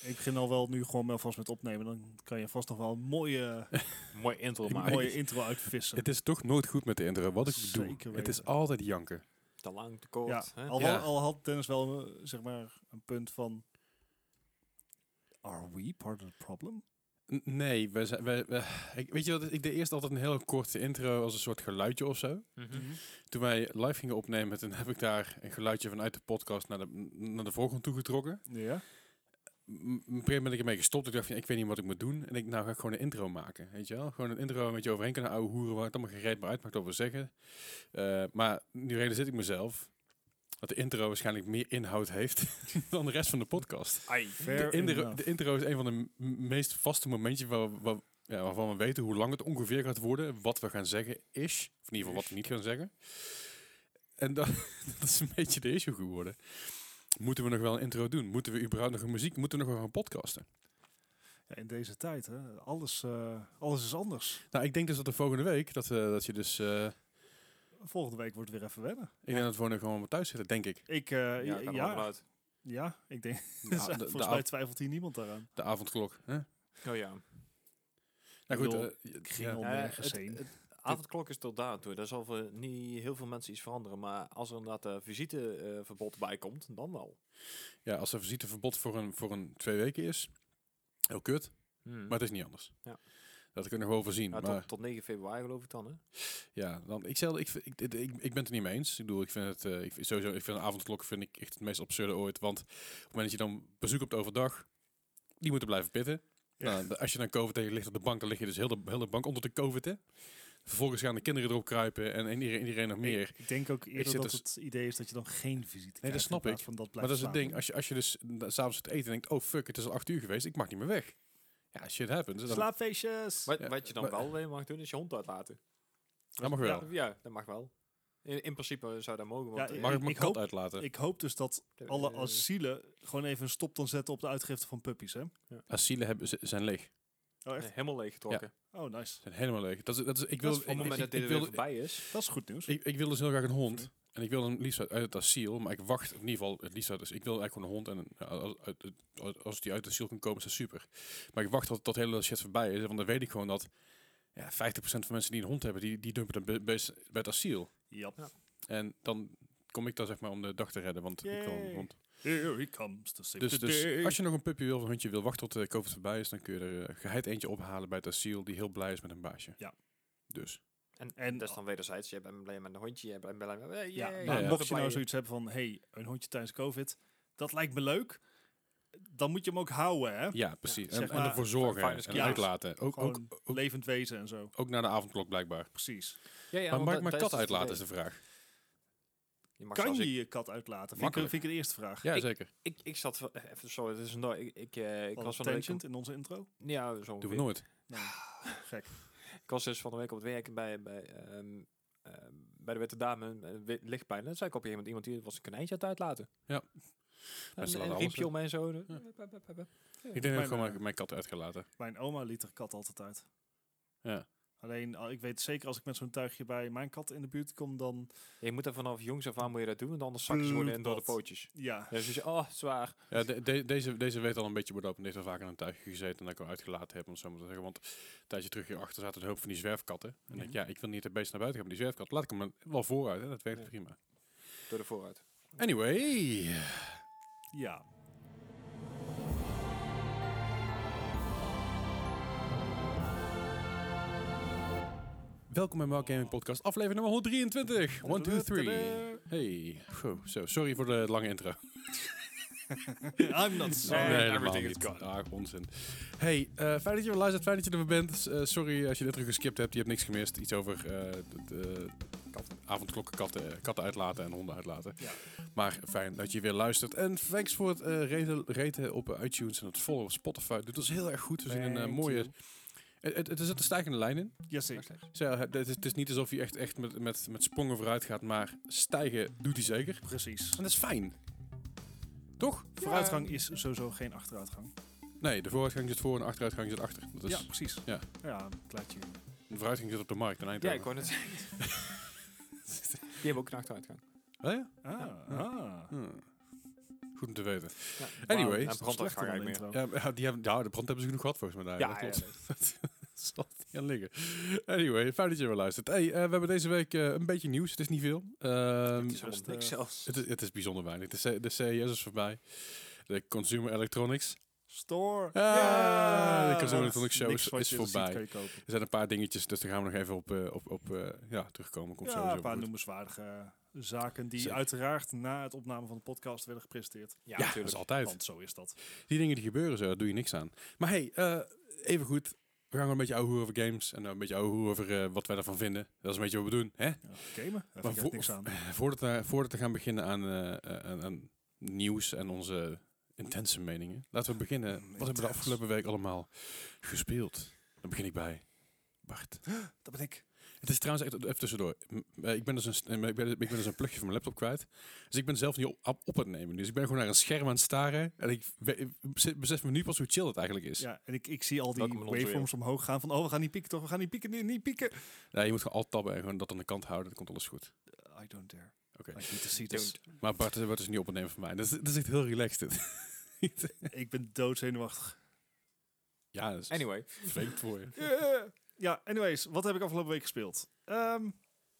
Ik begin al wel nu gewoon vast met opnemen. Dan kan je vast nog wel een mooie, Mooi intro een maken. mooie intro uitvissen. Het is toch nooit goed met de intro, wat ik Zeker doe. Het weten. is altijd janken. Te lang, Ja, te kort. hè? al, Ja. had- al had Dennis wel eh, zeg maar een punt van. Are we part of the problem? N- Nee, we zijn, we, we- ik, weet je wat, ik deed eerst altijd een heel korte intro als een soort geluidje of zo. Mhm. Toen wij live gingen opnemen, toen heb ik daar een geluidje vanuit de podcast naar de, n- naar de voorgrond toegetrokken. Ja. M- Op een gegeven moment ben ik ermee gestopt. Ik dacht van, ja, ik weet niet wat ik moet doen. En ik, nou ga ik gewoon een intro maken, weet je wel. Gewoon een intro een beetje overheen kunnen ouwe hoeren, waar het allemaal gereed maar uitmaakt wat we zeggen. Eh, maar nu realiseer ik mezelf dat de intro waarschijnlijk meer inhoud heeft dan de rest van de podcast. Fair De intro, enough. de intro is een van de m- meest vaste momentjes waar, waar- ja, waarvan we weten hoe lang het ongeveer gaat worden. Wat we gaan zeggen is. Of in ieder geval wat we niet gaan zeggen. En dat, dat is een beetje de issue geworden. Moeten we nog wel een intro doen? Moeten we überhaupt nog een muziek? Moeten we nog wel gaan podcasten? Ja, in deze tijd, hè, alles, eh, alles is anders. Nou, ik denk dus dat de volgende week, dat, eh, dat je dus... eh, Volgende week wordt weer even wennen. ik denk dat we nu gewoon thuis zitten, denk ik. Ik, eh, Ja, ja, ik ga er wel ja, vanuit. ik denk. De, a- de, de volgens a- mij twijfelt hier niemand daaraan. de avondklok. Hè? Oh ja. Nou goed, bedoel, eh, Ik ging ja. al Nou ja, nergens het- heen. het- avondklok is tot daartoe. Daar zal voor niet heel veel mensen iets veranderen. Maar als er inderdaad eh visiteverbod bij komt, dan wel. ja, als er visiteverbod voor een, voor een twee weken is, heel kut. Hmm. Maar het is niet anders. Ja. Dat kunnen we wel voorzien. Ja, maar tot, tot 9 februari geloof ik dan, hè? ja, dan, ik, zelf, ik, vind- ik, ik, ik ben het er niet mee eens. Ik bedoel, ik vind het eh, ik vind, sowieso, ik vind een avondklok vind ik echt het meest absurde ooit. Want op het moment dat je dan bezoek op overdag, die moeten blijven pitten. Ja. Nou, de- als je dan COVID tegen ligt op de bank, dan lig je dus heel de, heel de bank onder de COVID. Hè? Vervolgens gaan de kinderen erop kruipen en iedereen, iedereen nog meer. Ik denk ook eerder zit dat er het idee is dat je dan geen visite krijgt. dat in snap plaats ik. Van dat maar dat is het blijft ding. Als je, als je dus eh, s'avonds het eten en denkt, oh fuck, het is al acht uur geweest, ik mag niet meer weg. Ja, shit happens. slaan. Dan- Slaapfeestjes! Wat, Ja, wat je dan maar- wel weer mag doen, is je hond uitlaten. Dat mag wel. Ja, ja, dat mag wel. In, in principe zou dat mogen. Want, Ja, eh, Mag ik ik mijn kat hoop- uitlaten? Ik hoop dus dat eh, alle asielen gewoon even een stop dan zetten op de uitgifte van puppies, hè? Asielen hebben, ze- zijn leeg. Oh, eh, echt? helemaal leeggetrokken. Oh, nice. zijn helemaal leuk. Dat is, dat is, ik Op wil, het moment ik, dat ik, dit ik, er wil, weer voorbij is. Dat is goed nieuws. ik, ik wil dus heel graag een hond. En ik wil hem liefst uit, uit het asiel, maar ik wacht, of in ieder geval het liefst uit, dus ik wil eigenlijk gewoon een hond. En ja, als, uit- uit- als die uit het asiel kan komen, is dat super. Maar ik wacht tot dat hele shit voorbij is, want dan weet ik gewoon dat ja, 50% van mensen die een hond hebben, die, die dumpen een be- beest bij het asiel. Jap. Ja. En dan kom ik daar zeg maar om de dag te redden, want ik wil een Yay. hond. Here he comes to save Dus, the dus day. als je nog een puppy wil of een hondje wil, wacht tot de COVID voorbij is, dan kun je er eh, geheid eentje ophalen bij het asiel, die heel blij is met een baasje. Ja. Dus. En, En- dat is dan wederzijds. Je bent blij met een hondje, je bent blij met... eh, ja, yay, nou, ja, ja. mocht je blij. nou zoiets hebben van, hey, een hondje tijdens COVID, dat lijkt me leuk, dan moet je hem ook houden, hè? Ja, precies. zeg en, en maar- ervoor zorgen Finest en class. uitlaten. Ook, ook, Gewoon ook, levend wezen en zo. ook naar de avondklok blijkbaar. Precies. Ja, ja, maar want mag dat- ik mijn dat kat het uitlaten is idee. de vraag. Je mag kan zelfs- je je kat uitlaten? Vind ik, Makkelijk. vind ik de eerste vraag. Ja, Ik- zeker. Ik, ik zat... wel- eh, Even, sorry, het is een... dag. Ik, ik, eh, ik Van was van de week... tangent in onze intro? Ja, zo Doen ongeveer. we nooit. Nee. Gek. Ik was dus van de week op het werk bij, bij, ehm, ehm, bij de witte dame eh, wi- lichtpijn. En toen zei ik op een gegeven moment iemand die was een konijntje uit uitlaten. Ja. En, laten een alles riempje uit. om en zo. Ja. Hup, hup, hup, hup, hup. Ik denk dat ik Mijn, gewoon eh, mijn, mijn kat uitgelaten. Mijn oma liet haar kat altijd uit. Ja. Alleen, al- ik weet zeker als ik met zo'n tuigje bij mijn kat in de buurt kom, dan... Je moet er vanaf jongs af aan moet je dat doen, want anders zakken ze worden in door de Bloedbad. pootjes. Ja, Ja, Dus je zegt, oh, zwaar. Ja, de- de- deze, deze weet al een beetje wat op. En heeft al vaak aan een tuigje gezeten en dat ik hem uitgelaten heb. Om het zo maar te zeggen. Want een tijdje terug hierachter zaten een hoop van die zwerfkatten. En ik, ja, ik wil niet het beest naar buiten gaan, maar die zwerfkat. Laat ik hem er wel vooruit. Hè. Dat werkt Ja. prima. Door de vooruit. Anyway. ja. Welkom bij Mark Gaming Podcast. Aflevering nummer 123. 1, 2, 3. Hey. Goh, zo, sorry voor de lange intro. I'm not Nee, sorry. Nee, helemaal everything niet. is gone. Ah, onzin. Hey, eh, fijn dat je weer luistert, fijn dat je er weer bent. S- eh, sorry als je dit terug geskipt hebt, je hebt niks gemist. Iets over eh, de, de avondklokken, katten, eh, katten uitlaten en honden uitlaten. Ja. Maar fijn dat je weer luistert. En thanks voor het eh, reten, reten op eh, iTunes en het volgen op Spotify. Dit was heel erg goed. We zien een eh, Thank mooie... you. Het, het, het zit een stijgende lijn in. Jazeker. Zo, het, is- het is niet alsof je echt, echt met, met, met sprongen vooruit gaat, maar stijgen doet hij zeker. Precies. En dat is fijn. Toch? Vooruitgang is sowieso geen achteruitgang. Nee, de vooruitgang zit voor en de achteruitgang zit achter. Dat is ja, precies. Dus- ja. ja een plaatje. De vooruitgang zit op de markt in Ja, Eindhoven. ik wou net zeggen. Die hebben ook een achteruitgang. Oh ja? Ah, Ja. ah. Hmm. Goed om te weten. Ja. Anyway, Wauw, en slechter brandweer ga Slechter ik dan de eigenlijk meer. intro. Ja, maar ja, die hebben, ja, de brand hebben ze genoeg gehad volgens mij. daar. Ja, dat ja, klopt. dat zal niet aan liggen. Anyway, fijn dat je weer luistert. Hey, eh, we hebben deze week eh, een beetje nieuws. Het is niet veel. Ehm, Het is helemaal Rust, niks eh, zelfs. het, is, het is bijzonder weinig. De, C- de CES is voorbij. De Consumer Electronics. Store. Ah, Ja, de Consumer want Electronics Show niks is- wat is je ziet voorbij. kan je kopen. Er zijn een paar dingetjes, dus daar gaan we nog even op, eh, op, op eh, ja, terugkomen. Komt Ja, sowieso een paar goed. noemenswaardige zaken die Zeker. uiteraard na het opname van de podcast werden gepresenteerd. Ja, Ja, dat is altijd. Want zo is dat. Die dingen die gebeuren, zo, daar doe je niks aan. Maar hey, eh, even goed. We gaan wel een beetje ouwe hoeren over games en een beetje ouwe hoeren over eh, wat wij daarvan vinden. Dat is een beetje wat we doen, hè? Ja, gamen, daar Maar vind ik voor- echt niks aan. Voordat we, voordat we gaan beginnen aan, eh, eh, aan, aan nieuws en onze intense meningen, laten we beginnen. Mm, Wat hebben we de intens. afgelopen week allemaal gespeeld? Dan begin ik bij Bart. Dat ben ik. Het is trouwens echt even tussendoor. M- eh, Ik ben dus een, st- eh, ik ben, ik ben dus een plugje van mijn laptop kwijt. Dus ik ben zelf niet op, op, op aan het nemen. Dus ik ben gewoon naar een scherm aan het staren. En ik, we- ik besef- besef me nu pas hoe chill het eigenlijk is. Ja, en ik, ik zie al die Welkom in onze waveforms omhoog gaan van, oh, we gaan niet pieken toch, we gaan niet pieken, niet, niet pieken. Ja, je moet gewoon alt tabben en gewoon dat aan de kant houden. Dan komt alles goed. I don't dare. Oké. I need to see this. Maar Bart eh, wordt dus niet op aan het nemen van mij. Dat is, dat is echt heel relaxed. dit. ik ben doodzenuwachtig. ja, dat is Anyway. vreemd voor je. Eh, ja, anyways, wat heb ik afgelopen week gespeeld? Ehm,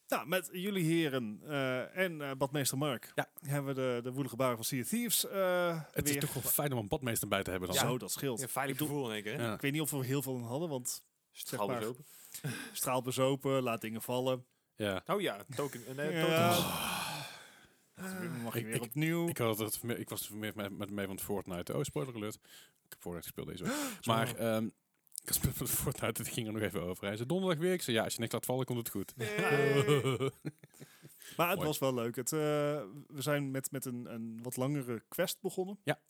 nou, met jullie heren eh, en eh badmeester Mark Ja. hebben we de, de woelige baren van Sea of Thieves eh, Het weer. is toch wel fijn om een badmeester bij te hebben dan. Ja. hè? Zo, dat scheelt. Een veilig Ik doe- gevoel in één keer, hè? Ja. Ik weet niet of we er heel veel aan hadden, want Straal maar. dus open. straal bezopen, laat dingen vallen. Ja. Oh ja, token. eh, nee, Ja. Oh. token. Dan mag je Ik- weer ik- opnieuw. Ik, had het, vanmi- ik was vanmiddag met, met mee van het Fortnite. Oh, spoiler alert. Ik heb Fortnite gespeeld deze week. Maar ehm ik had gespeeld van het Fortnite. Het ging er nog even over. Hij zei donderdag weer. Ik zei ja, als je niks laat vallen, komt het goed. Hey. Maar het Mooi. was wel leuk. Het, eh, we zijn met, met een, een wat langere quest begonnen. Ja.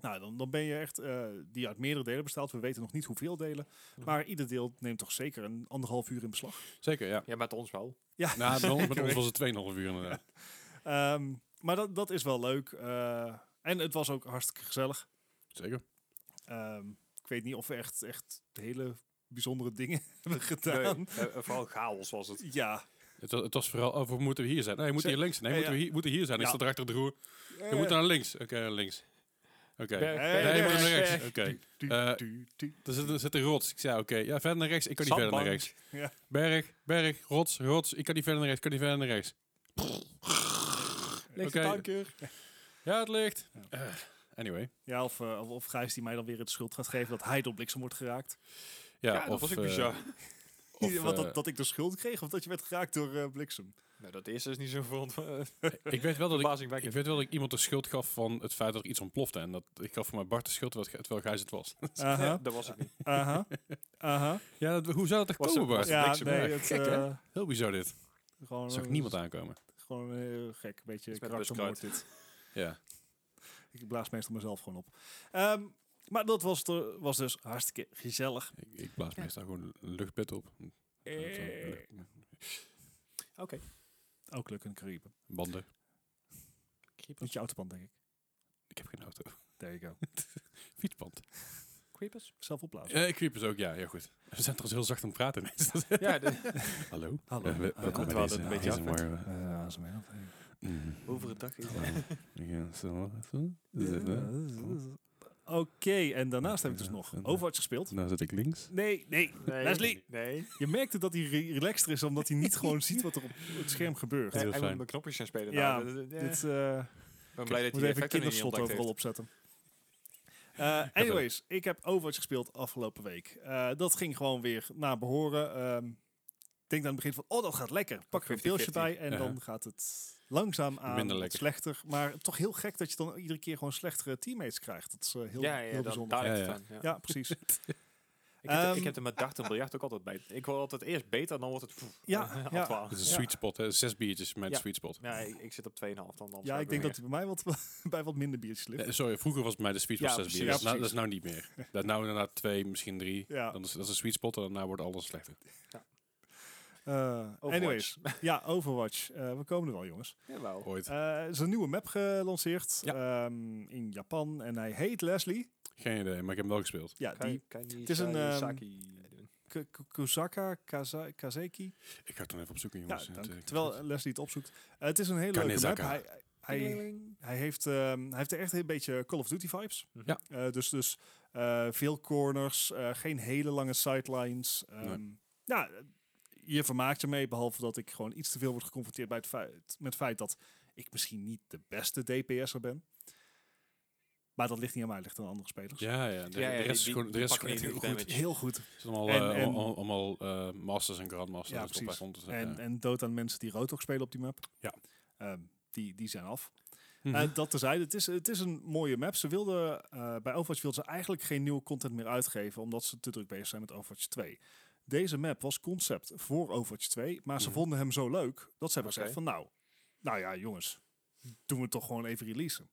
Nou, dan, dan ben je echt, eh, die uit meerdere delen bestaat. We weten nog niet hoeveel delen. Mhm. Maar ieder deel neemt toch zeker een anderhalf uur in beslag. Zeker, ja. Ja, met ons wel. Ja, Nou, bij ons- met zeker ons weten. was het 2,5 uur inderdaad. Ehm, maar dat, dat is wel leuk. eh, en het was ook hartstikke gezellig. Zeker. Ehm, ik weet niet of we echt, echt hele bijzondere dingen hebben Nee, gedaan. eh, eh, vooral chaos was het. Ja. Het, wa- het was vooral, oh, we moeten hier zijn. Nee, we moeten hier links zijn. Nee, Ja, moeten we hier, moeten hier zijn. Ik Ja. stond erachter de roer. We moeten naar links. Oké, naar links. Oké. Berg, Nee, Nee, berg, we moeten naar berg. rechts. Oké. Du- Eh, du- du- Er zit, er zit een rots. Ik zei, oké, ja, verder naar rechts. Ik kan niet verder naar rechts. Zandbank. Ja. Berg, berg, rots, rots. Ik kan niet verder naar rechts, kan niet verder naar rechts. Ligt Oké. de tanker. Ja, het ligt. Ja. Eh, anyway. Ja, of, eh, of, of Gijs die mij dan weer het schuld gaat geven dat hij door bliksem wordt geraakt. Ja, Ja, dat of, was ik eh, bizar. of, Want eh, dat, dat ik de schuld kreeg of dat je werd geraakt door eh, bliksem. Nou, dat eerste is niet zo veront- eh, ik, weet wel dat ik, ik verbazingwekkend. weet wel dat ik iemand de schuld gaf van het feit dat er iets ontplofte. En dat ik gaf voor mij Bart de schuld terwijl het- terwijl Gijs het was. Ja, Aha, dat was ik niet. aha, aha. ja, dat- hoe zou dat er Was komen, het- Bart? was Ja, bliksem, nee, ja. het, Gek, hè? eh, Heel bizar dit. gewoon, Dat zag eh, niemand aankomen. Gewoon heel gek, een beetje Iets met karaktermoord dit. Ja. Ik blaas meestal mezelf gewoon op. Ehm, maar dat was, de, was dus hartstikke gezellig. Ik, ik blaas meestal gewoon een luchtbed op. Een Eh. lucht- Oké. Eh, Ook leuk in de Cariben. Banden. Met je autoband, denk ik. Ik heb geen auto. There you go. Fietsband. Creepers? Zelf opblazen. Eh creepers ook, ja. Heel goed. We zijn trouwens heel zacht aan het praten. ineens. Ja, de, Hallo. Hallo. Eh, we- Ah, welkom ja. Terwijl bij deze het een beetje ASMR, afwekt. eh, Eh, ASMR. Mm. over het dag is Ja, zo. zo. Oké, en daarnaast heb ik dus nog Overwatch gespeeld. Nou zit ik links. Nee, nee, Nee. Leslie! Nee. Je merkte dat hij re- relaxter is, omdat hij niet gewoon ziet wat er op het scherm gebeurt. Heel Hij moet fijn. met mijn knopjes gaan spelen. Ja, nou, dat- dat- Dit, eh, eh, Ik ben blij dat moet hij even effect er niet kinderslot ontdekt overal heeft. opzetten. Eh, anyways, ik heb Overwatch gespeeld afgelopen week. Eh, dat ging gewoon weer naar behoren. Ehm, Ik denk aan het begin van, oh dat gaat lekker. Pak er een 50-50. pilsje bij en Ja. dan gaat het langzaam aan. Minder wat lekker. Slechter, maar toch heel gek dat je dan iedere keer gewoon slechtere teammates krijgt. Dat is eh, heel, Ja, ja, heel dan- bijzonder. daar Ja, ligt het ja. aan, ja. Ja, precies. Ik, heb, Ehm, ik heb er met dart en biljart ook altijd bij. Ik wil altijd eerst beter, dan wordt het... pff, Ja, eh, ja. afwaar. Dat is een Ja. sweet spot, hè? Zes biertjes met Ja. sweet spot. Ja, ik, ik zit op 2,5 dan. anders ja, ook ik denk weer. dat hij bij mij wat, bij wat minder biertjes ligt. Eh, sorry, vroeger was het bij de sweet spot Ja, zes precies, biertjes. ja, nou, dat precies. is nou niet meer. Dat nou inderdaad twee, misschien drie. Ja. Dan is, dat is een sweet spot en daarna wordt alles slechter. Eh, Overwatch. anyways, ja, Overwatch. Eh, we komen er wel, jongens. Jawel. Ooit. Eh, er is een nieuwe map gelanceerd ehm, in Japan en hij heet Leslie. Geen Geen idee, maar ik heb hem wel gespeeld. Ja, Kan die je- kan je het is een, Sa- ehm, Saki doen? K- K- Kusaka Kaza- Kazeki. Ik ga het dan even opzoeken, Ja, jongens. Het, Nou, dank. eh, Terwijl Leslie het opzoekt. Eh, het is een hele leuke map. Kanezaka. Hij, hij, hij, heeft, ehm, hij heeft er echt een beetje Call of Duty vibes. Mhm. Ja. Eh, dus dus eh, veel corners, eh, geen hele lange sidelines. Ehm Ja, je vermaakt je mee, behalve dat ik gewoon iets te veel word geconfronteerd bij het feit, met het feit dat ik misschien niet de beste DPS'er ben. Maar dat ligt niet aan mij, het ligt aan andere spelers. Ja, ja. De, Ja, ja, de die- rest is die- gewoon, de die rest is pakken gewoon niet heel goed goed. damage. Heel goed. Het zijn allemaal, En- en- eh, allemaal, allemaal eh, masters en grandmasters. Ja, en top precies. 500 En, en dood aan mensen die Rotok spelen op die map. Dus, eh, Ja. Ehm, die, die zijn af. Mhm. Eh, dat tezijde, het is, het is een mooie map. Ze wilden, eh, bij Overwatch wilden ze eigenlijk geen nieuwe content meer uitgeven, omdat ze te druk bezig zijn met Overwatch 2. Deze map was concept voor Overwatch 2, maar ze Mhm. vonden hem zo leuk dat ze hebben Oké. gezegd van nou, nou ja jongens, doen we het toch gewoon even releasen.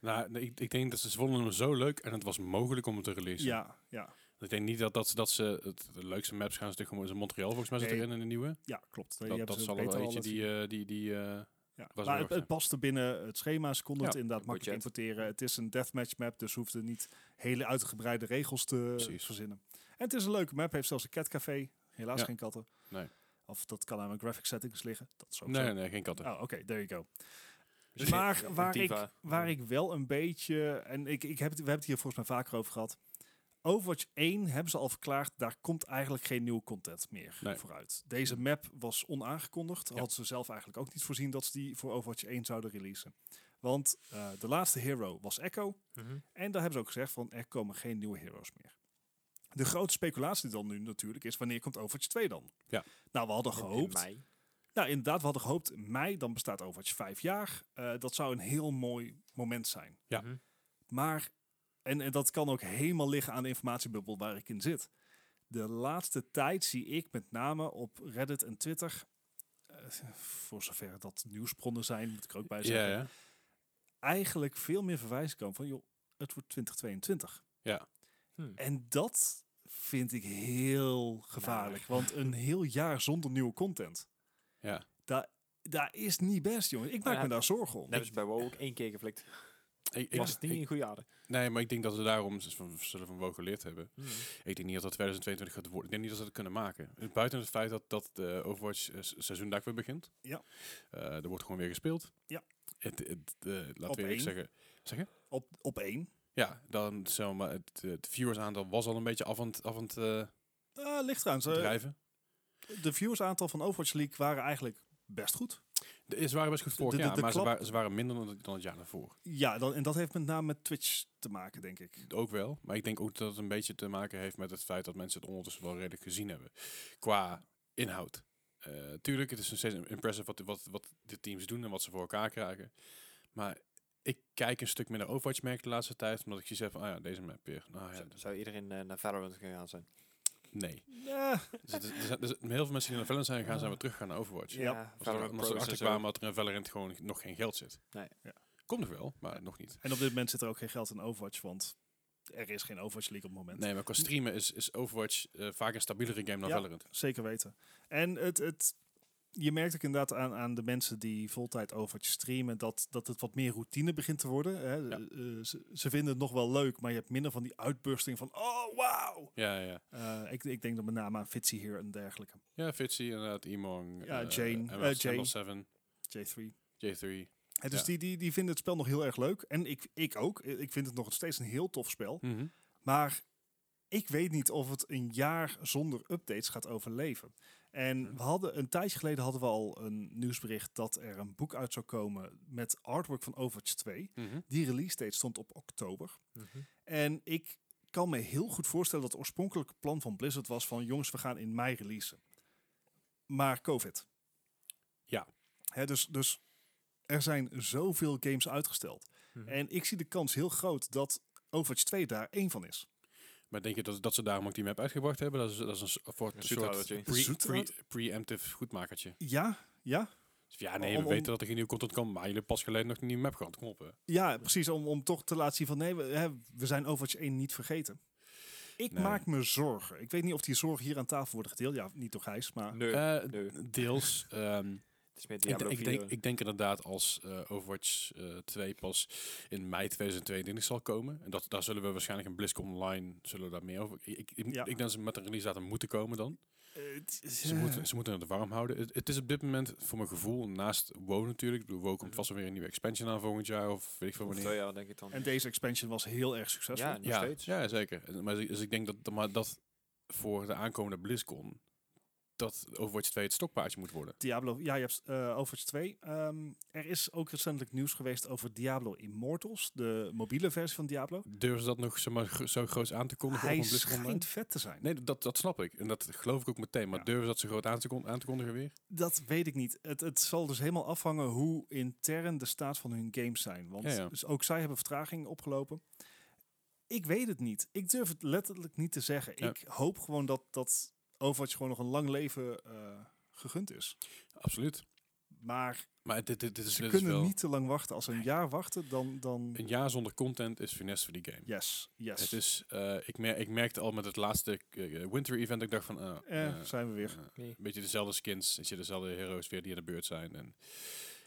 Nou, nee, ik, ik denk dat ze, ze vonden hem zo leuk en het was mogelijk om het te releasen. Ja, ja, Ik denk niet dat, dat, ze, dat ze het, de leukste maps gaan ze natuurlijk gewoon... Montreal volgens mij zit Nee. erin in de nieuwe. ja, klopt. Die Dat, hebben dat ze zal er beter wel al eentje laten die... eh, die, die eh, Ja, was maar een het, het hoogte. paste binnen het schema. Ze konden Ja, het inderdaad makkelijk budget. importeren. Het is een deathmatch map, dus ze hoefden niet hele uitgebreide regels te Precies. verzinnen. En het is een leuke map, heeft zelfs een catcafé. Helaas Ja. geen katten. Nee. Of dat kan aan mijn graphic settings liggen. Dat is ook zo. Nee, nee, geen katten. Oh, oké, there you go. Dus maar ja, waar ik, Diva. waar ik wel een beetje... En ik, ik heb het, we hebben het hier volgens mij vaker over gehad. Overwatch 1 hebben ze al verklaard, daar komt eigenlijk geen nieuwe content meer Nee. Mm. vooruit. Deze map was onaangekondigd. Ja. Hadden ze zelf eigenlijk ook niet voorzien dat ze die voor Overwatch 1 zouden releasen. Want eh, de laatste hero was Echo. Mhm. En daar hebben ze ook gezegd van er komen geen nieuwe heroes meer. De grote speculatie dan nu natuurlijk is wanneer komt Overwatch 2 dan? Ja. Nou, we hadden In- in gehoopt mei. nou, inderdaad, we hadden gehoopt in mei, dan bestaat Overwatch vijf jaar. Eh, dat zou een heel mooi moment zijn. Ja. Mhm. Maar, en, en dat kan ook helemaal liggen aan de informatiebubbel waar ik in zit. De laatste tijd zie ik met name op Reddit en Twitter, eh, voor zover dat nieuwsbronnen zijn, moet ik er ook bij Ja, zeggen, ja. eigenlijk veel meer verwijzing komen van, joh, het wordt 2022. Hmm. En dat vind ik heel gevaarlijk, want een heel jaar zonder nieuwe content. ja. Daar is niet best, jongens. Ik maak Nou ja, me daar zorgen om. Dat is bij WoW ook één keer geflikt. Ik, ik, Was het niet ik- in goede aarde. nee, maar ik denk dat we daarom z- van, zullen van WoW geleerd hebben. Ik denk niet dat dat 2022 gaat worden. Ik denk niet dat ze dat kunnen maken. Eh, Buiten het feit dat, dat de Overwatch eh, s- seizoen daar weer begint. Ja. Eh, er wordt gewoon weer gespeeld. Ja. Het, het, eh, laten Op we eerlijk één. zeggen. Zeggen? Op, op één. Ja, dan zeg maar, het, het viewersaantal was al een beetje af aan het, af aan het eh, Ah, ligt trouwens. eh, drijven. de viewersaantal van Overwatch League waren eigenlijk best goed. De, ze waren best goed vorig de- jaar, de maar ze klap- waren, ze waren minder dan, het- dan het jaar daarvoor. Ja, dan, en dat heeft met name met Twitch te maken, denk ik. Ook wel, maar ik denk ook dat het een beetje te maken heeft met het feit dat mensen het ondertussen wel redelijk gezien hebben. Qua inhoud. Eh, tuurlijk, het is nog steeds impressive wat, wat, wat de teams doen en wat ze voor elkaar krijgen. Maar ik kijk een stuk minder Overwatch merk de laatste tijd, omdat ik zoiets heb van, ah ja, deze map weer. Nou ja, Hm. Zou- Zou iedereen eh, naar Valorant gegaan zijn? nee. Eh, Dus het- er zijn, er zijn heel veel mensen die naar Valorant zijn gegaan, zijn we teruggegaan naar Overwatch. Ja, Als we Valorant Pro omdat ze is erachter er zo. kwamen dat er in Valorant gewoon nog geen geld zit. Nee. Ja. Komt nog wel, maar nog niet. en op dit moment zit er ook geen geld in Overwatch, want er is geen Overwatch League op het moment. Nee, maar qua streamen is, is Overwatch eh, vaak een stabielere game dan Ja. Valorant. Zeker weten. En het, het, je merkt ook inderdaad aan, aan de mensen die voltijd Overwatch streamen, dat, dat het wat meer routine begint te worden. Hè. Eh, ze, ze vinden het nog wel leuk, maar je hebt minder van die uitbursting van, oh, wauw. Ja, ja, ja. Eh, ik, ik denk dan met name aan Fitzy hier en dergelijke. Ja, Fitzy inderdaad, Emong. Ja, eh, Jane, ML- eh, Jane. ML7, J3. J3. Hè, dus Ja. die, die, die vinden het spel nog heel erg leuk. En ik, ik ook. I- Ik vind het nog steeds een heel tof spel. Maar ik weet niet of het een jaar zonder updates gaat overleven. En we hadden een tijdje geleden hadden we al een nieuwsbericht dat er een boek uit zou komen met artwork van Overwatch 2. Mhm. Die release date stond op oktober. Mhm. En ik kan me heel goed voorstellen dat het oorspronkelijke plan van Blizzard was van jongens, we gaan in mei releasen. Maar COVID. Ja. Hè, dus, dus er zijn zoveel games uitgesteld. Mhm. En ik zie de kans heel groot dat Overwatch 2 daar één van is. Maar denk je dat, dat ze daarom ook die map uitgebracht hebben? Dat is, dat is een, s- voor- Een een soort zoethoudertje. Een pre, zoethouder? pre- preemptive goedmakertje. Ja, ja. Dus ja, nee, Om- we om- weten dat er geen nieuwe content kan, maar jullie hebben pas geleden nog een nieuwe map gehad. Kom op, hè. Ja, precies. Om, om toch te laten zien van nee, we, hè, we zijn Overwatch 1 niet vergeten. Ik Nee. maak me zorgen. Ik weet niet of die zorgen hier aan tafel worden gedeeld. Ja, niet door Gijs, maar... Nee, Eh, nee. deels. ehm, Het is meer ik, Diablo denk- ik, 4. denk, ik denk inderdaad als eh, Overwatch eh, 2 pas in mei 2022 zal komen. En dat, daar zullen we waarschijnlijk in BlizzCon Online zullen we daar meer over... Ik, ik, ik Ja. denk dat ze met een release datum moeten komen dan. eh, Ze, moeten, ze moeten het warm houden. Het, het is op dit moment, voor mijn gevoel, naast WoW natuurlijk. Ik bedoel, WoW komt vast wel weer een nieuwe expansion aan volgend jaar. Of weet ik veel Mhm. Of wanneer. twee jaar, denk ik dan. En deze expansion was heel erg succesvol. ja, nog ja, steeds. Ja, zeker. En- Maar, dus ik denk dat, dat- maar dat voor de aankomende BlizzCon dat Overwatch 2 het stokpaardje moet worden. Diablo, ja, je hebt eh, Overwatch 2. Ehm, er is ook recentelijk nieuws geweest over Diablo Immortals, de mobiele versie van Diablo. Durven ze dat nog zeg maar, gro- zo groot aan te kondigen Hij op een BlizzCon? schijnt vet te zijn. Nee, dat, dat snap ik. En dat geloof ik ook meteen. Maar Ja. durven ze dat zo groot aan te, kon- aan te kondigen weer? Dat weet ik niet. Het, het zal dus helemaal afhangen hoe intern de staat van hun games zijn. Want Ja, ja. Dus ook zij hebben vertraging opgelopen. Ik weet het niet. Ik durf het letterlijk niet te zeggen. Ja. Ik hoop gewoon dat, dat Overwatch gewoon nog een lang leven eh, gegund is. Absoluut. Maar Maar dit, dit, dit is, ze dit is kunnen wel... niet te lang wachten. Als ze een jaar wachten, dan... dan Een jaar zonder content is finesse voor die game. yes, yes. Het is, eh, ik, mer ik merkte al met het laatste eh, winter event, ik dacht van, ah, Eh, eh, zijn we weer. eh, Nee. Een beetje dezelfde skins, een beetje dezelfde heroes weer die aan de beurt zijn. En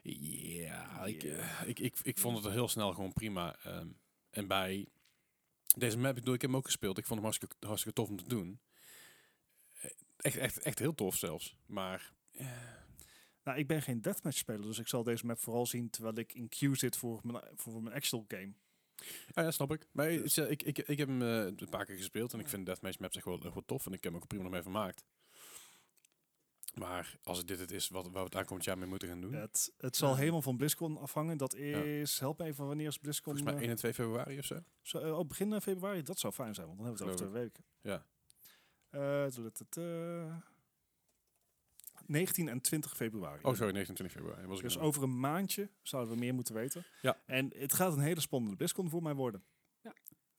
ja, ik, eh, ik, ik, ik vond het al heel snel gewoon prima. ehm. en bij deze map, ik bedoel, ik heb hem ook gespeeld. Ik vond hem hartstikke, hartstikke tof om te doen. Eh, Echt, echt, echt heel tof zelfs. Maar Nou, ik ben geen deathmatch speler, dus ik zal deze map vooral zien terwijl ik in queue zit voor mijn, voor mijn actual game. Ah, ja, ja, snap ik. Maar Dus- ik, ik, ik heb hem eh, een paar keer gespeeld en ik vind Deathmatch maps echt wel, echt wel tof. En ik heb hem ook prima nog mee vermaakt. Maar als dit het is wat, waar we het aankomend jaar mee moeten gaan doen. Het, het zal Ja. helemaal van BlizzCon afhangen. Dat is, help me even, wanneer is BlizzCon? Volgens mij eh, 1 en 2 februari of zo. zo, eh, oh, begin eh, februari, dat zou fijn zijn, want dan hebben we het over Geloof twee weken. Ja. Eh, tudutudu. 19 en 20 februari. Oh, sorry, 29 februari. Was ik Dus aan- over een maandje zouden we meer moeten weten. Ja. En het gaat een hele spannende BlizzCon voor mij worden. Ja.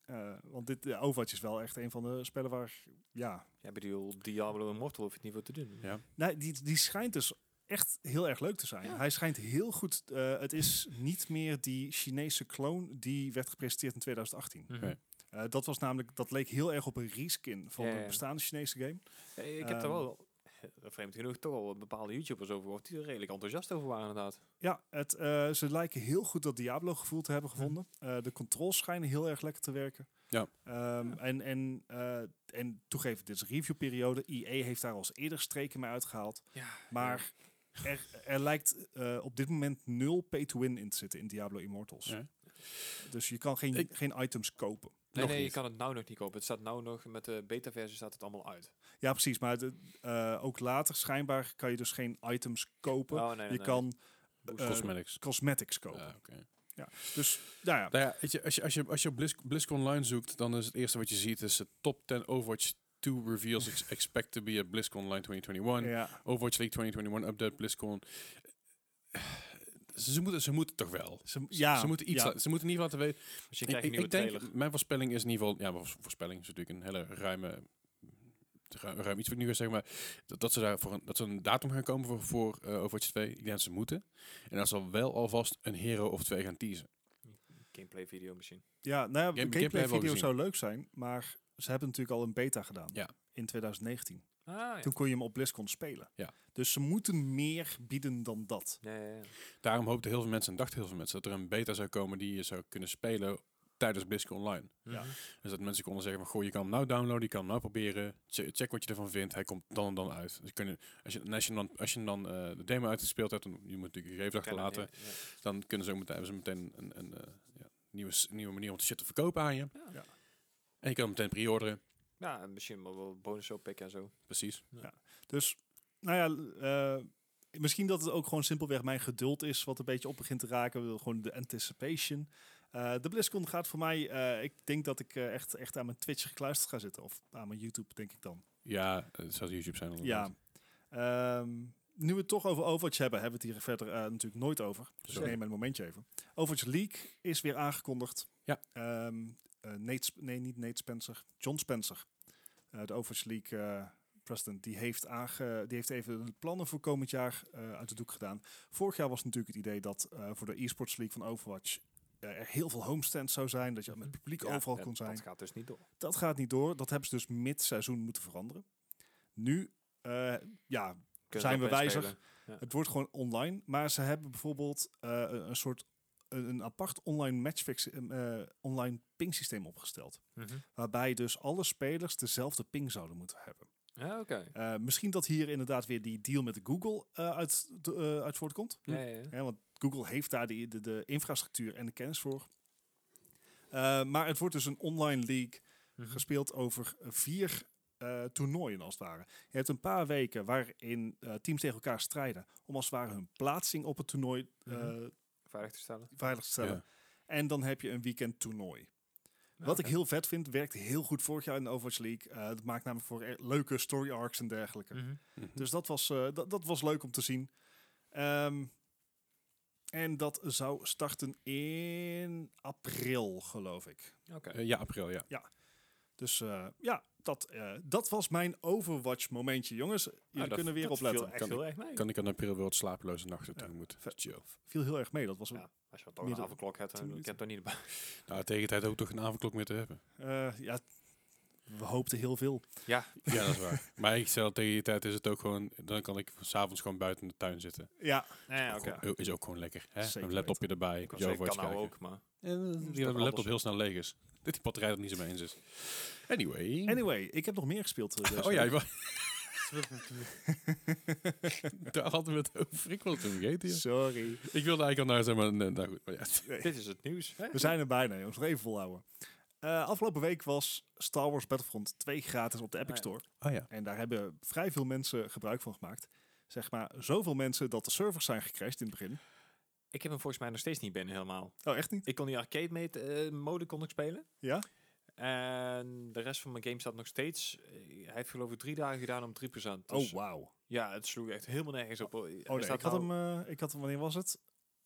Eh, want dit, ja, Overwatch is wel echt een van de spellen waar, ja, Ja, ik bedoel, Diablo Immortal hoef je het niet voor te doen. Ja. Nou, die, die schijnt dus echt heel erg leuk te zijn. Ja. Hij schijnt heel goed. eh, het is niet meer die Chinese kloon die werd gepresenteerd in 2018. Mhm. Ja. Eh, dat was namelijk, dat leek heel erg op een reskin van Ja, ja, een ja. bestaande Chinese game. Ja, Ik heb daar Ehm, wel, eh, vreemd genoeg, toch al bepaalde YouTubers over gehoord die er redelijk enthousiast over waren inderdaad. Ja, het, eh, ze lijken heel goed dat Diablo gevoel te Hm. hebben gevonden. Eh, de controls schijnen heel erg lekker te werken. Ja. Ehm, En, en, eh, en toegeven, dit is een reviewperiode. IE heeft daar al eens eerder streken mee uitgehaald. Ja, Maar er, er lijkt eh, op dit moment nul pay-to-win in te zitten in Diablo Immortals. Ja. Dus je kan geen, Ik- geen items kopen. Nee, Nog nee je niet. kan het nou nog niet kopen. Het staat nou nog, met de beta-versie staat het allemaal uit. Ja, precies. Maar de- eh, ook later schijnbaar kan je dus geen items kopen. Oh, nee, nee, je nee. kan Booster. eh, oh. Cosmetics. cosmetics kopen. Ah, oké. Dus nou ja, Nou ja, weet je, als je, als je, als je op Blizz- BlizzCon online zoekt, dan is het eerste wat je ziet is de top 10 Overwatch 2 reveals ex- expect to be at BlizzCon online 2021. ja, Overwatch League 2021 update BlizzCon. Ze moeten, ze moeten toch wel. ze, Ze- ja, ze moeten iets, ja. la- ze moeten in ieder geval laten weten. Misschien krijg Dus je een nieuwe trailer. denk, mijn voorspelling is in ieder geval, ja, maar vo- voorspelling is natuurlijk een hele ruime, ru- ruim iets wat ik nu ga zeggen, maar dat, dat ze daar voor een, dat ze een datum gaan komen voor, voor eh, Overwatch 2. Ik denk dat ze moeten. En dat ze wel alvast een hero of twee gaan teasen. Gameplay video misschien. ja, nou ja, de gameplay gameplay, hebben we video al gezien. zou leuk zijn, maar ze hebben natuurlijk al een beta gedaan Ja. in 2019. Ah, ja. Toen kon je hem op BlizzCon spelen. Ja. Dus ze moeten meer bieden dan dat. Ja, ja, ja. Daarom hoopten heel veel mensen en dachten heel veel mensen dat er een beta zou komen die je zou kunnen spelen tijdens BlizzCon Online. Ja. Mhm. Dus dat mensen konden zeggen van, goh, je kan hem nou downloaden, je kan hem nou proberen, che- check wat je ervan vindt, hij komt dan en dan uit. Dus je kunnen, als, je, en als je dan, als je dan eh, de demo uitgespeeld hebt, dan, je moet natuurlijk je gegevens Kennen, achterlaten, ja, ja. dan kunnen ze ook meteen, hebben ze meteen een, een eh, ja, nieuwe, s- nieuwe manier om te shit te verkopen aan je. Ja. Ja. En je kan hem meteen pre-orderen, Ja, en misschien wel- wel bonus oppikken en zo. precies. Dus, nou ja, l- eh, misschien dat het ook gewoon simpelweg mijn geduld is wat een beetje op begint te raken. Ik bedoel, Gewoon de anticipation. Eh, de BlizzCon gaat voor mij, eh, ik denk dat ik eh, echt, echt aan mijn Twitch gekluisterd ga zitten. Of aan mijn YouTube, denk ik dan. Ja, eh, het zou YouTube zijn. Ja. inderdaad. Ehm, nu we het toch over Overwatch hebben, hebben we het hier verder eh, natuurlijk nooit over. Dus Sorry. neem een momentje even. Overwatch League is weer aangekondigd. Ja. Ehm, eh, Nate Sp- nee, niet Nate Spencer. John Spencer. eh, de Overwatch League eh, president. Die heeft, aange die heeft even de plannen voor komend jaar eh, uit de doek gedaan. Vorig jaar was natuurlijk het idee dat eh, voor de e-sports league van Overwatch... eh, er heel veel homestands zou zijn, dat je met publiek Ja, overal dat- kon zijn. Dat gaat dus niet door. Dat gaat niet door. Dat hebben ze dus mid-seizoen moeten veranderen. Nu, eh, ja, Kunnen Zijn dat we bij wijzer? spelen? het wordt gewoon online. Maar ze hebben bijvoorbeeld eh, een een soort een, een apart online matchfix, eh eh, online pingsysteem opgesteld. Mhm. Waarbij dus alle spelers dezelfde ping zouden moeten hebben. Ja, oké. Eh, misschien dat hier inderdaad weer die deal met Google eh, uit, de- eh, uit voortkomt. Ja, ja, ja. Hè, want Google heeft daar die, de, de infrastructuur en de kennis voor. Eh, maar het wordt dus een online league Mhm. gespeeld over vier eh, toernooien als het ware. Je hebt een paar weken waarin eh, teams tegen elkaar strijden om als het ware hun plaatsing op het toernooi eh, Mhm. Veilig te stellen. veilig te stellen. Ja. En dan heb je een weekend toernooi. Ja, Wat ik oké. heel vet vind, werkte heel goed vorig jaar in de Overwatch League. Eh dat maakt namelijk voor e- leuke story arcs en dergelijke. Mhm. Dus dat was, eh, dat, dat was leuk om te zien. Ehm, en dat zou starten in april, geloof ik. Oké. Eh, ja, april, ja. Dus eh, ja, dat, eh, dat was mijn Overwatch momentje, jongens. Jullie dat- kunnen weer dat opletten. viel echt heel erg mee. Kan ik aan april wel wat slapeloze nachten Ja. tegemoet. Vet. Chill. Viel heel erg mee, dat was... Ja, als je toch een Midden- avondklok hebt, tien dan ik heb er niet bij. Nou, tegen de tijd ook toch een avondklok meer te hebben. eh, ja, we hoopten heel veel. Ja, dat is waar. maar ik stel tegen die tijd is het ook gewoon, dan kan ik s'avonds gewoon buiten in de tuin zitten. Ja, Nee, Ook oké. gewoon- Is ook gewoon lekker. Hè? Zeker Een laptopje erbij. Ik Ik wou zeggen, Overwatch kan nou kijken. ook, maar... En is die toch laptop anders. heel snel leeg is. Dat die batterij er niet zo mee in zit. Anyway. anyway, ik heb nog meer gespeeld. eh, deze Oh ja, je week. wou- daar hadden we het over. Ik wilde het vergeten. ja. Sorry. Ik wilde eigenlijk al naar zijn, maar nee, nou goed. Maar ja. Dit is het nieuws. hè? We zijn er bijna, jongens. Nog even volhouden. Eh, afgelopen week was Star Wars Battlefront 2 gratis op de Epic Ah, ja. Store. Oh ja. En daar hebben vrij veel mensen gebruik van gemaakt. Zeg maar zoveel mensen dat de servers zijn gecrashed in het begin. Ik heb hem volgens mij nog steeds niet binnen helemaal. Oh, echt niet? Ik kon die arcade mate, eh, mode kon ik spelen. Ja? En de rest van mijn game staat nog steeds. eh, hij heeft geloof ik drie dagen gedaan om 3%. Dus Oh, wauw. Ja, het sloeg echt helemaal nergens op. Oh, Oh, nee, ik, had hem, eh, ik had hem, wanneer was het?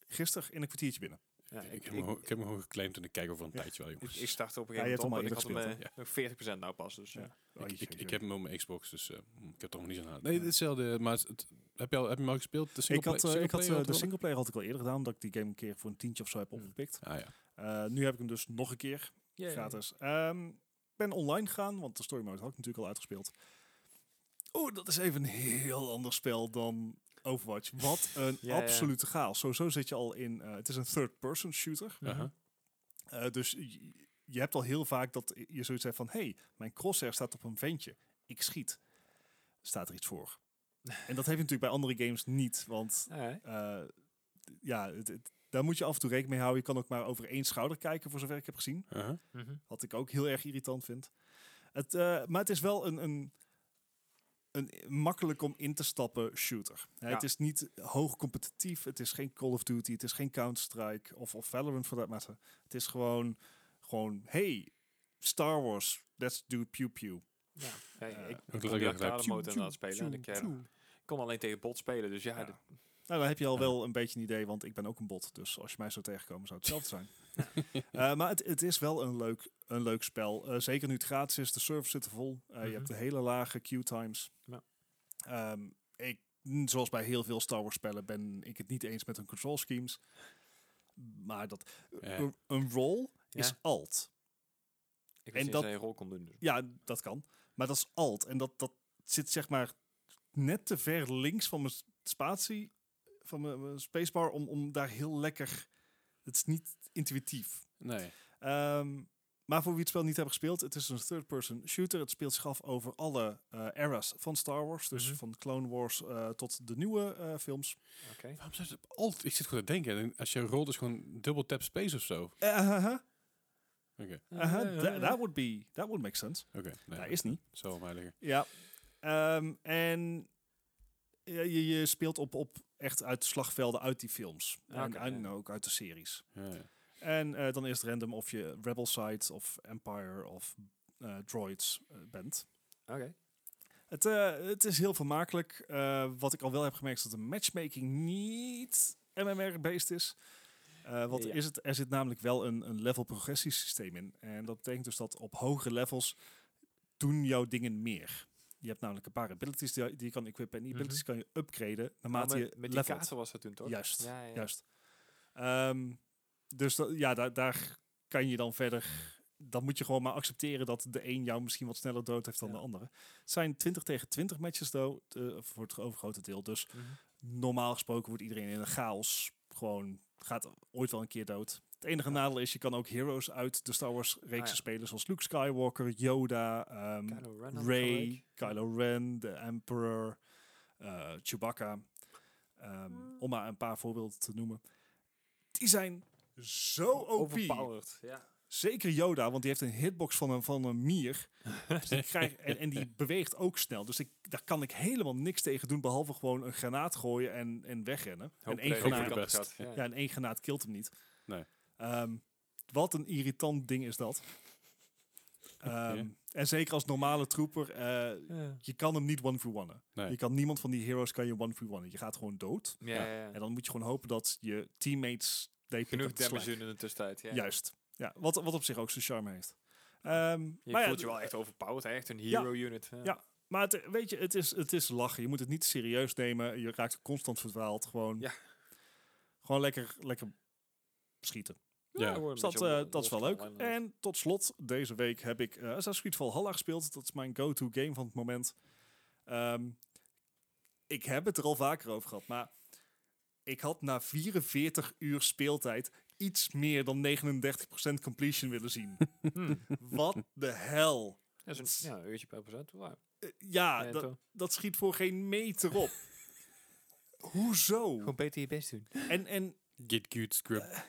Gisteren in een kwartiertje binnen. ja, ik, ik, heb hem gewoon- ik, ik heb hem gewoon geclaimd en ik kijk over een Ja. tijdje wel, ik, jongens. ik startte op een Ja, je gegeven hebt moment hem op en al ik had eerder hem eh, nog 40% nou pas. Dus, Ja. ja. Oh, Ik, ik, jeetje. ik heb hem op mijn Xbox, dus eh, ik heb er nog niet aan. Nee, dit is hetzelfde. Maar het- het- heb, je al, heb je hem al gespeeld? De ik had, eh, single ik had eh, de single. singleplayer had ik al eerder gedaan, omdat ik die game een keer voor een tientje of zo heb Hmm. opgepikt. player al te horen? Ah Eh, nu heb ik hem dus nog een keer Yay. gratis. Ehm, ben online gegaan, want de story mode had ik natuurlijk al uitgespeeld. Oeh, dat is even een heel ander spel dan Overwatch. Wat een Ja, ja. absolute chaos. Sowieso zit je al in, eh, het is een third-person shooter. ja. Mhm. Aha. Eh, dus je, je hebt al heel vaak dat je zoiets hebt van... hey, mijn crosshair staat op een ventje. Ik schiet. Staat er iets voor. en dat heb je natuurlijk bij andere games niet. Want Ja, eh, d- ja, het- het- daar moet je af en toe rekening mee houden. Je kan ook maar over één schouder kijken, voor zover ik heb gezien. Aha. mhm. Wat ik ook heel erg irritant vind. Het, eh, maar het is wel een, een, een makkelijk om in te stappen shooter. Hè, Ja. Het is niet hoog competitief. Het is geen Call of Duty. Het is geen Counter-Strike of, of Valorant voor dat matter. Het is gewoon, gewoon hey, Star Wars, let's do pew pew. Ja, ja, Eh, ik kon dat ik die dat gelijk- arcade mode inderdaad spelen. En Pew, ik eh, pew. kon alleen tegen bot spelen. Dus ja, Ja. dit- Nou, dan heb je al Ja. wel een beetje een idee, want ik ben ook een bot. Dus als je mij zou tegenkomen, zou het hetzelfde zijn. Eh, maar het, het is wel een leuk, een leuk spel. Eh, zeker nu het gratis is, de servers zitten vol. Eh, Je Mhm. hebt de hele lage queue times. Ja. Ehm, ik, mm, zoals bij heel veel Star Wars spellen ben ik het niet eens met hun control schemes. Maar dat, Ja. een, een roll is Ja. alt. ik en wist niet dat- dat je rol kon doen. Dus. Ja, dat kan. Maar dat is alt. En dat, dat zit zeg maar net te ver links van mijn s- spatie, van mijn, mijn spacebar, om, om daar heel lekker... Het is niet intuïtief. Nee. Ehm, maar voor wie het spel niet hebben gespeeld, het is een third-person shooter. Het speelt zich af over alle eh eras van Star Wars. Dus Mhm. van Clone Wars eh, tot de nieuwe eh, films. Oké. Waarom zijn ze op alt? Ik zit gewoon te denken. en Als je rolt is gewoon dubbel tap space of zo. Oké. Eh, aha, Oké. aha, tha- That would be, that would make sense. nee, Daar is niet. Zo wel mij liggen. Ja. Ehm, en ja, je, je speelt op, op echt uit slagvelden uit die films. en Oké, en ja. ook uit de series. Ja, ja. En eh, dan is het random of je Rebel Side of Empire of eh, Droids eh, bent. Oké. Het, eh, het is heel vermakelijk. Eh, wat ik al wel heb gemerkt is dat de matchmaking niet MMR-based is. Eh, wat Ja. is het? Er zit namelijk wel een, een level progressiesysteem in. En dat betekent dus dat op hogere levels doen jouw dingen meer. Je hebt namelijk een paar abilities die, die je kan equippen. En die abilities kan je upgraden naarmate Maar je Mhm. Nou, met, met die levelt. kaarten was dat toen toch? Juist, Ja, ja. Juist. Ehm, dus da- ja, daar, daar kan je dan verder. Dan moet je gewoon maar accepteren dat de een jou misschien wat sneller dood heeft dan Ja. de andere. Het zijn 20 tegen 20 matches though, eh, voor het overgrote deel. Dus Mhm. normaal gesproken wordt iedereen in een chaos gewoon gaat ooit wel een keer dood. Het enige nadeel is, je kan ook heroes uit de Star Wars reeksen Ah, ja. spelen, zoals Luke Skywalker, Yoda, ehm, Kylo Ren had Ray, gelijk. Kylo Ren, de Emperor, eh, Chewbacca. Ehm, Om maar een paar voorbeelden te noemen. Die zijn zo OP. Overpowered. Ja. Zeker Yoda, want die heeft een hitbox van een, van een mier. Dus die krijg, en, en die beweegt ook snel. Dus ik, daar kan ik helemaal niks tegen doen, behalve gewoon een granaat gooien en, en wegrennen. en één Hopelijk hoop granaat, dat- dat best. gaat, Ja. ja, en één granaat kilt hem niet. Nee. Ehm, wat een irritant ding is dat. Ehm, Ja. En zeker als normale trooper, eh, Ja. je kan hem niet one v one Nee. Je kan niemand van die heroes kan je one v one Je gaat gewoon dood. Ja, ja, En ja. dan moet je gewoon hopen dat je teammates... they pick Genoeg up the slack. damage doen in de tussentijd. Ja. Juist. Ja, wat, wat op zich ook zijn charme heeft. Ehm, Je maar ja, voelt je wel echt overpowered. hè, Echt een hero unit. Ja. Ja. Maar het, weet je, het is, het is lachen. Je moet het niet serieus nemen. Je raakt constant verdwaald. Gewoon, Ja. gewoon lekker, lekker schieten. Ja. gewoon een Dus dat, beetje eh, om- dat is wel los leuk. van elkaar. En tot slot, deze week heb ik eh Assassin's Creed Valhalla gespeeld. Dat is mijn go-to game van het moment. Ehm, ik heb het er al vaker over gehad, maar ik had na 44 uur speeltijd iets meer dan 39% completion willen zien. Hmm. Wat de hel. Ja, zo'n- ja, een uurtje per procent. Wow. Eh, ja, Ja, dat, toch? dat schiet voor geen meter op. Hoezo? Gewoon beter je best doen. En, en Get good script.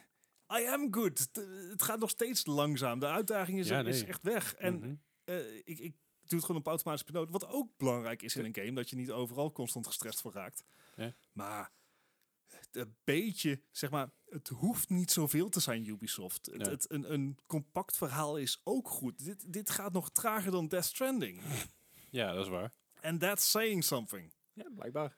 I am good. T- het gaat nog steeds langzaam. De uitdaging is, Ja, is nee. echt weg. En Mhm. eh, ik, ik doe het gewoon op automatische piloot. Wat ook belangrijk is in een game, dat je niet overal constant gestrest voor raakt. Ja. Maar het een beetje, zeg maar, het hoeft niet zoveel te zijn, Ubisoft. Het, Nee. het- een, een compact verhaal is ook goed. Dit, dit gaat nog trager dan Death Stranding. Ja, dat is waar. And that's saying something. Ja, blijkbaar.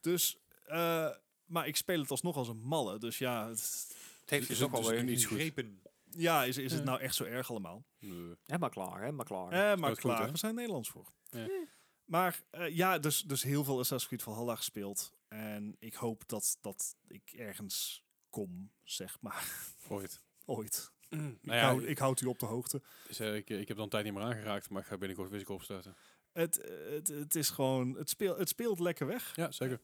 Dus, eh, maar ik speel het alsnog als een malle. Dus ja, het, Het heeft je Dus- toch dus wel weer het is niet niet goed. gegrepen. ja is, is het Ja. nou echt zo erg allemaal? Nee. Ja, maar klaar, hè, maar klaar. Eh, dat maar is goed, klaar, hè? we zijn Nederlands voor. Ja. Maar eh, ja, dus, dus heel veel Assassin's Creed Valhalla gespeeld. En ik hoop dat, dat ik ergens kom, zeg maar, Ooit. ooit. nou ik, ja, hou, ik houd u op de hoogte. dus, eh, ik, ik heb dan tijd niet meer aangeraakt, maar ik ga binnenkort weer eens opstarten. Het, het, het is gewoon, het, speel, het speelt lekker weg. Ja, zeker.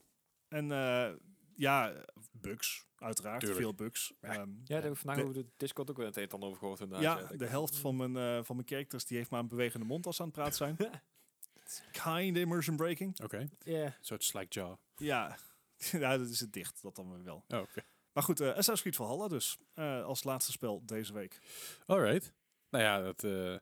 En eh, ja, bugs, uiteraard, Tuurlijk. veel bugs. Ja. Ehm, Ja, daar heb ik vandaag de- over de Discord ook weer het een en ander over gehoord. ja, inderdaad, dat ik- de helft van mijn, eh van mijn characters die heeft maar een bewegende mond als ze aan het praten zijn. Kind immersion breaking. Oké. Ja. Een soort slackjaw. Ja. ja, dat is het dicht, dat dan weer wel. Oh, oké. Maar goed, eh Assassin's Creed Valhalla dus. eh, als laatste spel deze week. Alright. Nou ja, dat eh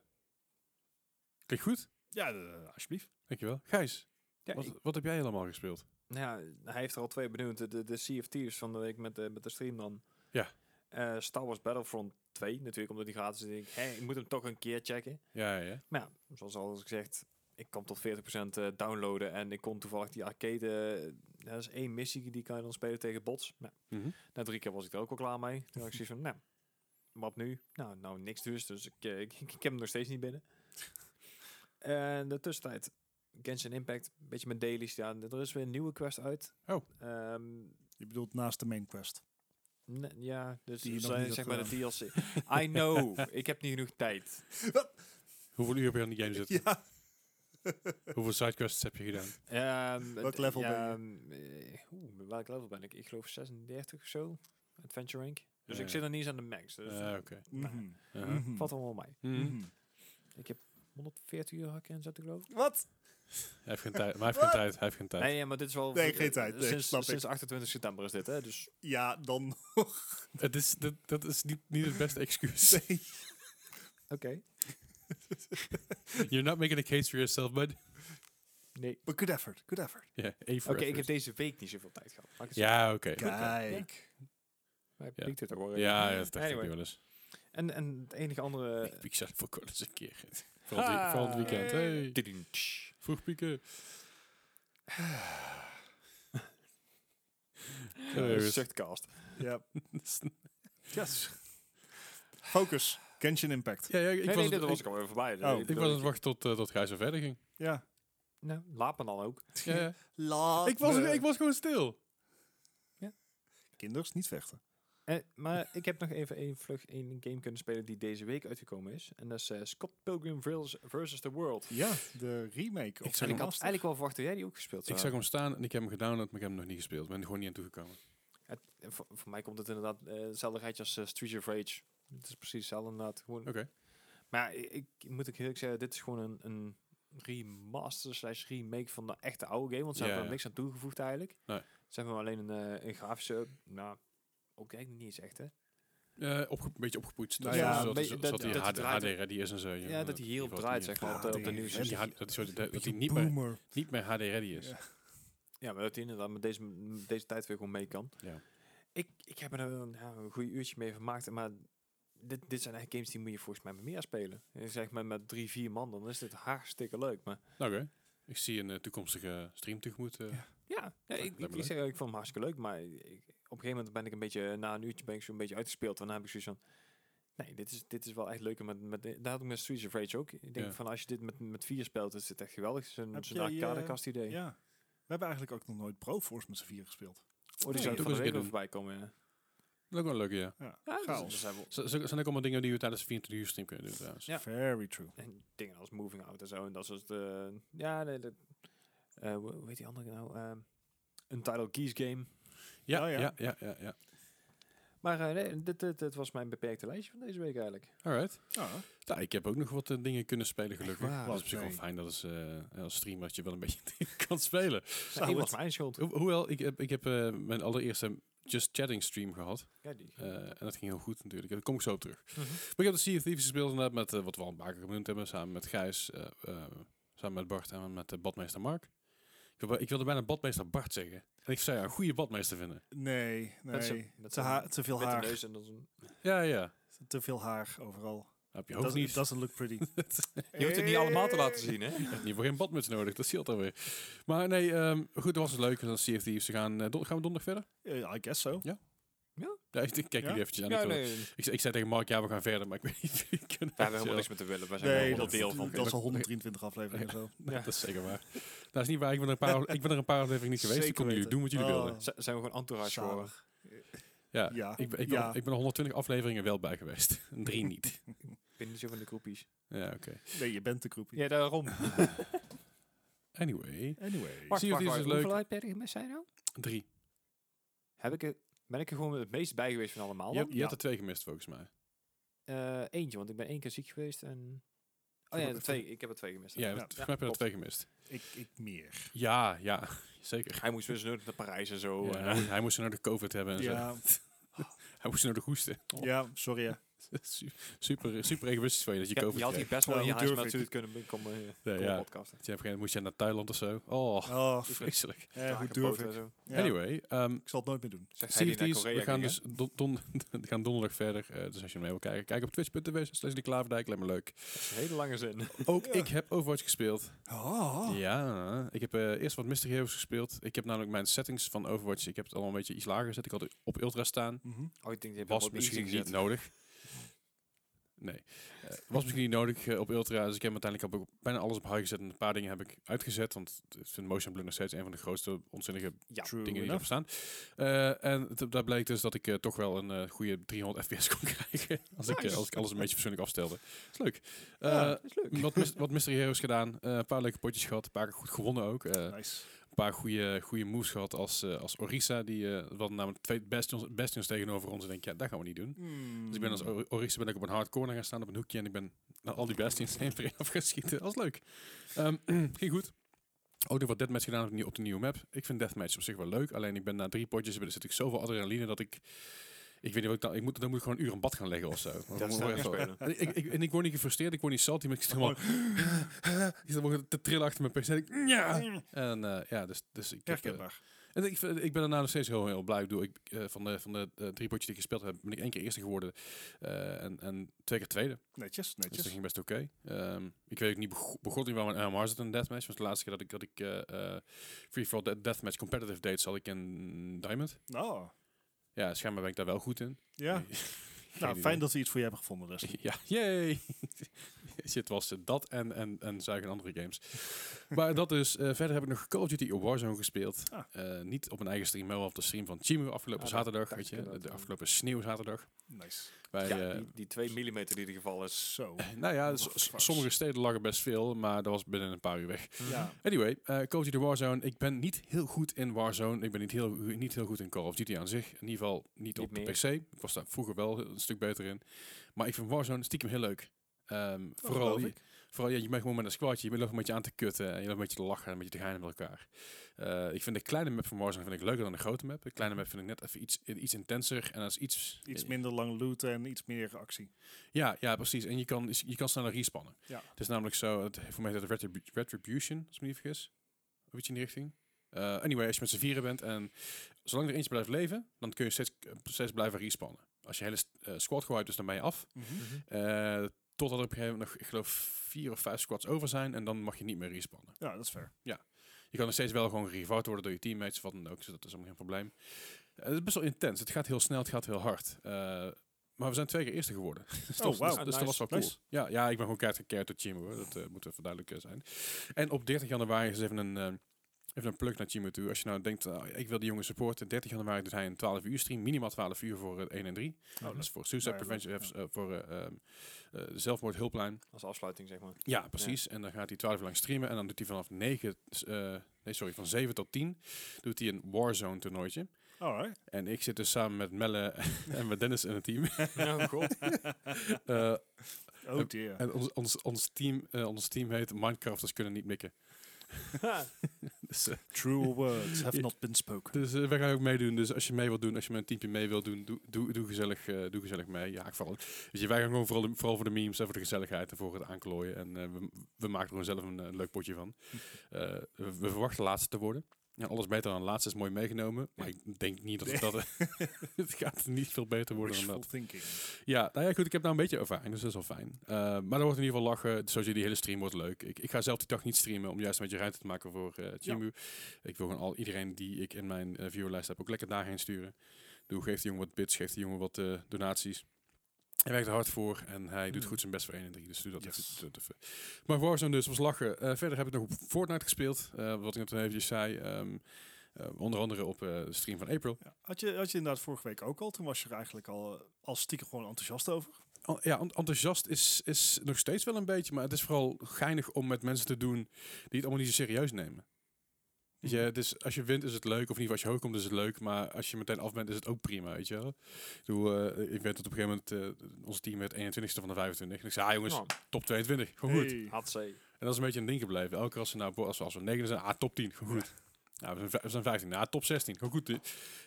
klinkt goed. Ja, eh, alsjeblieft. Dankjewel. Gijs, Ja, ik- wat, wat heb jij helemaal gespeeld? nou ja, hij heeft er al twee benoemd. De, de, de Sea of Thieves van de week met, de met de stream dan. Ja. Eh, Star Wars Battlefront 2 natuurlijk, omdat die gratis is. Ik, denk, hé, ik moet hem toch een keer checken. Ja, ja, ja. Maar ja, zoals al gezegd, ik kan tot 40% eh, downloaden. En ik kon toevallig die arcade... eh, dat is één missie, die kan je dan spelen tegen bots. Nou, Mhm. na drie keer was ik er ook al klaar mee. Toen had ik zoiets van, nou, wat nu? Nou, nou niks dus. Dus ik, eh, ik, ik heb hem nog steeds niet binnen. En de tussentijd, Genshin Impact, een beetje met dailies. Ja, en er is weer een nieuwe quest uit. Oh. Ehm, Je bedoelt naast de main quest. ne- ja, dus Die je die nog niet zeg hebt maar de DLC. I know, ik heb niet genoeg tijd. Hoeveel uur heb je aan die game zitten? Ja. Hoeveel sidequests heb je gedaan? Ehm, Welk d- level ben je? ja, ehm, eh, oeh, welk level ben ik? Ik geloof 36 of zo, Adventure Rank. Dus Ja, ik ja. zit er niet eens aan de max. Dus Eh, eh, oké. Mhm. Uh-huh. Mhm. valt allemaal wel mee. Mhm. Mhm. Ik heb 140 uur hakken inzetten, geloof ik. Wat? Hij heeft geen tijd. Maar hij heeft geen Wat? tijd. Hij heeft geen tijd. Nee, ja, maar dit is wel... Nee, eh, geen tijd. Nee, sinds, snap ik. sinds 28 september is dit, hè? Dus Ja, dan Het is, dat, dat is niet, niet het beste excuus. nee. oké. You're not making a case for yourself, bud. Nee. But good effort, good effort. Ja, één Oké, voor ik heb effort. deze week niet zoveel tijd gehad. Mag ik het zeggen? Ja, oké. Kijk. Maar ik Ja. piekt het ook wel. Ja, ja, dat dacht ik Anyway. wel eens. En, en het enige andere... Ik piek zelf ook wel eens een keer. Vooral, die, vooral het Ah. weekend. Hey, Tudum, tsch. vroeg pieken. Ja, rust. Zuchtcast. Ja. yes. Focus. Genshin Impact. Ja, ja, ik Nee, was, nee, dit ik- was ik alweer voorbij. Oh. Ik ik was bedoel, aan het wachten tot, eh, tot Gijs er verder ging. Ja. Nou, laat me dan ook. Ja, ja. Laat Ik, was, me- ik was gewoon stil. Kinders, niet vechten. Eh, maar ik heb nog even één vlug één game kunnen spelen die deze week uitgekomen is. En dat is eh, Scott Pilgrim vs. vs. The World. Ja, de remake. Ik Of zag En de ik had remaster. eigenlijk wel verwacht dat jij die ook gespeeld Ik zou zag hem staan en ik heb hem gedownload, maar ik heb hem nog niet gespeeld. Ik ben er gewoon niet aan toegekomen. Het, eh, voor, voor mij komt het inderdaad eh, hetzelfde rijtje als eh, Streets of Rage. Het is precies hetzelfde inderdaad. Gewoon, Oké. Maar ja, ik, ik moet ook heel eerlijk zeggen, dit is gewoon een, een remaster slash remake van de echte oude game. Want ze Ja, hebben er ja. niks aan toegevoegd eigenlijk. Nee. Ze hebben alleen een, eh, een grafische, up- nou, ook eigenlijk niet eens echt hè. Eh, opge- een beetje opgepoetst. Nou Dus ja, dat- een dat, beetje- dat, dat- die dat HD, het draait- HDRDS en zo. Ja, joh. dat hij hierop die draait, wordt zeg maar, op de, op de HD, nieuws. hè, niet- Ja, dat is zo- dat- dat Beetje hij niet meer, boomer. niet meer HDRD is. Ja. Ja, maar dat hij inderdaad met deze, met deze tijd weer gewoon mee kan. Ja. Ik, ik heb er een, ja, een goede uurtje mee vermaakt, maar dit, dit zijn echt games die moet je volgens mij meer spelen. En Zeg maar met drie, vier man, dan is dit hartstikke leuk. Maar Nou, Oké. Ik zie een eh, toekomstige stream tegemoet. eh. ja, ja, ik, lijkt me ik, ik leuk. zeg, ik vond hem hartstikke leuk, maar ik- op een gegeven moment ben ik een beetje, na een uurtje ben ik zo'n beetje uitgespeeld. En dan heb ik zoiets van, nee, dit is, dit is wel echt leuk. En Met, met, daar had ik met Streets of Rage ook. Ik denk Ja. van, als je dit met, met vier speelt, is dit echt geweldig. Zo'n Heb zo'n jij, eh, arcadekast idee. Ja. We hebben eigenlijk ook nog nooit Proforce met z'n vier gespeeld. Oh, die Ja, zou van dat de was week ik wel doen. voorbij komen. Ja, Dat is ook wel leuk, ja. Ja, ja dus- chaos. dus hij wil- Z- z- zijn ook allemaal dingen die we tijdens de 24 uur stream kunnen doen trouwens. Ja. Very true. En dingen als Moving Out en zo. En dat soort... eh, ja, nee, dat, eh, hoe hoe heet die andere nou? Ehm een Title Keys game. Ja, Oh, ja. ja, ja, ja. ja, Maar eh, nee, dit, dit, dit was mijn beperkte lijstje van deze week eigenlijk. Alright. Ja, Nou, ik heb ook nog wat eh, dingen kunnen spelen gelukkig. waar? Dat is op zich wel Nee. fijn dat is, eh, als streamer dat je wel een beetje dingen kan spelen. Ja, wat. één was Nou, mijn schuld. Ho- hoewel, ik heb, ik heb eh, mijn allereerste Just Chatting stream gehad. Ja, die. Mhm. Eh, en dat ging heel goed natuurlijk. Daar kom ik zo op terug. Maar ik heb de Sea of Thieves gespeeld inderdaad met eh, wat we al een paar keer genoemd hebben. Samen met Gijs, eh, eh, samen met Bart en met eh, badmeester Mark. Ik, wil- ik wilde bijna badmeester Bart zeggen. En ik zou jou een goede badmeester vinden. Nee, Met z'n- nee. met Te, z'n- ha- te veel Met een haar. neus en dan zo'n... Ja, ja. Te veel haar overal. Dat heb je ook Dat niet. doesn't look pretty. Je hoeft het niet allemaal te laten zien, hè? Je hebt voor geen badmuts nodig, dat scheelt alweer. Maar nee, ehm, goed, dat was het leuk. En dan Sea of Thieves. We gaan, eh, don- gaan we donderdag verder? Eh, I guess so. Ja, ik ik kijk Ja? jullie eventjes aan. Ja, ik, wil- nee. We ik, zei- ik zei tegen Mark, ja, we gaan verder. Maar ik weet niet of jullie kunnen. hebben helemaal zelf. niks meer te willen. We zijn Nee, gewoon dat, onderdeel van. dat is al 123 afleveringen zo. Nee, Ja. Dat is zeker waar. dat is niet waar. Ik ben er een paar, ik ben er een paar afleveringen niet geweest. Ik Zeker kon jullie weten. doen wat jullie Oh. wilden. Z- zijn we gewoon entourage geworden. Zalig. Ja. Ja. Ik, ben- ik, ben, ja. ik ben er 120 afleveringen wel bij geweest. En Drie niet. Ik ben niet zo van de groepies. Ja, oké. Nee, je bent de groep. Ja, daarom. Anyway. Anyway. Wacht, Sea of wacht, Thieves is wacht. leuk. Hoeveel iPad met zijn nou? Drie. Heb ik het, ben ik er gewoon het meest bij geweest van allemaal? Je, dan? hebt- je had er twee gemist, volgens mij. Eh, eentje, want ik ben één keer ziek geweest en... Oh Ik ja, heb er twee. Ik heb er twee gemist. Ja, Ja, volgens mij heb je er klopt. twee gemist. Ik, ik meer. Ja, ja. Zeker. Hij moest weer eens naar Parijs en zo. eh. Ja, en- hij, moest, hij moest nou de COVID hebben en zo. Ja, Hij moest nou de hoesten. Oh. ja, sorry. hè. Su- super, super egoïstisch van je dat je Ja, COVID je had kreeg. Nou, hier best wel Ja, in je hoe huis durf naartoe ik? kunnen komen, eh, Nee, komen ja. podcasten. Dus je hebt geen- moest je naar Thailand of zo. Oh, Oh, vreselijk. eh, hoe Draken, durf poten en ik? zo. Ja, Anyway, ehm Ik zal het nooit meer doen. Zegt hij Sea die of naar Thieves, Korea we gaan ging, hè? dus don, don- we gaan donderdag verder. eh, dus als je mee wil kijken, kijk op twitch.tv slash de Klaverdijk. Lijkt me leuk. Dat is een hele lange zin. Ook Ja. ik heb Overwatch gespeeld. Ah. Oh, Ja, ik heb eh, eerst wat Mystery Heroes gespeeld. Ik heb namelijk mijn settings van Overwatch, ik heb het allemaal een beetje iets lager gezet. Ik had het op Ultra staan. Mhm. Oh, ik denk, je hebt Was misschien niet nodig. Nee. Eh, was misschien niet nodig eh, op Ultra. Dus ik heb uiteindelijk heb ik bijna alles op high gezet. En een paar dingen heb ik uitgezet. Want ik vind Motion Blur nog steeds een van de grootste onzinnige Ja, True dingen die enough. erop staan. Eh, en t- daar bleek dus dat ik eh, toch wel een eh, goede 300 fps kon krijgen. als, ik, eh, Nice. als ik alles een beetje persoonlijk afstelde. is leuk. Eh, Ja, dat is leuk. wat, mis- wat Mystery Heroes gedaan. eh, een paar leuke potjes gehad. Een paar keer goed gewonnen ook. eh, Nice. een paar goede, goede moves gehad als, eh, als Orisa. Die eh, we hadden namelijk twee bastions, bastions tegenover ons. En ik denk, ja, dat gaan we niet doen. Dus ik ben Hmm. als Or- Orisa ben ik op een hard corner gaan staan, op een hoekje. En ik ben naar al die bastions heen erin af gaan schieten. Dat was leuk. Ehm, ging goed. Ook nog wat deathmatch gedaan op de, nieuw- op de nieuwe map. Ik vind deathmatch op zich wel leuk. Alleen ik ben na drie potjes, er zit ik zoveel adrenaline dat ik... Ik weet niet wat ik dan... Ik moet, dan moet ik gewoon een uur een bad gaan leggen of zo. Dat is leuk spelen. en, ik, ik, en ik word niet gefrustreerd, ik word niet salty, maar ik zit helemaal... ik zit gewoon te trillen achter mijn pc. En ik, ja! En eh, ja, dus, dus ik... heb, eh, Herkenbaar. en ik, vind- ik ben daarna nog steeds heel, heel blij. Ik bedoel, ik, eh, van de, van de eh, drie potjes die ik gespeeld heb, ben ik één keer eerste geworden. eh, en, en twee keer tweede. Netjes, Dus dat netjes. ging best oké. Ehm, ik weet ook niet bego- begot niet waar mijn arm hard zit in deathmatch. Want de laatste keer dat ik, dat ik eh, eh, free for all death- deathmatch competitive deed, zat ik in diamond. Oh, Ja, schijnbaar ben ik daar wel goed in. ja. Geen Nou, idee. fijn dat we iets voor je hebben gevonden, Leslie. Ja, yay! shit was het dat en, en, en zuigen andere games. maar dat dus. eh, verder heb ik nog Call of Duty of Warzone gespeeld. Ah. Eh, niet op mijn eigen stream, maar wel op de stream van Chimu afgelopen Ah, dat zaterdag. dacht Weet ik je, de, inderdaad, ja. afgelopen sneeuwzaterdag. Nice. Bij, ja, eh, die, die 2 mm die er gevallen is. Zo. nou ja, Oh, s- s- fuck. sommige steden lagen best veel, maar dat was binnen een paar uur weg. Ja. Anyway, eh Call of Duty Warzone. Ik ben niet heel goed in Warzone. Ik ben niet heel, niet heel goed in Call of Duty aan zich. In ieder geval niet, op meer. de PC. Ik was daar vroeger wel een stuk beter in. Maar ik vind Warzone stiekem heel leuk. Ehm, vooral, geloof die- ik. vooral ja, je bent gewoon met een squadje. Je bent nog een beetje aan te kutten. En je bent een beetje te lachen en een beetje te gaan met elkaar. Eh, ik vind de kleine map van Warzone vind ik leuker dan de grote map. De kleine map vind ik net even iets, iets intenser. En dat is iets... eh, Iets minder lang looten en iets meer actie. Ja, ja, precies. En je kan, je kan sneller respannen. Ja. Het is namelijk zo, het, voor mij is dat Retribu- Retribution, als ik me niet vergis. Of iets in die richting. Eh, anyway, als je met z'n vieren bent en zolang er eentje blijft leven, dan kun je steeds, steeds blijven respannen. Als je hele st- eh, squad gewiped is, dan ben je af. Mhm. Eh, totdat er op een gegeven moment nog, ik geloof, vier of vijf squads over zijn en dan mag je niet meer respannen. Ja, dat is fair. Je kan nog steeds wel gewoon gerevouwd worden door je teammates of wat dan ook, dus dat is helemaal geen probleem. Eh, het is best wel intens. Het gaat heel snel, het gaat heel hard. Eh, maar we zijn twee keer eerste geworden. dus dat, Oh, wauw. dus, dus dat was wel cool. Nice. Ja, ja, ik ben gewoon keihard gekeerd door Chimo. Hoor. Dat eh, moet even duidelijk eh, zijn. En op 30 januari is even een, eh, even een plug naar Chimo toe. Als je nou denkt, ah, ik wil die jongen supporten. 30 januari doet hij een 12 uur stream. Minimaal 12 uur voor het 1 en 3. Oh, Dat is voor Suicide Nou ja, Prevention, leuk, eh, eh, voor eh, ehm, eh, de zelfmoordhulplijn. Als afsluiting, zeg maar. Ja, precies. En dan gaat hij 12 uur lang streamen. En dan doet hij vanaf 9, s- eh, nee, sorry, van 7 tot 10 doet hij een Warzone toernooitje. Alright. En ik zit dus samen met Melle en met Dennis in het team. oh god. Eh, Oh dear. en ons, ons, ons, team, eh, ons team heet Minecrafters kunnen niet mikken. Dus, eh, True words have Ja. not been spoken. dus eh, wij gaan ook meedoen. Dus als je mee wilt doen, als je met een teampje mee wilt doen, doe, doe, doe, gezellig, eh, doe gezellig mee. Ja, ik vooral. Weet je, wij gaan gewoon vooral, vooral voor de memes en voor de gezelligheid en voor het aanklooien. En eh, we, we maken er gewoon zelf een eh, leuk potje van. Eh, we, we verwachten laatste te worden. Ja, alles beter dan laatste is mooi meegenomen. Maar ik denk niet dat het dat... het gaat niet veel beter worden dan Wishful dat. thinking. Ja, nou ja, goed, ik heb daar een beetje ervaring, dus dat is wel fijn. Eh, maar er wordt in ieder geval lachen. Zoals je die hele stream wordt leuk. Ik, ik ga zelf die dag niet streamen om juist een beetje ruimte te maken voor eh Chimu. Ik wil gewoon al iedereen die ik in mijn eh, viewerlijst heb ook lekker daarheen sturen. Doe, geef die jongen wat bits, geef die jongen wat eh, donaties. Hij werkt er hard voor en hij doet Mm. goed zijn best voor 1 en 3. Dus doe dat Yes. even, doe dat even. Maar Warzone dus, was lachen. Eh, verder heb ik nog op Fortnite gespeeld. eh, wat ik net al eventjes zei. ehm, eh, onder andere op eh, de stream van April. Ja, had, je, had je inderdaad vorige week ook al. Toen was je er eigenlijk al, eh, al stiekem gewoon enthousiast over. An- Oh, Ja, en- enthousiast is, is nog steeds wel een beetje, maar het is vooral geinig om met mensen te doen die het allemaal niet zo serieus nemen. Weet je, dus als je wint is het leuk, of niet als je hoog komt is het leuk, maar als je meteen af bent is het ook prima, weet je wel. Ik, bedoel, eh, ik weet dat op een gegeven moment eh, ons team werd 21ste van de 25. En ik zei, ah jongens, Nou, top 22, gewoon goed. Hey. had ze. En dat is een beetje een ding gebleven. Elke keer als we, nou, bo- als we, als we negen zijn, ah, top 10, gewoon goed. Ja, we zijn vij- we zijn 15, nou, top 16, gewoon goed.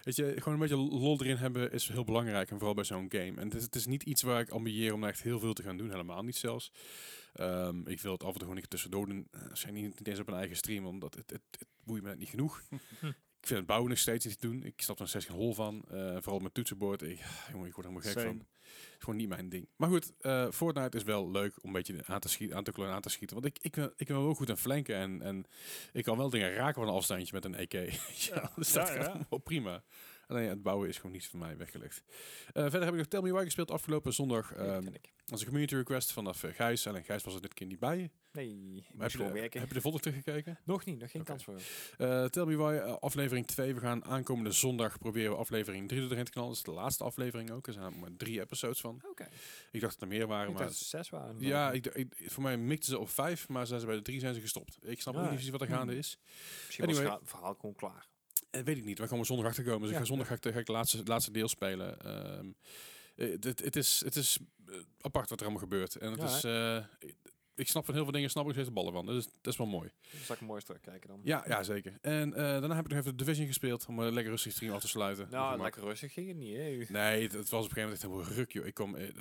Weet je, gewoon een beetje lol erin hebben is heel belangrijk. En vooral bij zo'n game. En het is, het is niet iets waar ik ambieer om daar echt heel veel te gaan doen. Helemaal niet zelfs. Ehm, ik wil het af en toe gewoon een keer tussendoor doen. Eh, Als je niet, niet eens op een eigen stream, omdat het, het, het boeit me net niet genoeg. ik vind het bouwen nog steeds niet te doen. Ik snap er nog steeds geen hol van. Eh, vooral met toetsenbord. Ik, ah, jongen, ik word er helemaal gek Same. van. Het is gewoon niet mijn ding. Maar goed, eh, Fortnite is wel leuk om een beetje aan te schieten, aan te klooien, aan te schieten. Want ik, ik, ben, ik ben wel goed aan flanken en, en ik kan wel dingen raken van een afstandje met een EK. ja, dus dat ja, gaat ja. allemaal prima. Alleen het bouwen is gewoon niet voor mij weggelegd. Eh, verder heb ik nog Tell Me Why gespeeld afgelopen zondag. ehm ken ik. als een community request vanaf eh, Gijs. Alleen Gijs was er dit keer niet bij. Nee, Maar moet heb, je gewoon de, werken. heb je de volgende teruggekeken? Nog niet, nog geen Oké. kans voor. Eh, Tell Me Why, eh, aflevering 2. We gaan aankomende zondag proberen we aflevering 3 doorheen te knallen. Dat is de laatste aflevering ook. Er zijn er maar drie episodes van. Oké. Ik dacht dat er meer waren, Ik maar dacht dat ze zes waren. Ja, ik, d- ik- voor mij mikten ze op vijf, maar zijn ze bij de drie zijn ze gestopt. Ik snap Ah, ook niet precies wat er gaande hmm. is. Misschien was anyway. het verha- verhaal gewoon klaar. Eh, weet ik niet, we komen zondag achterkomen. Dus ik Ja. ga zondag ga ik, de- ga ik de laatste, het laatste deel spelen. Ehm, eh, het- Het is, het is eh, apart wat er allemaal gebeurt. En het Ja, is, eh, ik- ik snap van heel veel dingen, snap ik steeds de ballen van. Dus dat is wel mooi. Zal ik hem mooi eens terugkijken dan. Ja, ja zeker. En eh, daarna heb ik nog even de Division gespeeld om een lekker rustig stream af te sluiten. Op Nou, gemak. lekker rustig ging het niet, hè. Nee, het, het was op een gegeven moment echt helemaal ruk, joh. Ik kwam... eh,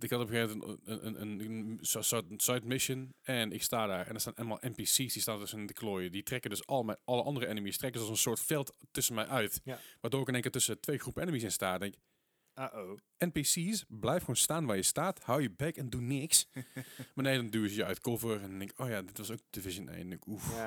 ik had op een gegeven moment een, een, een, een so- so- side mission en ik sta daar. En er staan allemaal NPC's, die staan tussen de klooien. Die trekken dus al mijn, alle andere enemies, trekken ze als een soort veld tussen mij uit. Ja. Waardoor ik in één keer tussen twee groepen enemies in sta. En denk, Uh-oh. NPC's, blijf gewoon staan waar je staat. Hou je bek en doe niks. maar nee, dan duwen ze je uit cover. En dan denk ik, oh ja, dit was ook Division 1. En ik, oef.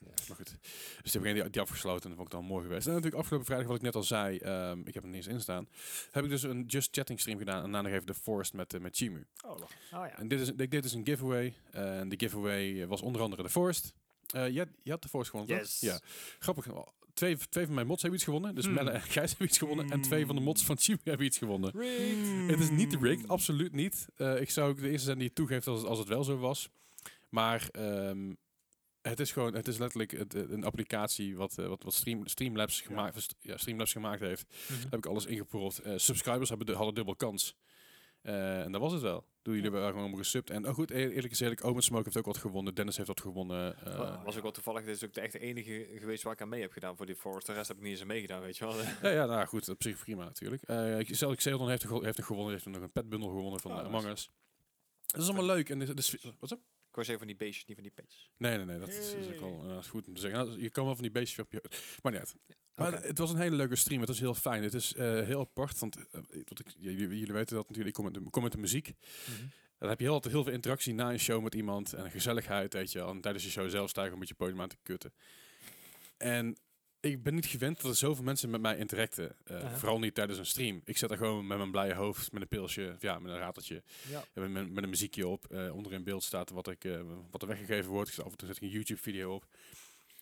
Ja, Maar goed. Dus die heb ik die, die afgesloten en dat vond ik dan mooi geweest. En natuurlijk afgelopen vrijdag, wat ik net al zei, ehm, ik heb er niet eens in staan, heb ik dus een Just Chatting stream gedaan en daarna nog even de Forest met, eh, met Chimu. Oh, lach. Oh ja. En dit is, ik deed dus een giveaway. En de giveaway was onder andere de Forest. Eh, je, had- je had de Forest gewonnen, Yes. toch? Ja. Grappig. Twee, twee van mijn mods hebben iets gewonnen. Dus Hmm. Melle en Gijs hebben iets gewonnen. En twee van de mods van Chimu hebben iets gewonnen. Hmm. Het is niet Mm. rigged, absoluut niet. Eh, ik zou ook de eerste zijn die het toegeeft als, als het wel zo was. Maar ehm, het is gewoon, het is letterlijk het- het- een applicatie wat, eh, wat, wat stream, Streamlabs, gemaakt, ja. Streamlabs gemaakt heeft. Daar heb ik alles ingepropt. Eh, subscribers hebben du- hadden dubbel kans. Eh, en dat was het wel. Doe jullie hebben gewoon allemaal gesubt. En oh goed, eer- eerlijk is eerlijk, Omen Smoke heeft ook wat gewonnen. Dennis heeft wat gewonnen. Eh, Wa- Oh, was ook wel toevallig, dit is ook de echte enige geweest waar ik aan mee heb gedaan voor die Forest. De rest heb ik niet eens aan meegedaan, weet je wel. Ja, ja, nou goed, op zich prima natuurlijk. Eh ik- zelfs Xeldon heeft, er gewo- heeft nog gewonnen, heeft nog een petbundel gewonnen van Oh, eh, nice. Among Us. Dat is allemaal leuk. En de, de, sfeer- wat zo? Ik was even van die beestjes, niet van die peetjes. Nee, nee, nee, dat is, is ook wel eh, goed om te zeggen. Nou, je kan wel van die beestjes op je... Maar net. Maar Oké. het was een hele leuke stream. Het was heel fijn. Het is eh, heel apart, want eh, wat ik, ja, jullie, jullie weten dat natuurlijk. Ik kom met de, kom met de muziek. Dan heb je heel, altijd heel veel interactie na een show met iemand. En gezelligheid, weet je wel. En tijdens de show zelf sta je een beetje podium aan te kutten. En ik ben niet gewend dat er zoveel mensen met mij interacten. Eh, Aha. Vooral niet tijdens een stream. Ik zit er gewoon met mijn blije hoofd, met een pilsje, of ja, met een rateltje. Ja. En met, met, met een muziekje op. Eh, onder in beeld staat wat, ik, eh, wat er weggegeven wordt. Ik zet- Af en toe zet ik een YouTube-video op.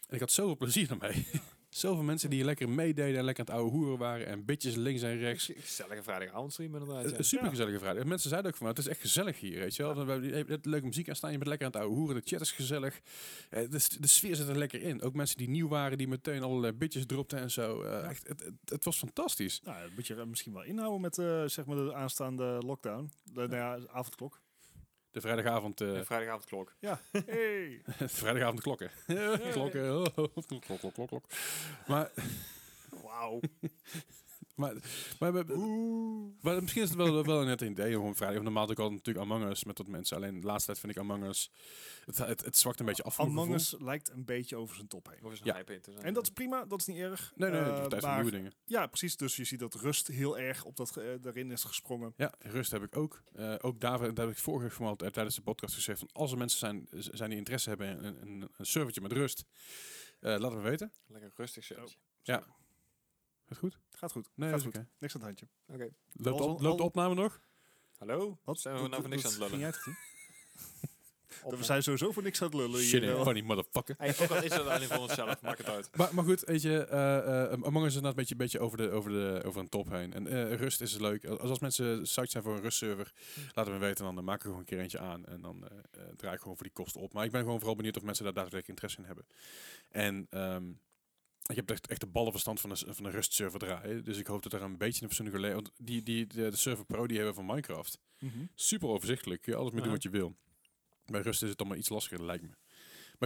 En ik had zoveel plezier ermee. zoveel mensen die lekker meededen en lekker aan het ouwe hoeren waren. En bitjes links en rechts. Gezellige vrijdagavond stream inderdaad. ja. Een super gezellige vrijdag. En Mensen zeiden ook van, "Nou, het is echt gezellig hier, weet je wel. We hebben je hebt leuke muziek aan staan, je bent lekker aan het ouwe hoeren, de chat is gezellig. Eh, De, s- de sfeer zit er lekker in. Ook mensen die nieuw waren, die meteen allerlei bitjes dropten en zo. Eh, echt, het, het, het was fantastisch. Nou, dat moet je er misschien wel inhouden met eh, zeg maar de aanstaande lockdown. De, nou ja, avondklok. De vrijdagavond, eh, Een vrijdagavondklok. Ja. Hey. de vrijdagavond klokken. klokken, oh, klok, klok, klok, klok. Maar, Wauw. maar, maar, we- maar misschien is het wel, wel net een idee om een vrijdag. want Normaal doe ik al natuurlijk Among Us met dat mensen. Alleen de laatste tijd vind ik Among Us, het, het, het zwakt een beetje af. voor mijn Ah, Among gevoel. Us lijkt een beetje over zijn top heen. Hoef eens een Ja. hype in te zijn. En dat is prima, dat is niet erg. Nee, nee, Eh, het is tijd voor maar- nieuwe dingen. Ja, precies. Dus je ziet dat rust heel erg op dat ge- eh, daarin is gesprongen. Ja, rust heb ik ook. Eh, ook daar, daar heb ik vorige keer vooral t- tijdens de podcast gezegd van als er mensen zijn, z- zijn die interesse hebben in een, een, een servertje met rust, eh laat het me weten. Lekker rustig Oh. shirtje. Gaat goed? Gaat goed. Nee, gaat is goed. oké. Niks aan het handje. Loopt, de Al- op- loopt de al- opname nog? Hallo? Wat? Zijn we nou voor niks aan het lullen? Ging jij het doen? Dat we zijn sowieso voor niks aan het lullen. Shit, hier, eh, funny motherfucker. Hey, ook al is dat alleen voor onszelf, maakt het uit. Maar, maar goed, weet je, eh, eh, Among Us is inderdaad een beetje, beetje over, de, over, de, over een top heen. En eh, rust is leuk. Als, als mensen zout zijn voor een rustserver, laat het me weten. Dan eh, maak ik er gewoon een keer eentje aan. En dan eh, eh, draai ik gewoon voor die kosten op. Maar ik ben gewoon vooral benieuwd of mensen daar daadwerkelijk interesse in hebben. En ehm, ik heb echt, echt de ballenverstand van een, s- van een rustserver draaien. Dus ik hoop dat er een beetje een fatsoenlijke layout... want Die, die, de, de server pro die hebben van Minecraft. mhm. Super overzichtelijk. Kun je alles mee doen wat je wil. Bij rust is het allemaal iets lastiger, lijkt me. Maar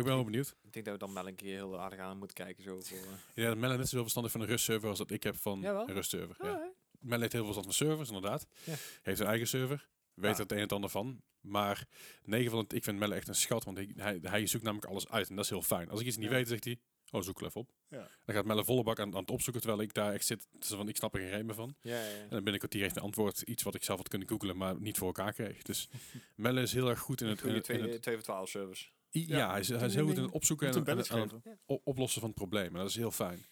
ik ben wel benieuwd. Ik denk dat we dan wel een keer heel aardig aan moeten kijken. Zo voor, eh, Ik denk dat Melle net zoveel verstand heeft van een rustserver als dat ik heb van Jawel. een rustserver. Ah, Ja. Melle heeft heel veel verstand van servers, inderdaad. Ja. Heeft een eigen server, weet Ja. er het een en het ander van. Maar 9 van de, ik vind Melle echt een schat, want hij, hij, hij zoekt namelijk alles uit. En dat is heel fijn. Als ik iets niet Ja. weet, zegt hij, oh, zoek wel even op. Ja. Dan gaat Melle volle bak aan, aan het opzoeken, terwijl ik daar echt zit. zo van, ik snap er geen remen van. ja, ja, ja. En dan ben ik kwartier heeft een antwoord, iets wat ik zelf had kunnen googlen, maar niet voor elkaar kreeg. Dus Melle is heel erg goed in het... in Goede het- in het- 2 voor 12 service. i- ja, Ja. hij, is, hij is Ding, heel goed ding, in het opzoeken Moet en een aan belletje het- aan het geven. o- oplossen van het probleem. En dat is heel fijn.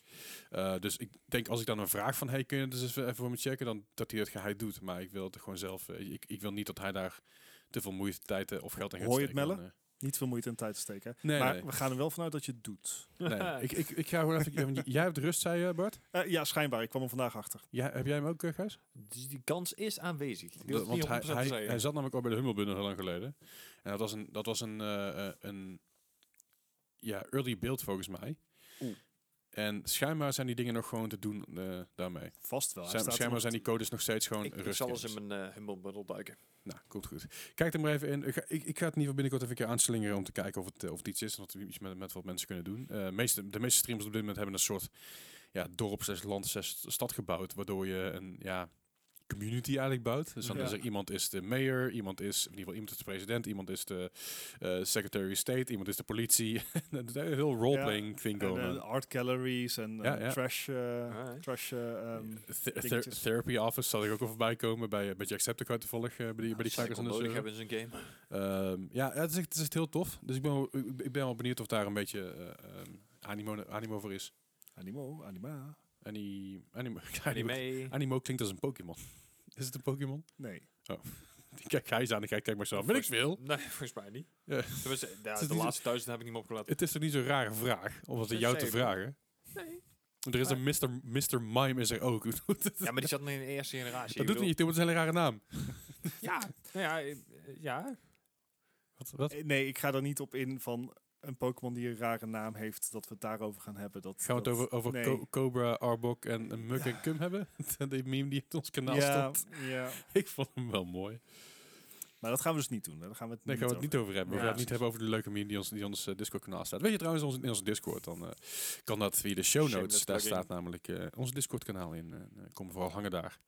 Eh, dus ik denk als ik dan een vraag van hey, kun je het eens even, even voor me checken, dan dat hij het geheid doet. Maar ik wil het gewoon zelf. eh, ik, ik wil niet dat hij daar te veel moeite, tijd eh, of geld in gaat Hoor je het, steken. Melle? Dan, eh, Niet veel moeite in tijd te steken. hè. nee, maar nee, we gaan er wel vanuit dat je het doet. eh, nee. Ik, ik, ik ga gewoon even. want j- jij hebt rust, zei je, Bart. Eh, ja, schijnbaar. Ik kwam er vandaag achter. Ja, heb jij hem ook, eh, Gijs? Dus die kans is aanwezig. Ik durf Dat- het want niet hij, 100% te hij, zeggen. hij zat namelijk al bij de Hummelbundel heel lang geleden. En dat was een, dat was een, eh, eh, een ja, early build volgens mij. Oeh. En schijnbaar zijn die dingen nog gewoon te doen eh, daarmee. Vast wel. Hij Zijn, staat er schijnbaar nog zijn die codes nog steeds gewoon ik, ik rustig. zal eens in mijn eh humble bundle duiken. Nou, komt goed. Kijk er maar even in. Ik, ga- ik, ik ga het in ieder geval binnenkort even een keer aanslingeren om te kijken of het, eh, of het iets is. En of we iets met, met wat mensen kunnen doen. Eh, meeste, de meeste streamers op dit moment hebben een soort ja, dorp, slash land, slash stad gebouwd. Waardoor je een, ja, community eigenlijk bouwt. Dus dan Ja. is er iemand is de mayor, iemand is, in ieder geval iemand is de president, iemand is de eh, secretary of state, iemand is de politie. Dat is een heel roleplaying thing En, going eh, on. art galleries en eh, Ja, ja. trash. eh, Alright. trash eh, ehm, Th- ther- dingetjes. therapy office zal ik ook al voorbij komen bij, eh, bij Jacksepticeye toevallig eh, bij die, bij die krakers en de nodig zeuren. hebben in zijn game. Ehm, ja, het is, echt, het is echt heel tof. Dus ik ben, wel, ik ik ben wel benieuwd of daar een beetje eh, ehm, animo, animo voor is. animo, anima. Ani, animo, animo, Anime. animo klinkt als een Pokémon. Is het een Pokémon? Nee. Kijk, hij is aan de kijk, kijk maar zo. Wil ik veel? Nee, volgens mij niet. Ja. Tenminste, is de, de niet- laatste duizend heb ik niet meer opgelaten. Het is toch niet zo'n rare vraag om dat aan jou te Zeker. vragen? Nee. Want Er is een Mr. Mr. Mime is er ook. dat Ja, maar die zat nog in de eerste generatie. Ik doet bedoel- niet, toe, want het is een hele rare naam. Ja, nou ja, eh, ja. Wat? wat? Eh, Nee, ik ga er niet op in van een Pokémon die een rare naam heeft, dat we het daarover gaan hebben. Dat, Gaan we het dat- over, over nee. Co- Cobra, Arbok en en Muk en Cum hebben? Die meme die op ons kanaal ja, stond. ja, Ik vond hem wel mooi. maar dat gaan we dus niet doen. hè. Daar gaan we het Daar niet gaan we het over niet over hebben. Ja, We gaan het niet precies. hebben over de leuke meme die ons, die ons eh, Discord-kanaal staat. Weet je trouwens, onze, in onze Discord, dan eh, kan dat via de show notes. Shameless Daar plug-in. staat namelijk eh ons Discord-kanaal in. Eh, kom vooral hangen daar.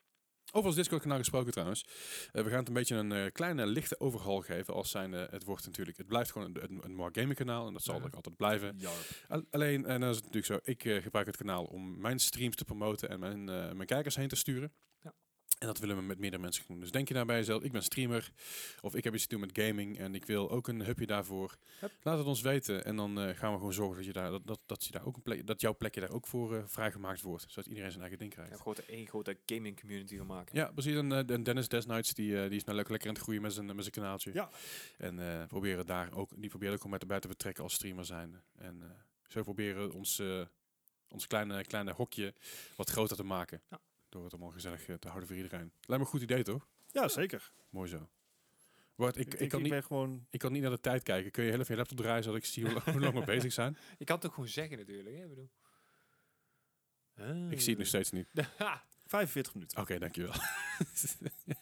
Over ons Discord-kanaal gesproken trouwens. Eh, we gaan het een beetje een eh, kleine lichte overhaal geven. Als zijn, het wordt natuurlijk, het blijft gewoon een, een, een More Gaming kanaal. En dat zal Mhm. ook altijd blijven. Jarp. Al- alleen, en dat is het natuurlijk zo, ik eh, gebruik het kanaal om mijn streams te promoten en mijn, eh, mijn kijkers heen te sturen. Ja. En dat willen we met meerdere mensen gaan doen. Dus denk je daarbij zelf, ik ben streamer of ik heb iets te doen met gaming en ik wil ook een hubje daarvoor. Hup. Laat het ons weten en dan eh, gaan we gewoon zorgen dat, je daar, dat, dat, dat, je daar ook een plek, dat jouw plekje daar ook voor eh, vrijgemaakt wordt. Zodat iedereen zijn eigen ding Ik krijgt. heb grote, één grote gaming community gaan maken. Ja, precies. En, eh, en Dennis Desnights, die, eh, die is nou lekker, lekker aan het groeien met zijn, met zijn kanaaltje. Ja. En eh, proberen daar ook, die proberen ook om met erbij te betrekken als streamer zijn. En eh, zo proberen ons, eh, ons kleine, kleine hokje wat groter te maken. Ja. Door het allemaal gezellig eh, te houden voor iedereen. Lijkt me een goed idee, toch? Ja, zeker. Mooi zo. Bart, ik, Ik, ik, denk, kan ik niet, ben gewoon ik kan niet naar de tijd kijken. Kun je heel even je laptop draaien, zodat ik zie hoe, lang- hoe lang we bezig zijn? Ik kan het ook gewoon zeggen natuurlijk. Hè? Ik, bedoel. Ah, Ik zie het nog steeds niet. 45 minuten. Oké, dankjewel. oh,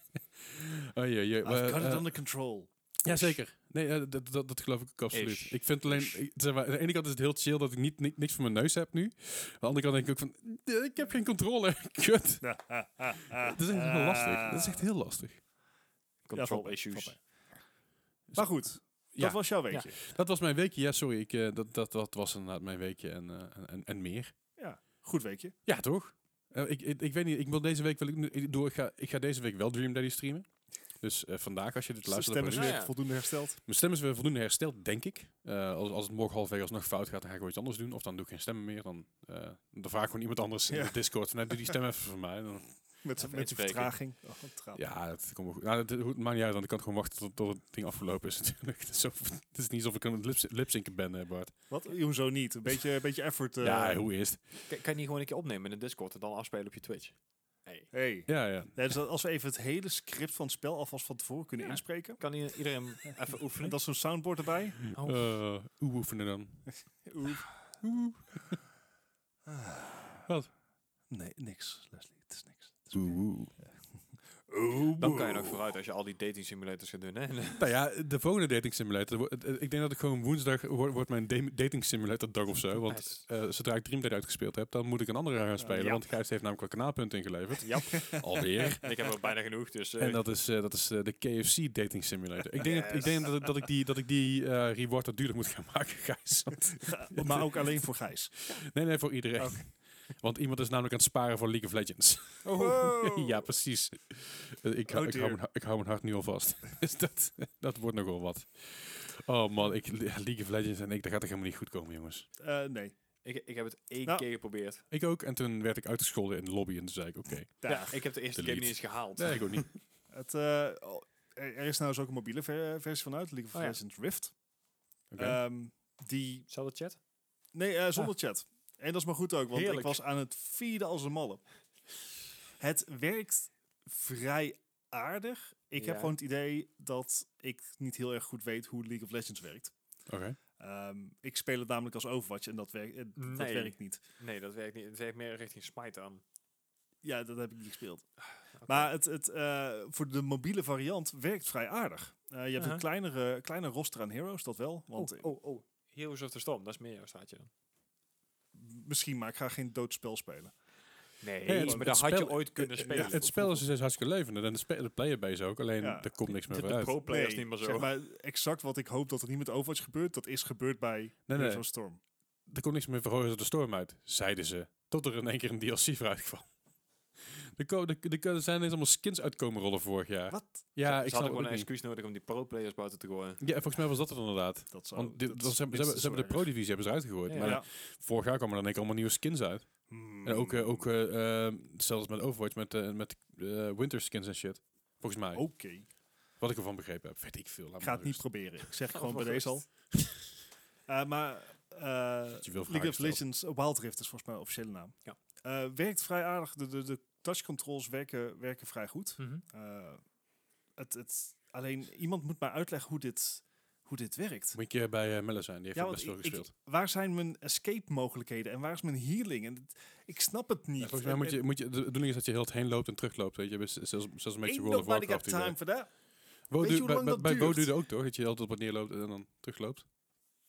jee, Ah, jee. I've Eh, got eh, it under control. Jazeker. Nee, eh, dat, dat, dat geloof ik ook absoluut. Ish. Ik vind alleen, Ish. ik- zeg maar, aan de ene kant is het heel chill dat ik niet, ni- niks voor mijn neus heb nu. Aan de andere kant denk ik ook van, "Eh, ik heb geen controle. Kut. Dat is echt heel lastig. Dat is echt heel lastig. Control valt mee, issues. valt Maar goed, Ja. dat was jouw weekje. Dat was mijn weekje. Ja, sorry. Ik, eh, dat, dat, dat was inderdaad mijn weekje en, eh, en- en, en meer. Goed weekje. Ja, toch? Eh, ik, ik, ik weet niet. Ik wil deze week wil ik, nu- ik, doe, ik, ga, ik ga deze week wel Dream Daddy streamen. Dus eh, vandaag, als je dit De luistert... stem is dan- weer Ja, ja. voldoende hersteld. Mijn stem is weer voldoende hersteld, denk ik. Eh, als, als het morgen half negen alsnog fout gaat, dan ga ik wel iets anders doen. Of dan doe ik geen stemmen meer. Dan, eh, dan vraag ik gewoon iemand anders in Ja. de Discord. Van, "Nee, doe die stem even voor mij. En Dan, Met, met die inspreken. vertraging. Oh, wat traag. ja, dat komt wel goed. Nou, dat, het maakt niet uit, want ik kan gewoon wachten tot, tot het ding afgelopen is natuurlijk. Het is, zo- het is niet alsof ik aan het lips- lipzinken ben, eh, Bart. Wat? Hoezo niet? Een beetje, een beetje effort. eh. ja, hoe is het? Kan, kan je die gewoon een keer opnemen in de Discord en dan afspelen op je Twitch? Nee. Hey. Ja, ja. Ja, dus dat- als we even het hele script van het spel alvast van tevoren kunnen Ja. inspreken. Kan i- iedereen even En oefenen? dat is zo'n soundboard erbij. Oh. Eh, hoe oefenen dan? Oeh. Wat? Ah. Nee, niks, Leslie. Het is niks. Oeh, oeh. Oh, Dan kan je nog vooruit als je al die dating simulators gaat doen. Hè? En- Nou ja, de volgende dating simulator. wo- het- het- Ik denk dat ik gewoon woensdag wordt wordt mijn dam- dating simulator dag of zo. Want Nice. eh, zodra ik Dream Dead uitgespeeld heb, dan moet ik een andere gaan spelen. ja. Want Gijs heeft namelijk al kanaalpunten ingeleverd. Ja. Alweer. ik heb er bijna genoeg, dus... eh, En dat is, eh, dat is eh, de KFC dating simulator. Ik denk, dat, ik Yes. denk dat, ik- dat ik die, dat ik die eh, reward dat duurder moet gaan maken, Gijs. Want- Ja, maar ook alleen voor Gijs. nee, nee, voor iedereen. Want iemand is namelijk aan het sparen voor League of Legends. Oh. Wow. ja, precies. Eh, ik, hou- Oh ik, hou dear. mijn, ha- ik hou mijn hart nu al vast. dus dat, dat wordt nogal wat. Oh man, ik, League of Legends en ik, dat gaat er helemaal niet goed komen, jongens. Eh, nee. ik, ik heb het één Nou. keer geprobeerd. Ik ook. En toen werd ik uitgescholden in de lobby en toen zei ik, oké. Daar. Ja, ik heb de eerste game Delete. niet eens gehaald. Nee, ik ook niet. Het, eh, oh, er er is nou eens ook een mobiele ver- versie van uit, League of Oh ja. Legends Rift. Oké. Eh, Ehm, die Zal dat chat? Nee, eh, zonder chat. En dat is maar goed ook, want Heerlijk. ik was aan het vieren als een malle. Het werkt vrij aardig. Ik Ja. heb gewoon het idee dat ik niet heel erg goed weet hoe League of Legends werkt. Oké. Ehm, ik speel het namelijk als Overwatch en dat, werkt, eh, dat Nee. werkt niet. Nee, dat werkt niet. Het werkt meer richting smite aan. Ja, dat heb ik niet gespeeld. Oké. Maar het, het, eh, voor de mobiele variant werkt vrij aardig. Eh, je hebt Aha. een kleinere, kleine roster aan heroes, dat wel. Want Uh-huh. oh, oh, oh. Heroes of the Storm, dat is meer jouw straatje dan. misschien, maar ik ga geen doodspel spelen. Nee, Ja, maar het dat had je spel- eh, ooit kunnen spelen. het spel is dus hartstikke levend en de, spe- de playerbase ook, alleen Ja. er komt niks meer de, voor uit. pro-players niet meer zo. Zeg maar, exact wat ik hoop dat er niet met Overwatch gebeurt, dat is gebeurd bij nee. Heroes of Storm. Er komt niks meer voor Horizon de Storm uit, zeiden ze. Tot er in één keer een DLC vooruit kwam. Er, ko- er- er- er zijn ineens allemaal skins uitkomen rollen vorig jaar. Wat? Ja, ik ik had snap het gewoon ook een niet. excuus nodig om die pro-players buiten te gooien. Ja, volgens mij was dat het inderdaad. Dat zou, Want dit, dat dat is ze, hebben, ze, hebben, minstens ze hebben zo de erg. Pro-divisie hebben ze uitgegooid. Ja. Maar Ja. Hmm. Mhm. vorig jaar kwamen er dan allemaal nieuwe skins uit. En ook, eh, ook eh, eh, zelfs met Overwatch, met, eh, met eh, winter skins en shit. Volgens mij. Oké, Wat ik ervan begrepen heb, weet ik veel. Laat ik ga het maar Oh. niet rust. proberen. Ik zeg het gewoon Oh, bij deze al. Eh, maar eh, je League wil of vragen Legends, eh, Wild Rift is volgens mij de officiële naam. Ja. Eh, werkt vrij aardig. De, de, de touch controls werken, werken vrij goed. Mhm. Eh, het, het, alleen iemand moet maar uitleggen hoe dit, hoe dit werkt. Moet je een keer bij eh, Melle zijn, die heeft Ja, ook want best veel ik- ik- gespeeld. Waar zijn mijn escape mogelijkheden en waar is mijn healing? En het- ik snap het niet. Eh, Ja, volgens mij moet je, moet je, de bedoeling is dat je heel het heen loopt en terugloopt. Weet je, Best- zelfs, zelfs een beetje World of nobody got Warcraft. die, eh, time for that. WoW Weet je duurt- hoe bij- lang bij- dat Bij WoW duurt? duurde ook toch, dat je altijd op wat neerloopt en dan terugloopt.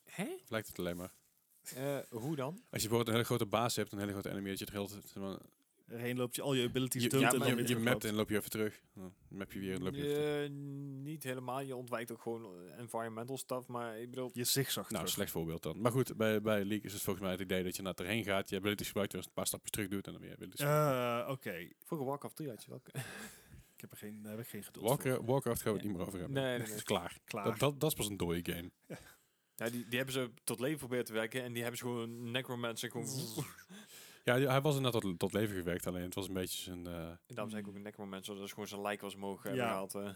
Hé? Lijkt het alleen maar. Eh, hoe dan? Als je bijvoorbeeld een hele grote baas hebt, een hele grote enemy, dat je het heel... zeg maar, Erheen loop je al je abilities Je, dood ja, en maar dan je, weer je mapt terugloopt. en loop je even terug. Dan map je weer en loop je weer terug. Eh, niet helemaal. Je ontwijkt ook gewoon eh, environmental stuff. Maar ik bedoel, Je zigzag Nou, terug. slecht voorbeeld dan. Maar goed, bij, bij League is het volgens mij het idee dat je naar het erheen gaat, je abilities gebruikt, weer eens een paar stapjes terug doet en dan weer dus abilities. Eh, Oké, vroeger Warcraft 3 had je dat. ik heb er geen, daar heb ik geen geduld voor. Warcraft, Warcraft gaan we het Ja. niet meer over hebben. Nee, nee, Dat nee. is klaar. Klaar. Dat, dat, dat is pas een dode game. Ja, die, die hebben ze tot leven proberen te wekken. En die hebben ze gewoon necromancer. Gewoon Ja, die- hij was inderdaad tot, tot leven gewerkt, alleen het was een beetje zijn... eh Daarom zei ik ook een necromancer. Dat is gewoon zijn lijk was omhoog hebben Ja. gehaald. eh.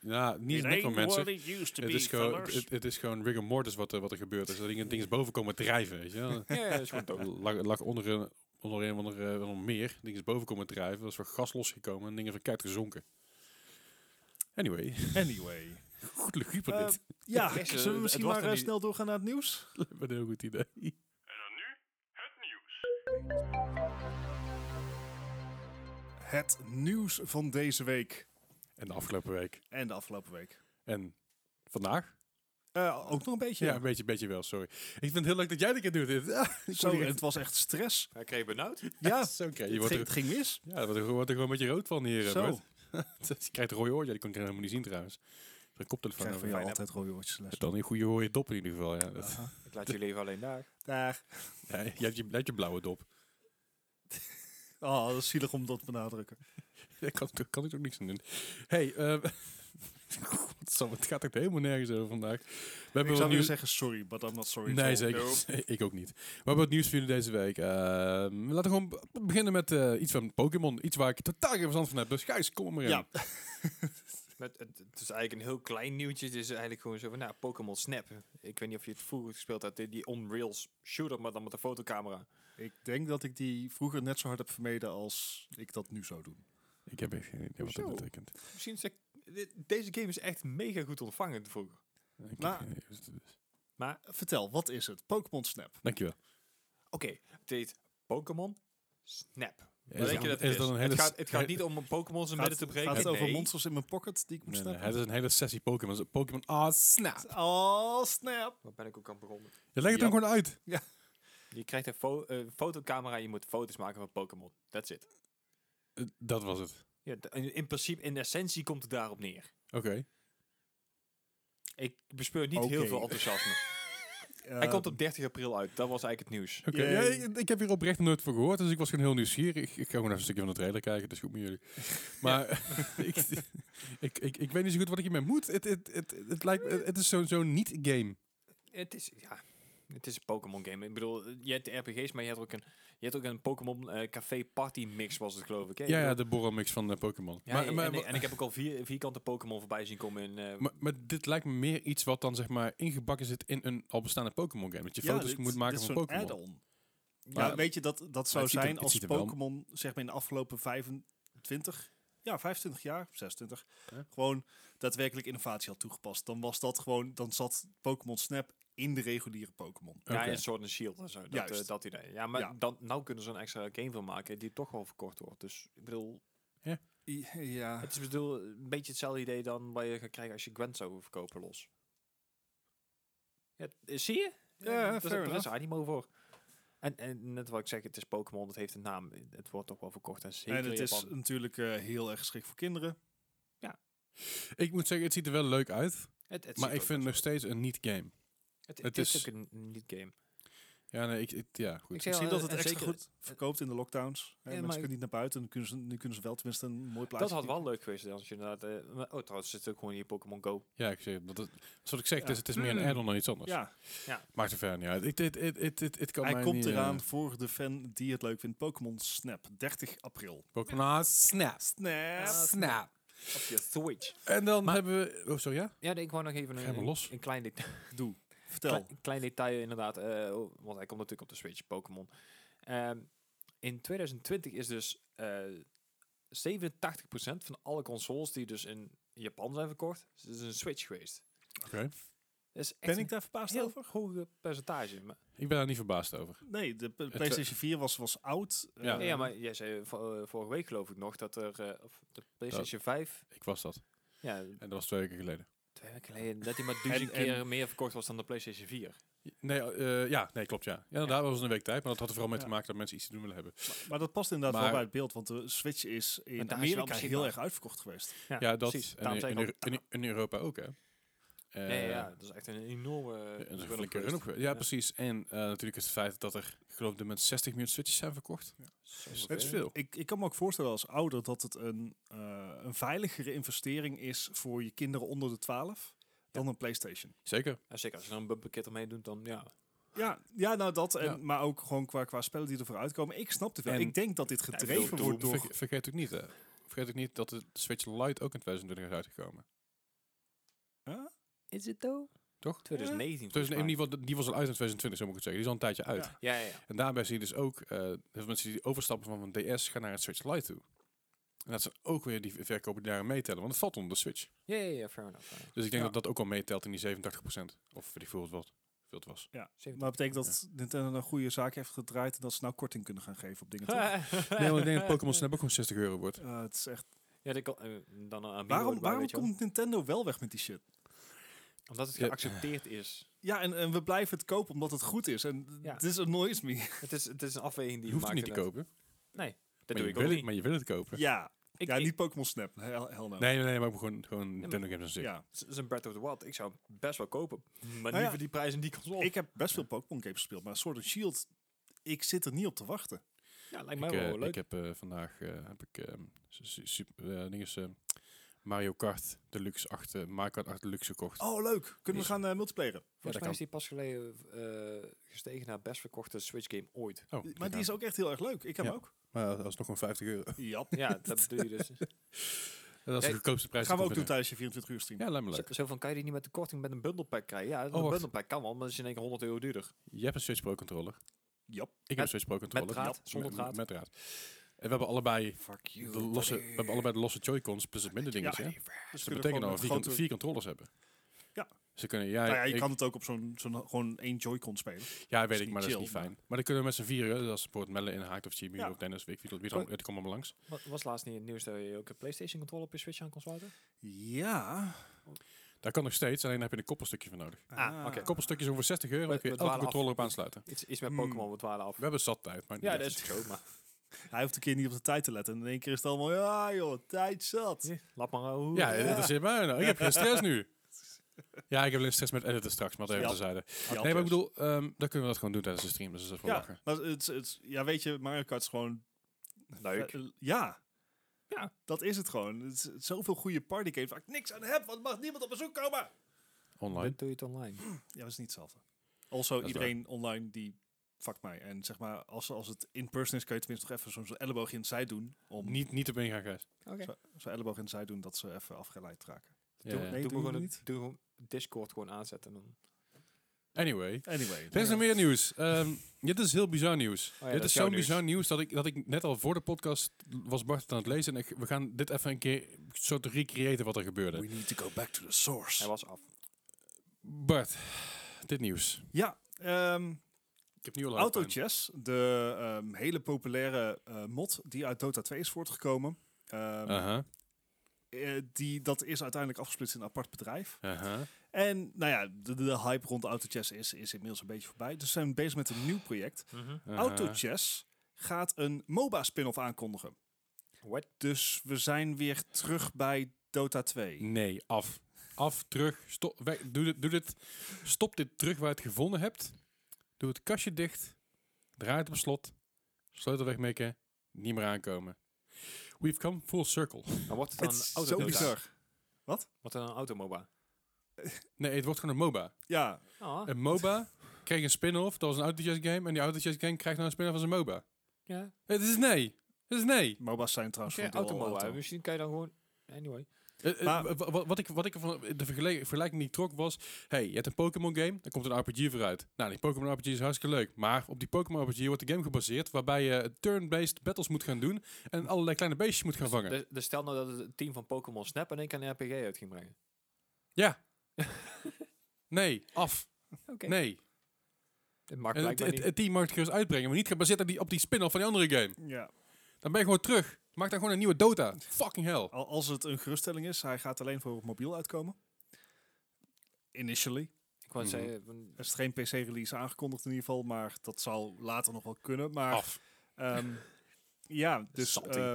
ja, niet It een ain't necromancer. what it used to Het be, is, gewoon, fellas. het, het is gewoon rigor mortis wat, er- wat er gebeurt. Dus dat dingen, dingen boven komen drijven, weet je wel. ja, ja, dat is gewoon dood. Het lag, lag onder een, onder een of andere eh, wel een meer. Dingen is boven komen drijven. Er is wat gas losgekomen en dingen zijn keihard gezonken. Anyway, Anyway. goed luguber Eh, dit. Ja, Het is, eh, zullen we het misschien was maar er eh, niet- snel doorgaan naar het nieuws? Dat lijkt me een heel goed idee. Het nieuws van deze week En de afgelopen week. en de afgelopen week. En vandaag? Eh, ook nog een beetje. Ja, een beetje, beetje wel, sorry. Ik vind het heel leuk dat jij dit keer doet. Dit. Ah, ik Zo, word hier en het was echt stress. Hij kreeg benauwd. Ja, echt- Zo krijg het je wordt ging, er, het ging mis. ja, je wordt er, wordt er gewoon een beetje rood van hier. eh, Zo. Bert. je krijgt een rode oor. Ja, die kon ik helemaal niet zien trouwens. Er een Ik koptelefoon krijg van over. jou altijd rode woordjes les. Dan een goede rode dop in ieder geval. Ja. Dat- Aha. Ik laat jullie even alleen daar. Daar. Ja, je, hebt je, je hebt je blauwe dop. Oh, dat is zielig om dat te benadrukken. Daar kan, ik- kan ik ook niks aan doen. hey, eh, God, Sam, het gaat echt helemaal nergens over vandaag. We hebben ik wat zou nu nieuws- zeggen sorry, but I'm not sorry. at Nee, all. zeker. ik ook niet. We hebben wat nieuws voor jullie deze week. Ehm, laten we gewoon be- beginnen met eh, iets van Pokémon. Iets waar ik totaal geen verstand van heb. Dus Gijs, kom er maar in. Ja. Dus Met, het, het is eigenlijk een heel klein nieuwtje. Het is eigenlijk gewoon zo van, nou, Pokémon Snap. Ik weet niet of je het vroeger gespeeld hebt, die- die on-rails shooter, maar dan met een fotocamera. Ik denk dat ik die vroeger net zo hard heb vermeden als ik dat nu zou doen. Ik heb echt geen idee wat dat Zo. betekent. Misschien is dat- dit- deze game is echt mega goed ontvangen vroeger. Ik heb Maar- geen idee wat het is. Vertel, wat is het? Pokémon Snap. Dankjewel. Oké, het heet Pokémon Snap. Is Wat dat- denk je dat is het dat is? een Het hele gaat, s- het gaat he- niet om een Pokémon zijn Gaat, midden te breken. gaat het over nee. monsters in mijn pocket die ik moet Nee, nee, snappen? het is een hele sessie Pokémon. Dus Pokémon, ah, snap. Oh, snap. Waar ben ik ook aan begonnen? Je legt het Ja. dan gewoon uit. Je krijgt een fo- eh, fotocamera en je moet foto's maken van Pokémon. That's it. Eh, dat was het. Ja, d- in in principe, in essentie komt het daarop neer. Oké. Ik bespeur niet heel Oké. veel enthousiasme. Hij Eh, Ehm. komt op 30 april uit. Dat was eigenlijk het nieuws. Oké, Yay. ja, ik, ik heb hier oprecht nog nooit voor gehoord, dus ik was gewoon heel nieuwsgierig. Ik ga gewoon even een stukje van de trailer kijken, dat is goed met jullie. Maar ik, ik, ik, ik weet niet zo goed wat ik hiermee moet. Het, het, het, het, lijkt, me- het, is zo'n zo niet-game. Het is, ja, het is een Pokémon game. Ik bedoel, eh, je hebt de RPG's, maar je hebt ook een, je hebt ook een Pokémon eh, Café Party mix, was het geloof ik. Hè? Ja, Ik ja, bedoel, de borrelmix van eh, Pokémon. ja, maar, en, maar, en, maar, en ik heb ook al vier, vierkante Pokémon voorbij zien komen in... eh, maar, maar dit lijkt me meer iets wat dan zeg maar ingebakken zit in een al bestaande Pokémon game. Dat je foto's dit- moet maken dit is van zo'n Pokémon. add-on. Maar- Ja, weet je, dat, dat zou het ziet er- zijn het als ziet er wel- Pokémon zeg maar in de afgelopen 25, ja, 25 jaar, 26, Ja. gewoon daadwerkelijk innovatie had toegepast. Dan was dat gewoon, dan zat Pokémon Snap in de reguliere Pokémon. Ja, Oké. een soort een shield en zo. Dat, Juist. eh, dat idee. Ja, maar Ja. Dan, nou kunnen ze een extra game van maken die toch wel verkocht wordt. Dus ik bedoel, I- Ja, het is bedoel, een beetje hetzelfde idee dan wat je gaat krijgen als je Gwent zou verkopen los. Ja, eh, zie je? Ja, dat fair is, er is enough. animo voor. En, en net wat ik zeg, het is Pokémon, het heeft een naam. Het wordt toch wel verkocht. En zeker En het in is Japan. natuurlijk eh, heel erg geschikt voor kinderen. Ik moet zeggen, het ziet er wel leuk uit. Het- het ziet Maar ik ook vind het nog best wel- steeds een niet-game. Het, het is, is- ook een een niet-game. Ja, nee, ik, ik- ja, goed. Ik Ik zeg zie al, dat eh, het en extra zeker- goed verkoopt in de lockdowns. Hè, Ja, mensen maar- kunnen niet naar buiten. Nu kunnen, ze, nu kunnen ze wel tenminste een mooi plaatje. Dat had wel leuk geweest als je inderdaad... eh, maar- oh, trouwens, zit ook gewoon in je Pokémon Go. Ja, ik zeg, dat, het- zoals ik zeg, Ja. het, is, het is meer een Mm. add-on dan iets anders. Ja, Maakt er verder niet uit. Ik, dit, het, het, het, het kan hij mij komt niet, eh, eraan voor de fan die het leuk vindt. Pokémon Snap, 30 april. Pokémon Nou, Snap. Snap. Snap. Op je Switch. En dan hebben we... Oh, sorry, ja? Ja, nee, ik wou nog even Ga maar een, los. een, een klein, deta- Doe. Vertel. klein, klein detail inderdaad. eh, oh, want hij komt natuurlijk op de Switch, Pokémon. Ehm, in 2020 is dus eh 87% van alle consoles die dus in Japan zijn verkocht, is dus een Switch geweest. Oké. Dat is echt Ben ik een daar verbaasd heel over? hoge percentage. Maar, Ik ben daar niet verbaasd over. Nee, de p- wa- PlayStation 4 was, was oud. Ja. eh, ja, maar jij zei vo- eh, vorige week geloof ik nog dat er eh, of de PlayStation 5, Ik was dat. ja, En dat was twee weken geleden. twee weken geleden, dat die maar duizend En- en- keer meer verkocht was dan de PlayStation 4. Nee, eh, ja, nee, klopt, ja. Ja, daar was het een week tijd. Maar dat had er vooral mee Ja. te maken dat mensen iets te doen willen hebben. maar, maar dat past inderdaad wel Maar- bij het beeld. Want de Switch is Maar in daar is wel Amerika heel beschikbaar. erg uitverkocht geweest. Ja, dat precies. en Daarom in, zei ik in, al, Euro- in, in Europa ook, hè. Eh, nee, ja, dat is echt een enorme eh, een run-up flinke geweest. run-up geweest. Ja, precies. En eh, natuurlijk het feit dat er, ik geloof dat met 60 miljoen switches zijn verkocht. Zo Dat is veel. veel. Ik, ik kan me ook voorstellen als ouder dat het een, eh, een veiligere investering is voor je kinderen onder de 12 dan een PlayStation. Zeker. Ja, zeker, als je dan een bumperkit ermee doet, dan ja. Ja, ja nou dat. En, Ja. Maar ook gewoon qua, qua spellen die ervoor uitkomen. Ik snap het wel. En- ik denk dat dit ik gedreven bedoel, wordt door... Verge- vergeet ook niet, hè. Vergeet ook niet dat de Switch Lite ook in 2020 is uitgekomen. Is het though? Toch? 2019. Dus in volgens ieder geval, de- die was al uit in 2020, zo moet ik het zeggen. Die is al een tijdje uit. Ja. mij. Ja, ja, ja. En daarbij zie je dus ook, eh heel veel mensen die overstappen van een DS gaan naar het Switch Lite toe. En dat zijn ook weer die verkopen die daarin meetellen, want het valt onder de Switch. Ja, ja, ja, fair enough. fair enough. Dus ik denk Ja. dat dat ook al meetelt in die 87%. Of weet ik veel wat veel het was. Zeven- Maar dat betekent dat Nintendo een goede zaak heeft gedraaid en dat ze nou korting kunnen gaan geven op dingen. toch? Nee, want ik denk dat Pokémon Snap ook gewoon 60 euro wordt. Eh, het is echt... ja, dat kan, eh, dan aan Waarom, waarom komt Nintendo wel weg met die shit? Omdat het Ja. geaccepteerd is. Ja, en, en we blijven het kopen omdat het goed is. En Ja. this annoys me. Het is, het is een afweging die Je hoeft het maakt. niet te kopen, Dat maar doe je ik wil ook het- niet. maar je wil het kopen. ja, Ik, ja ik- niet Pokémon Snap. Hell, hell no. Nee, nee, nee, maar gewoon, gewoon Nintendo games aan zich. nou. Ja. z- zo'n Breath of the Wild, ik zou hem best wel kopen. Maar Nou niet ja. voor die prijs en die console. Ik heb best veel Pokémon games gespeeld, maar Sword and Shield, ik zit er niet op te wachten. ja, lijkt mij Ik, wel eh, leuk. ik heb eh, vandaag eh, heb ik, ehm, su- su- super, eh, dinges, eh, Mario Kart Deluxe 8, eh, Mario Kart 8 Deluxe gekocht. Oh, leuk. Kunnen we Is- Oh, gaan eh, multiplayeren? dat Volgens mij kan. is die pas geleden eh, gestegen naar best verkochte Switch game ooit. Oh, Maar die is ook echt heel erg leuk. Ik heb Ja. hem ook. Maar dat is nog gewoon 50 euro. Ja. Ja, dat doe je dus. Dat Ja, is de goedkoopste prijs. Gaan we die ook ik doen kon tijdens je 24 uur stream. vinden. Ja, lijkt me Zo, leuk. zo van, kan je die niet met de korting met een bundelpack krijgen? Ja, een wacht. bundelpack kan wel, maar dat is in één keer 100 euro duurder. Je hebt een Switch Pro controller. Jap. Ik heb Met- een Switch Pro controller. draad? Ja, Zonder met- draad? Met draad. En we hebben allebei Fuck you. de losse, we hebben allebei de losse Joy-Cons plus het minder dingetje. Ja, hè? Dus Dus dat betekent dat we vier, grote... vier controllers hebben. Ja. Ze kunnen, ja, nou ja, je ik- kan het ook op zo'n zo'n gewoon één Joy-Con spelen. ja, is weet ik, niet maar dat is chill, niet fijn. Maar, dan kunnen we met z'n vieren, als support Melle inhaakt of Chibi Ja. of Dennis, weet ik wie, wie dan, het komt allemaal langs. Wa- Was laatst niet het nieuws dat je ook een PlayStation controller op je Switch aan kon sluiten? Ja. Dat kan nog steeds, alleen daar heb je een koppelstukje voor nodig. Ah, oké. Kop- Koppelstukjes over 60 euro, We- dan kun je we elke dwalen af. controller op aansluiten. Iets, iets met Hmm. Pokémon, we dwalen af. We hebben zat tijd, maar Ja, dat is zo, maar... Hij hoeft een keer niet op de tijd te letten. En in één keer is het allemaal, ja joh, tijd zat. Laat maar eh, hoe. Ja, dat is in mij nou. Ik heb geen stress nu. Ja, ik heb alleen stress met editen straks, maar dat even Ja. terzijde. Ja, Nee, maar ik thuis. bedoel, ehm, dan kunnen we dat gewoon doen tijdens de stream. Dus dat is wel Ja, lachen. maar het, het, ja, weet je, Mario Kart is gewoon... Leuk. eh, eh, ja. Ja. Dat is het gewoon. Het is zoveel goede partygames waar ik niks aan heb, want er mag niemand op bezoek komen. Online. Dan doe je het online. Ja, dat is niet hetzelfde. Also, is iedereen online die fuck mij. En zeg maar, als, als het in person is, kan je tenminste nog even zo'n zo'n elleboog in het zij doen. Om Niet, niet op ingaan, Gijs. Oké. zo- zo'n elleboog in het zij doen dat ze even afgeleid raken. Ja, ja. nee, doe doen gewoon we het- niet. Doe gewoon Discord gewoon aanzetten. en Dan. Anyway. Anyway. Er is nog meer nieuws. Ehm, dit is heel bizar nieuws. ja, dat dit is is jouw zo'n nieuws. bizar nieuws dat ik, dat ik net al voor de podcast was Bart het aan het lezen. En ik, we gaan dit even een keer soort recreëren wat er gebeurde. We need to go back to the Hij source. was af. Bart, dit nieuws. Ja, ehm Ik heb nu al Autochess, de ehm, hele populaire eh, mod die uit Dota 2 is voortgekomen. Ehm, Aha, eh, die, dat is uiteindelijk afgesplitst in een apart bedrijf. aha. En nou ja, de, de hype rond Autochess is, is inmiddels een beetje voorbij. Dus ze zijn bezig met een nieuw project. Autochess gaat een MOBA spin-off aankondigen. What? Dus we zijn weer terug bij Dota 2. Nee, af. Af, terug. Stop, weg, doe, dit, doe dit. Stop dit terug waar je het gevonden hebt. Doe het kastje dicht. Draai het op slot. Sleutel wegmikken. Niet meer aankomen. We've come full circle. Maar wordt het Het dan is een zo auto bizar. Wordt het dan een automoba? Nee, het wordt gewoon een MOBA. Ja, Ah, Een MOBA kreeg een spin-off. Dat was een Autochess game. En die Autochess game krijgt nou een spin-off als een MOBA. ja. Het is nee. Het is nee. MOBA's zijn trouwens Oké, voor een deel al automoba. auto. Misschien kan je dan gewoon... Anyway. Eh, eh, Maar- wa- wa- wat ik, wat ik van de vergele- vergelijking die ik trok was... Hey, je hebt een Pokémon game, daar komt een RPG vooruit. Nou, die Pokémon RPG is hartstikke leuk. Maar op die Pokémon RPG wordt de game gebaseerd... waarbij je turn-based battles moet gaan doen... en allerlei kleine beestjes moet gaan vangen. Dus, dus stel nou dat het een team van Pokémon Snap in één keer een RPG uit ging brengen. Ja. nee, af. Oké. Nee. Het mag En het, blijkbaar het, niet. het team mag het gerust uitbrengen... maar niet gebaseerd op die, op die spin-off van die andere game. Ja. Dan ben je gewoon terug. Maak dan gewoon een nieuwe Dota. Fucking hell. Al- Als het een geruststelling is, hij gaat alleen voor op mobiel uitkomen. Initially. Ik wou Mhm. zeggen... eh, van- Er is geen PC-release aangekondigd in ieder geval, maar dat zal later nog wel kunnen. Maar Af. Ehm, ja, dus Salty. eh,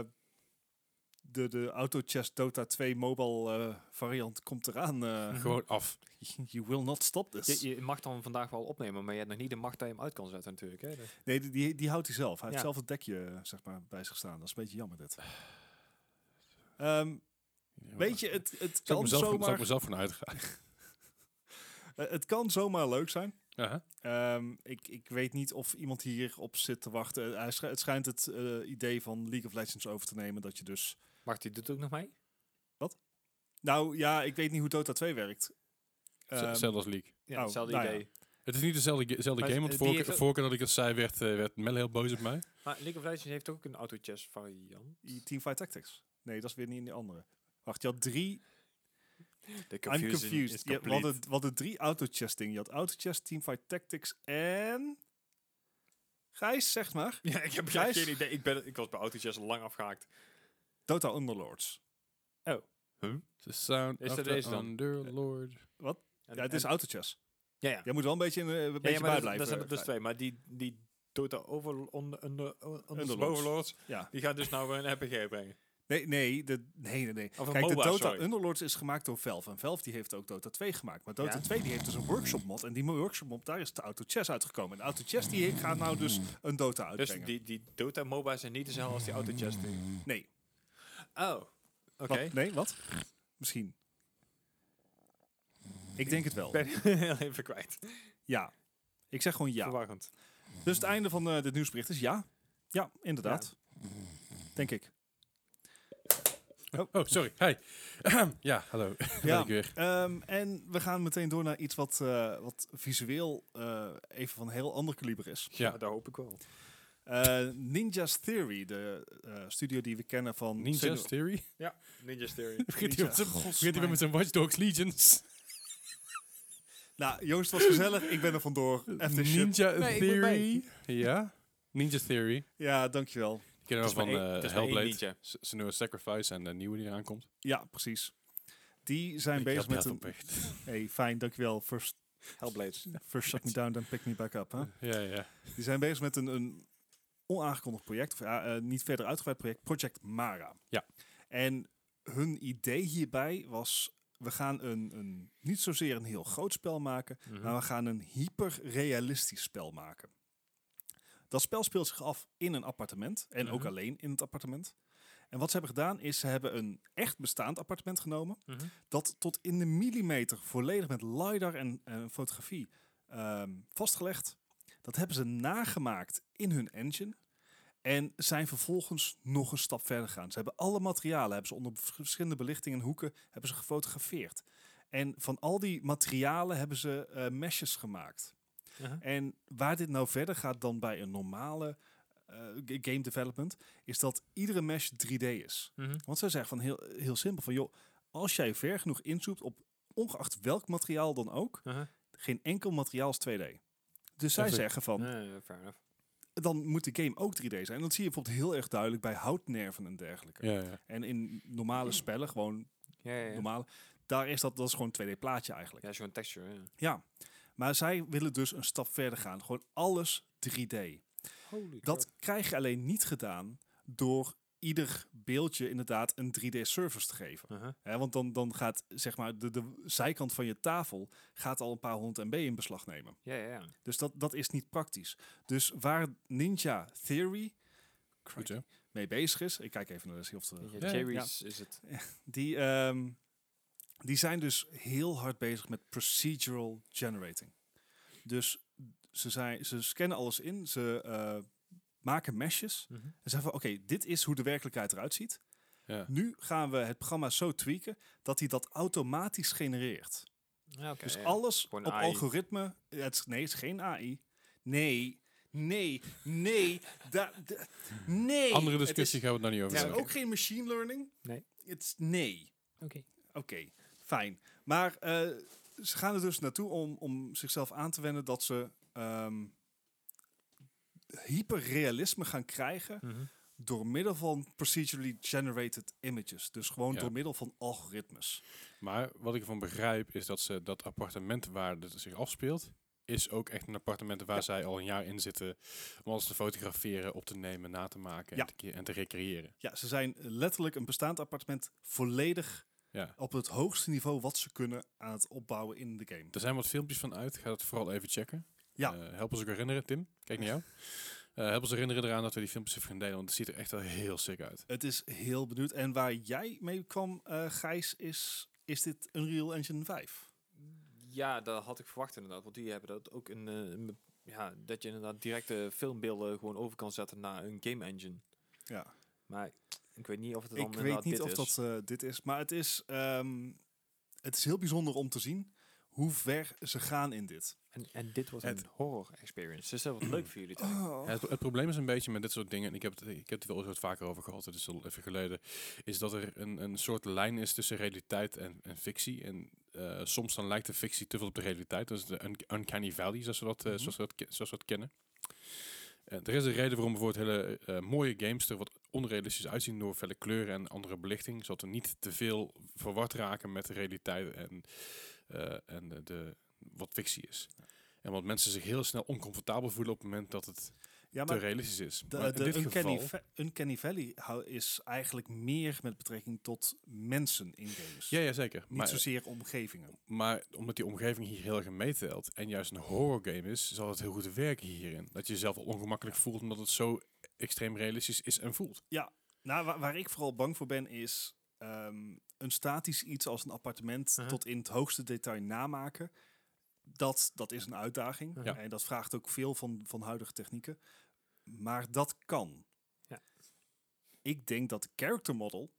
de, de Autochess Dota 2 mobile eh, variant komt eraan. eh. Gewoon af. you will not stop this. Je, je mag dan vandaag wel opnemen, maar je hebt nog niet de macht dat je hem uit kan zetten natuurlijk. Hè? Dus- Nee, die, die, die houdt hij zelf. Hij heeft Ja. zelf het dekje eh, zeg maar, bij zich staan. Dat is een beetje jammer dit. Ehm, weet je, het, het, Zou ik kan mezelf, zou ik zomaar, mezelf van uitgaan. eh, het kan zomaar leuk zijn. Aha. Ehm, ik, ik weet niet of iemand hierop zit te wachten. Hij schi- het schijnt het eh, idee van League of Legends over te nemen. Dat je dus Wacht, die doet ook nog mee? Nou ja, ik weet niet hoe Dota 2 werkt. Z- Ehm, Zelfs League. Ja, Oh, hetzelfde nou ja. idee. Het is niet dezelfde, ge- dezelfde Maar game, het- want die vorige, heeft ook- vorige keer dat ik dat zei, werd, eh, werd Mel heel boos op mij. Maar League of Legends heeft ook een auto-chess variant. die Teamfight Tactics. Nee, dat is weer niet in die andere. Wacht, je had drie... De I'm confused. Je, we, hadden, we hadden drie autochess dingen. Je had autochess, Teamfight Tactics en... Gijs, zeg maar. Ja, ik heb Gijs? geen idee. Ik, ben, ik was bij autootjes lang afgehaakt. Dota Underlords. The sound Is of dat the deze dan? Underlord. En- Ja, het is en- autochess. Ja, ja. Jij moet wel een beetje, in, eh, een Ja, beetje bij ja, maar dat- dat, blijven. zijn er dus Gijs. twee. Maar die, die Dota over, onder, onder, onder, Underlords. bovenlords, Ja. die gaan dus nou een RPG brengen. Nee, nee, de, nee, nee. nee. Of een Kijk, MOBA, de Dota sorry. Underlords is gemaakt door Valve. En Valve die heeft ook Dota 2 gemaakt. Maar Dota Ja. 2 die heeft dus een workshop mod. En die workshop mod, daar is de Auto Chess uitgekomen. En de Auto Chess die gaat nou dus een Dota Dus uitbrengen. die, die Dota MOBA zijn niet dezelfde als die autootjes doen. Nee. Oh, oké. Wat? Nee, wat? Misschien. Ik denk het wel. Ik ben heel even kwijt. Ja. Ik zeg gewoon ja. Verwarrend. Dus het einde van eh, dit nieuwsbericht is ja. Ja, inderdaad. Denk ik. Oh, sorry. Hi. ja, hallo. Ben Ja. ik weer. Ehm, en we gaan meteen door naar iets wat, eh, wat visueel eh, even van een heel ander kaliber is. Ja. Maar dat hoop ik wel. Eh, Ninja's Theory, de eh, studio die we kennen van... Ninja's Sinu- Theory. Ninja's Theory. Ninja. Begint hij met zijn- Gods begint hij weer met zijn Watch Dogs Legions? Nou, Joost was gezellig, ik ben er vandoor. Even shit. Ninja Nee, ik moet Theory. Ja. Ninja Theory. Ja, dankjewel. Die kennen we Dat is van maar één- dat eh is maar één Hellblade. ninja. S- Senua's Sacrifice en de nieuwe die eraan komt. Ja, precies. Die zijn Ik bezig had- met had een... hem echt. Hey, fijn, dankjewel. First, Hellblades. first shut me down, then pick me back up. Hè? Ja, ja. Die zijn bezig met een, een onaangekondigd project, of ja, eh, niet verder uitgebreid project, Project Mara. Ja. En hun idee hierbij was, we gaan een, een niet zozeer een heel groot spel maken, Mhm. Mhm. maar we gaan een hyperrealistisch spel maken. Dat spel speelt zich af in een appartement en ook Mhm. alleen in het appartement. En wat ze hebben gedaan is, ze hebben een echt bestaand appartement genomen, Mhm. dat tot in de millimeter volledig met LiDAR en eh, fotografie ehm, vastgelegd. Dat hebben ze nagemaakt in hun engine. En zijn vervolgens nog een stap verder gegaan. Ze hebben alle materialen, hebben ze onder v- verschillende belichtingen en hoeken, hebben ze gefotografeerd. En van al die materialen hebben ze eh, meshes gemaakt. Aha. En waar dit nou verder gaat dan bij een normale eh, g- game development, is dat iedere mesh 3D is. Mhm. Want zij zeggen van heel, heel simpel van joh, als jij ver genoeg inzoomt op ongeacht welk materiaal dan ook, Aha. geen enkel materiaal is 2D. Dus zij Even- zeggen van, Eh, fair enough. dan moet de game ook 3D zijn. En dat zie je bijvoorbeeld heel erg duidelijk bij houtnerven en dergelijke. Ja, ja. En in normale spellen, gewoon Ja, ja, ja. normale, Daar is dat, dat is gewoon een 2D plaatje eigenlijk. Ja, zo'n texture. Ja. Ja, maar zij willen dus een stap verder gaan. Gewoon alles 3D. Holy Dat krijg je alleen niet gedaan door ieder beeldje inderdaad een 3D-service te geven. crap. Uh-huh. Hè, want dan, dan gaat zeg maar, de, de zijkant van je tafel gaat al een paar honderd MB in beslag nemen. Ja, ja, ja. Dus dat, dat is niet praktisch. Dus waar Ninja Theory Goed, hè? mee bezig is, ik kijk even naar de Sea of the- Ja, Ja. Jerry's is het. die, ehm, die zijn dus heel hard bezig met procedural generating. Dus ze, zijn, ze scannen alles in, ze eh, maken meshes. Mhm. En zeggen van, oké, dit is hoe de werkelijkheid eruit ziet. Ja. Nu gaan we het programma zo tweaken dat hij dat automatisch genereert. Ja, oké, dus ja. alles Gewoon op AI. algoritme... Het, is- nee, het is geen AI. Nee, nee, nee, da, da- nee. Andere Het is- discussie gaan we het nou niet Het over is, hebben. ook geen machine learning. Nee. Het is nee. Oké. Oké, fijn. Maar eh, ze gaan er dus naartoe om, om zichzelf aan te wennen dat ze ehm, hyperrealisme gaan krijgen Mhm. door middel van procedurally generated images. Dus gewoon Ja. door middel van algoritmes. Maar wat ik ervan begrijp is dat ze dat appartement waar het zich afspeelt, is ook echt een appartement waar zij al een jaar in zitten om alles te fotograferen, op te nemen, na te maken Ja. en, te, ke- en te recreëren. Ja, ze zijn letterlijk een bestaand appartement volledig Ja. op het hoogste niveau wat ze kunnen aan het opbouwen in de game. Er zijn wat filmpjes van uit, ga dat vooral even checken. Ja. Eh, help ons ook herinneren, Tim, kijk naar jou. Eh, help ons herinneren eraan dat we die filmpjes even gaan delen, want het ziet er echt wel heel sick uit. Het is heel benieuwd. En waar jij mee kwam, eh, Gijs, is, is dit Unreal Engine 5? Ja, dat had ik verwacht inderdaad. Want die hebben dat ook een. eh, een be- ja, dat je inderdaad directe filmbeelden gewoon over kan zetten naar een game engine. Ja. Maar ik weet niet of het dan Ik weet inderdaad niet dit of is. dat eh, dit is, maar het is, ehm, het is heel bijzonder om te zien hoe ver ze gaan in dit. En, en dit was Het- een horror experience. Dus dat wordt leuk voor jullie. denk ik. Oh. Ja, het, het probleem is een beetje met dit soort dingen, en ik heb het, ik heb het wel eens wat vaker over gehad, het is al even geleden, is dat er een, een soort lijn is tussen realiteit en, en fictie. En eh, soms dan lijkt de fictie te veel op de realiteit. Dat is de un- uncanny valley, zoals we dat, eh, Mhm. zoals we dat, ke- zoals we dat kennen. Eh, er is een reden waarom bijvoorbeeld hele eh, mooie games er wat onrealistisch uitzien door felle kleuren en andere belichting, zodat we niet te veel verward raken met de realiteit en, eh, en de, de- wat fictie is. En wat mensen zich heel snel oncomfortabel voelen op het moment dat het Ja, te maar realistisch is. Maar de, in de dit Uncanny, geval, Va- Uncanny Valley hou- is eigenlijk meer met betrekking tot mensen in games. ja, ja, zeker. Niet Maar, zozeer omgevingen. maar omdat die omgeving hier heel erg in meetelt en juist een horror game is, zal het heel goed werken hierin. Dat je jezelf al ongemakkelijk voelt omdat het zo extreem realistisch is en voelt. Nou, wa- waar ik vooral bang voor ben is ehm, een statisch iets als een appartement Uh-huh. Mhm. tot in het hoogste detail namaken. Dat, dat is een uitdaging Ja. en dat vraagt ook veel van, van huidige technieken. Maar dat kan. Ja. Ik denk dat de character model,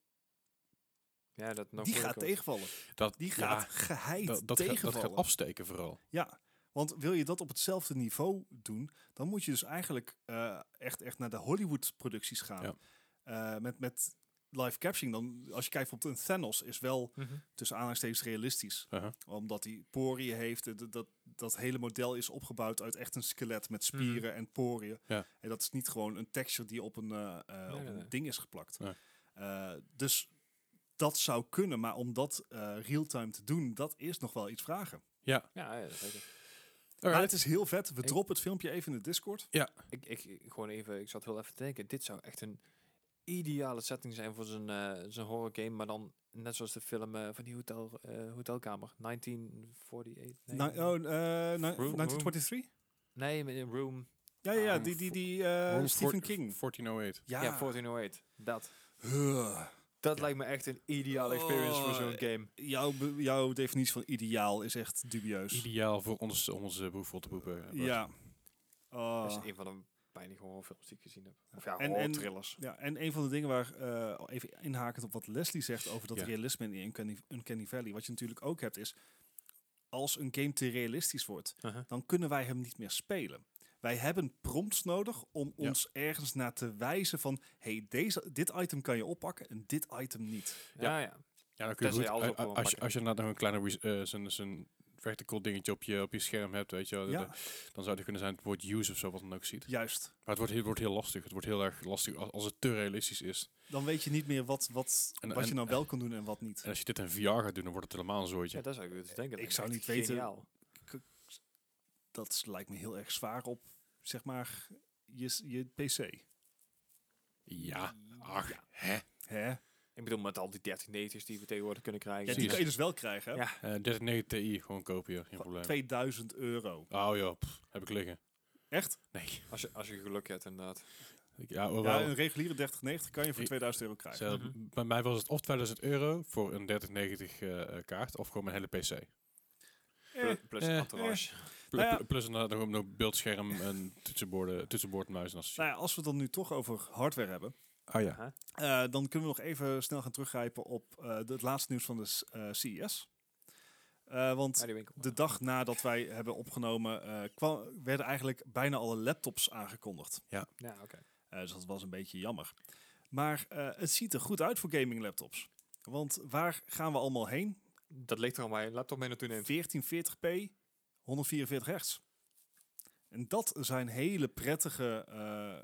Ja, dat nog die moeilijk gaat wordt. tegenvallen. Dat, Die ja, gaat geheid dat, dat, gaat, dat tegenvallen. gaat afsteken vooral. Ja, want wil je dat op hetzelfde niveau doen, dan moet je dus eigenlijk eh, echt, echt naar de Hollywood-producties gaan. Ja. Eh, met, met live captioning. Dan, als je kijkt op een Thanos, is wel Mhm. tussen aanhalingstekens realistisch. Uh-huh. Omdat hij poriën heeft. eh, Dat, dat, dat hele model is opgebouwd uit echt een skelet met Hmm. spieren en poriën. Ja. En dat is niet gewoon een texture die op een, eh, eh, op nee, een nee. ding is geplakt. Nee. Eh, dus dat zou kunnen, maar om dat eh, real-time te doen, dat is nog wel iets vragen. Ja. Ja, ja, zeker. Maar Alright. Nou, het is heel vet. We Ik- droppen het filmpje even in de Discord. Ik, ik, ik- gewoon even, ik zat heel even te denken. Dit zou echt een ideale setting zijn voor zo'n eh, zo'n horror game. Maar dan net zoals de film eh, van die hotel, eh, hotelkamer. 1948. Nee, Nou, oh, eh, nou, Room. 1923? nee met een room. Ja, ja, ja, Room die, die, die eh, Room Stephen voor- King. 1408. Ja, Ja, 1408. Dat. Huh. Dat Ja. lijkt me echt een ideale experience voor Oh, zo'n game. jouw, be- jouw definitie van ideaal is echt dubieus. Ideaal voor ons, om onze boef vol te boeken. eh, ja. Oh. Dat is een van de weinige horrorfilms die ik gezien heb. Of ja, En- horror en- thrillers. ja, en een van de dingen waar, eh, even inhakend op wat Leslie zegt over dat Ja. realisme in Uncanny, Uncanny Valley, wat je natuurlijk ook hebt is, als een game te realistisch wordt, Uh-huh. dan kunnen wij hem niet meer spelen. Wij hebben prompts nodig om Ja. ons ergens naar te wijzen van... hey, deze, dit item kan je oppakken en dit item niet. Ja, ja. Ja, dan kun Tenzij je goed, je alles a- op a- gewoon als, je, pakken. als je inderdaad nog een kleine res- eh, zo'n- zo'n vertical dingetje op je, op je scherm hebt, weet je wel. Ja. de- Dan zou het kunnen zijn het woord use of zo, wat dan ook ziet. Juist. Maar het wordt, heel- wordt heel lastig. Het wordt heel erg lastig als, als het te realistisch is. Dan weet je niet meer wat, wat, En- wat je en- nou wel kan doen en wat niet. En als je dit in VR gaat doen, dan wordt het helemaal een zooitje. Ja, dat zou ik dus denken. Ik Dat zou is niet echt weten- geniaal. Dat is- lijkt me heel erg zwaar op, zeg maar, je, s- je PC. Ja, ach, Eh, Ja. hè. Hè? Ik bedoel, met al die 1390's die we tegenwoordig kunnen Ja, krijgen. die Precies. kan je dus wel krijgen. hè? Ja. Eh 3090 Ti, gewoon kopen hier, geen Voor probleem. 2000 euro. Oh ja, pff, heb ik liggen. Echt? Nee. Als je, als je geluk hebt, inderdaad. Ik- Ja, oh, Ja, wel. een reguliere 3090 kan je voor Ik- 2000 euro krijgen. Zo, Mhm. Bij mij was het of 2000 euro voor een 3090 eh, eh, kaart, of gewoon mijn hele PC. Eh, Pl- Plus eh, entourage. Pl- Nou ja. pl- Plus inderdaad nog een beeldscherm en toetsenborden, toetsenbord, muis en dat soort Nou ja, als we het dan nu toch over hardware hebben. shit. Ah ja. Aha. eh, dan kunnen we nog even snel gaan teruggrijpen op eh, de- het laatste nieuws van de s- eh, CES. Eh, want Ja, die winkel. de dag nadat wij hebben opgenomen, eh, kwa- werden eigenlijk bijna alle laptops aangekondigd. Ja, oké. Eh, dus dat was een beetje jammer. Maar eh, het ziet er goed uit voor gaming laptops. Want waar gaan we allemaal heen? Dat ligt er al bij. Laat toch mee naartoe nemen. 1440p, 144 hertz. En dat zijn hele prettige eh,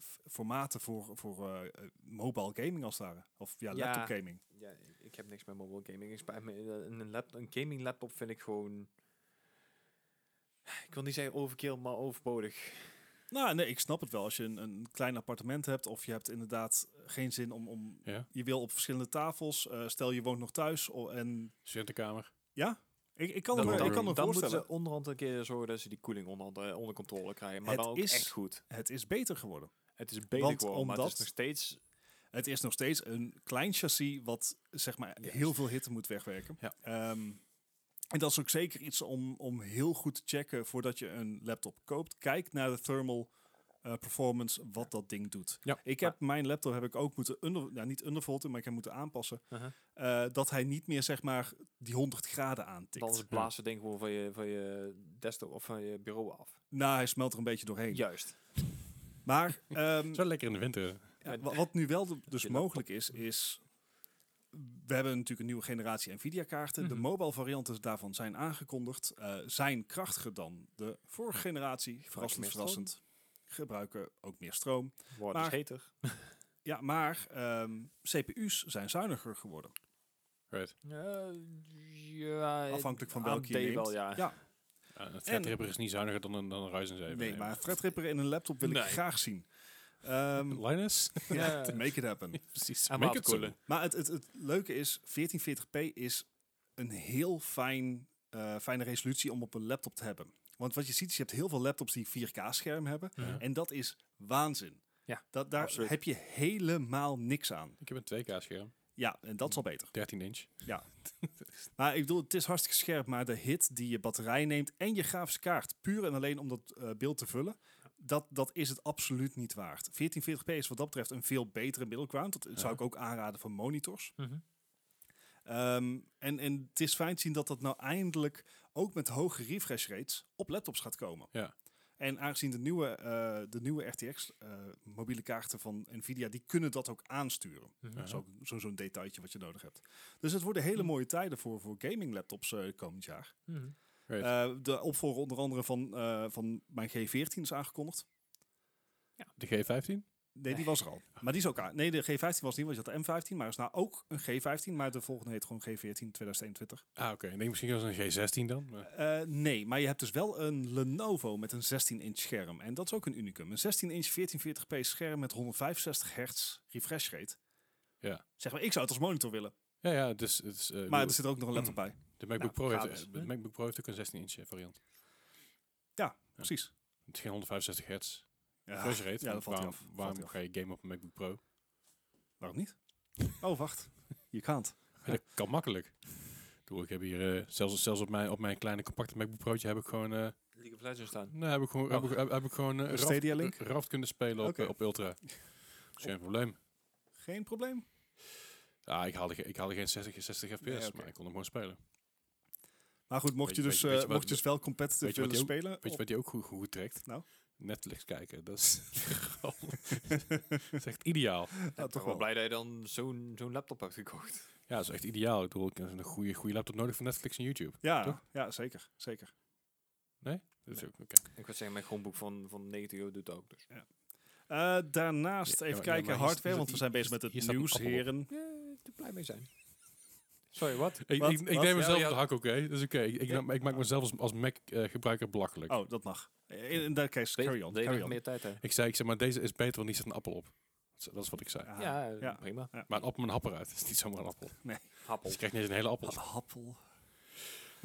f- formaten voor, voor eh, mobile gaming als het ware. Of ja, Ja. laptop gaming. Ja, ik heb niks met mobile gaming. Ik spijt me. eh, Een, lap- een gaming laptop vind ik gewoon... Ik wil niet zeggen overkill, maar overbodig. Nou, nee, ik snap het wel. Als je een, een klein appartement hebt of je hebt inderdaad geen zin om... om Ja, je wil op verschillende tafels. eh, stel, je woont nog thuis o- en... studentenkamer. Ik, ik kan Dan me, Oh, ik moet- kan me dan moeten voorstellen. ze onderhand een keer zorgen dat ze die koeling onder, eh, onder controle krijgen. Maar Het dan ook is- echt goed. Het is beter geworden. Het is beter Want geworden, maar het omdat- is nog steeds... Het is nog steeds een klein chassis wat zeg maar Juist. heel veel hitte moet wegwerken. Ja. Ehm, en dat is ook zeker iets om, om heel goed te checken voordat je een laptop koopt. Kijk naar de thermal eh, performance, wat dat ding doet. Ja. Ik heb mijn laptop heb ik ook moeten under, nou, niet undervolten, maar ik heb moeten aanpassen. Uh-huh. eh, dat hij niet meer zeg maar die 100 graden aantikt. Dan blaast het ding gewoon van je, van je desktop of van je bureau af. Nou, hij smelt er een beetje doorheen. Juist. Maar Het ehm, is wel lekker in de winter. Ja, En- wa- wat nu wel de- dus Je mogelijk is, is... We hebben natuurlijk een nieuwe generatie Nvidia-kaarten. Mhm. De mobile varianten daarvan zijn aangekondigd. eh, zijn krachtiger dan de vorige generatie. Verrassend, meer stroom? verrassend. Gebruiken ook meer stroom. Wordt Maar- dus heter. Ja, maar ehm, CPU's zijn zuiniger geworden. Right. ja, Afhankelijk van welke je AMD neemt. wel, Ja, ja. Ja, een Threadripper is niet zuiniger dan een, dan een Ryzen 7. nee, maar Threadripper in een laptop wil Nee. ik graag zien. Ehm Linus? ja, make it happen. Precies. Aan Make it waterkoelen. so. Maar het, het, het leuke is, 1440p is een heel fijn, eh, fijne resolutie om op een laptop te hebben. Want wat je ziet, is je hebt heel veel laptops die 4K-scherm hebben. Ja. En dat is waanzin. Ja, dat, daar absoluut. heb je helemaal niks aan. Ik heb een 2K scherm, Ja, en dat is al beter. 13 inch. Maar ik bedoel, het is hartstikke scherp, maar de hit die je batterij neemt en je grafische kaart, puur en alleen om dat eh, beeld te vullen, dat, dat is het absoluut niet waard. 1440p is wat dat betreft een veel betere middelground. Dat Ja. zou ik ook aanraden voor monitors. Mhm. Ehm, en, en het is fijn te zien dat dat nou eindelijk ook met hoge refresh rates op laptops gaat komen. Ja. En aangezien de nieuwe, eh, de nieuwe RTX eh, mobiele kaarten van Nvidia, die kunnen dat ook aansturen. Mhm. Zo, zo, zo'n detailtje wat je nodig hebt. Dus het worden Hm. hele mooie tijden voor, voor gaming laptops eh, komend jaar. Mhm. Right. Eh, de opvolger onder andere van, eh, van mijn G14 is aangekondigd. de G15? Nee, die was er al. Maar die is ook aan. Nee, de G15 was niet, want je had de M15, maar er is nou ook een G15. Maar de volgende heet gewoon G14 2021. Ah, oké. Ik denk misschien was het een G16 dan. maar- Eh, nee, maar je hebt dus wel een Lenovo met een 16-inch scherm. En dat is ook een unicum. Een 16-inch 1440p scherm met 165 hertz refresh rate. Ja. Zeg maar, ik zou het als monitor willen. Ja, ja, het is... Het is eh, Maar er zit ook nog een laptop bij. de MacBook, Nou, Pro heeft, gratis, eh, hè? de MacBook Pro heeft ook een 16 inch eh, variant. Precies. Het is geen 165 hertz. Ja, refresh rate. ja, dat want valt hij waarom af. Valt waarom hij af. ga je game op een MacBook Pro? Waarom niet? Oh, wacht. Je kaant. Ja, dat kan makkelijk. Doe, ik heb hier eh, zelfs, zelfs op, mijn, op mijn kleine compacte MacBook Pro'tje heb ik gewoon, eh League of Legends staan. nou, heb ik gewoon, heb Oh. ik, heb, heb ik gewoon eh, Een Raft- Stadia Link? eh, Raft kunnen spelen op, Oké. eh, op Ultra. Dat is geen probleem. Geen probleem. Ja, ik haalde, ge- ik haalde geen 60, 60 fps, Nee, oké. maar ik kon hem gewoon spelen. Maar goed, mocht je Weet- dus, eh, weet- weet je wat- mocht je dus wel competitive weet je wat willen die spelen... Weet je wat die ook goed, goed trekt? Oh. Nou? Netflix kijken. Dat is, dat is echt ideaal. ik ben toch wel Ah, wel. blij dat je dan zo'n zo'n laptop hebt gekocht. Ja, dat is echt ideaal. Ik bedoel, ik heb een goede, goede laptop nodig voor Netflix en YouTube. Ja, Toch? ja zeker. zeker. Dat is ook oké. Ik wil zeggen, mijn groenboek van, van 90 euro doet dat ook. Dus. Eh, daarnaast Ja, even ja, maar kijken, hier hardware, staat- want we zijn bezig met het hier staat een nieuws, appel op. heren. Ja, er blij mee zijn. Sorry, wat? Ik, Wat? ik, ik Wat? neem Ja, mezelf ja. de hak, oké. Dat is oké. Ik, ik, Ja. ik maak mezelf als, als Mac-gebruiker belachelijk. Oh, dat mag. In, in dat case, carry on. Wil je Carry nog on. meer tijd hebben? Ik zei, ik zei, maar deze is beter, want die zit een appel op. Dat is, dat is wat ik zei. Ah, Ja, ja. prima. Maar een appel met een happer uit. Het is niet zomaar een appel. Happel. Dus je krijgt niet eens een hele appel. Appel. Maar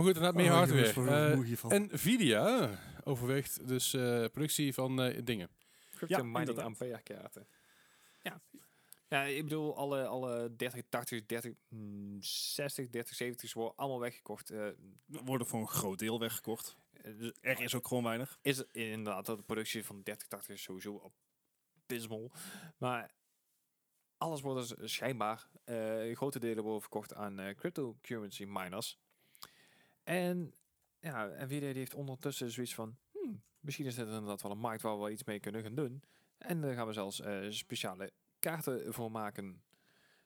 goed, inderdaad, meer Oh, hardware. Eh, hiervan. Nvidia overweegt dus eh, productie van eh, dingen. Crypto mining inderdaad. ampère kaarten. Ja. Ja, ik bedoel, alle, alle 30, 80, 30, mm, 60, 30, 70 worden allemaal weggekocht. Eh, Worden voor een groot deel weggekocht. eh, Er is ook gewoon weinig. is het inderdaad dat de productie van 30, 80 is sowieso abysmal. Maar alles wordt dus schijnbaar, eh, grote delen worden verkocht aan eh, cryptocurrency miners. En ja, Nvidia die heeft ondertussen zoiets van, hmm, misschien is dit inderdaad wel een markt waar we iets mee kunnen gaan doen. En daar gaan we zelfs eh, speciale kaarten voor maken.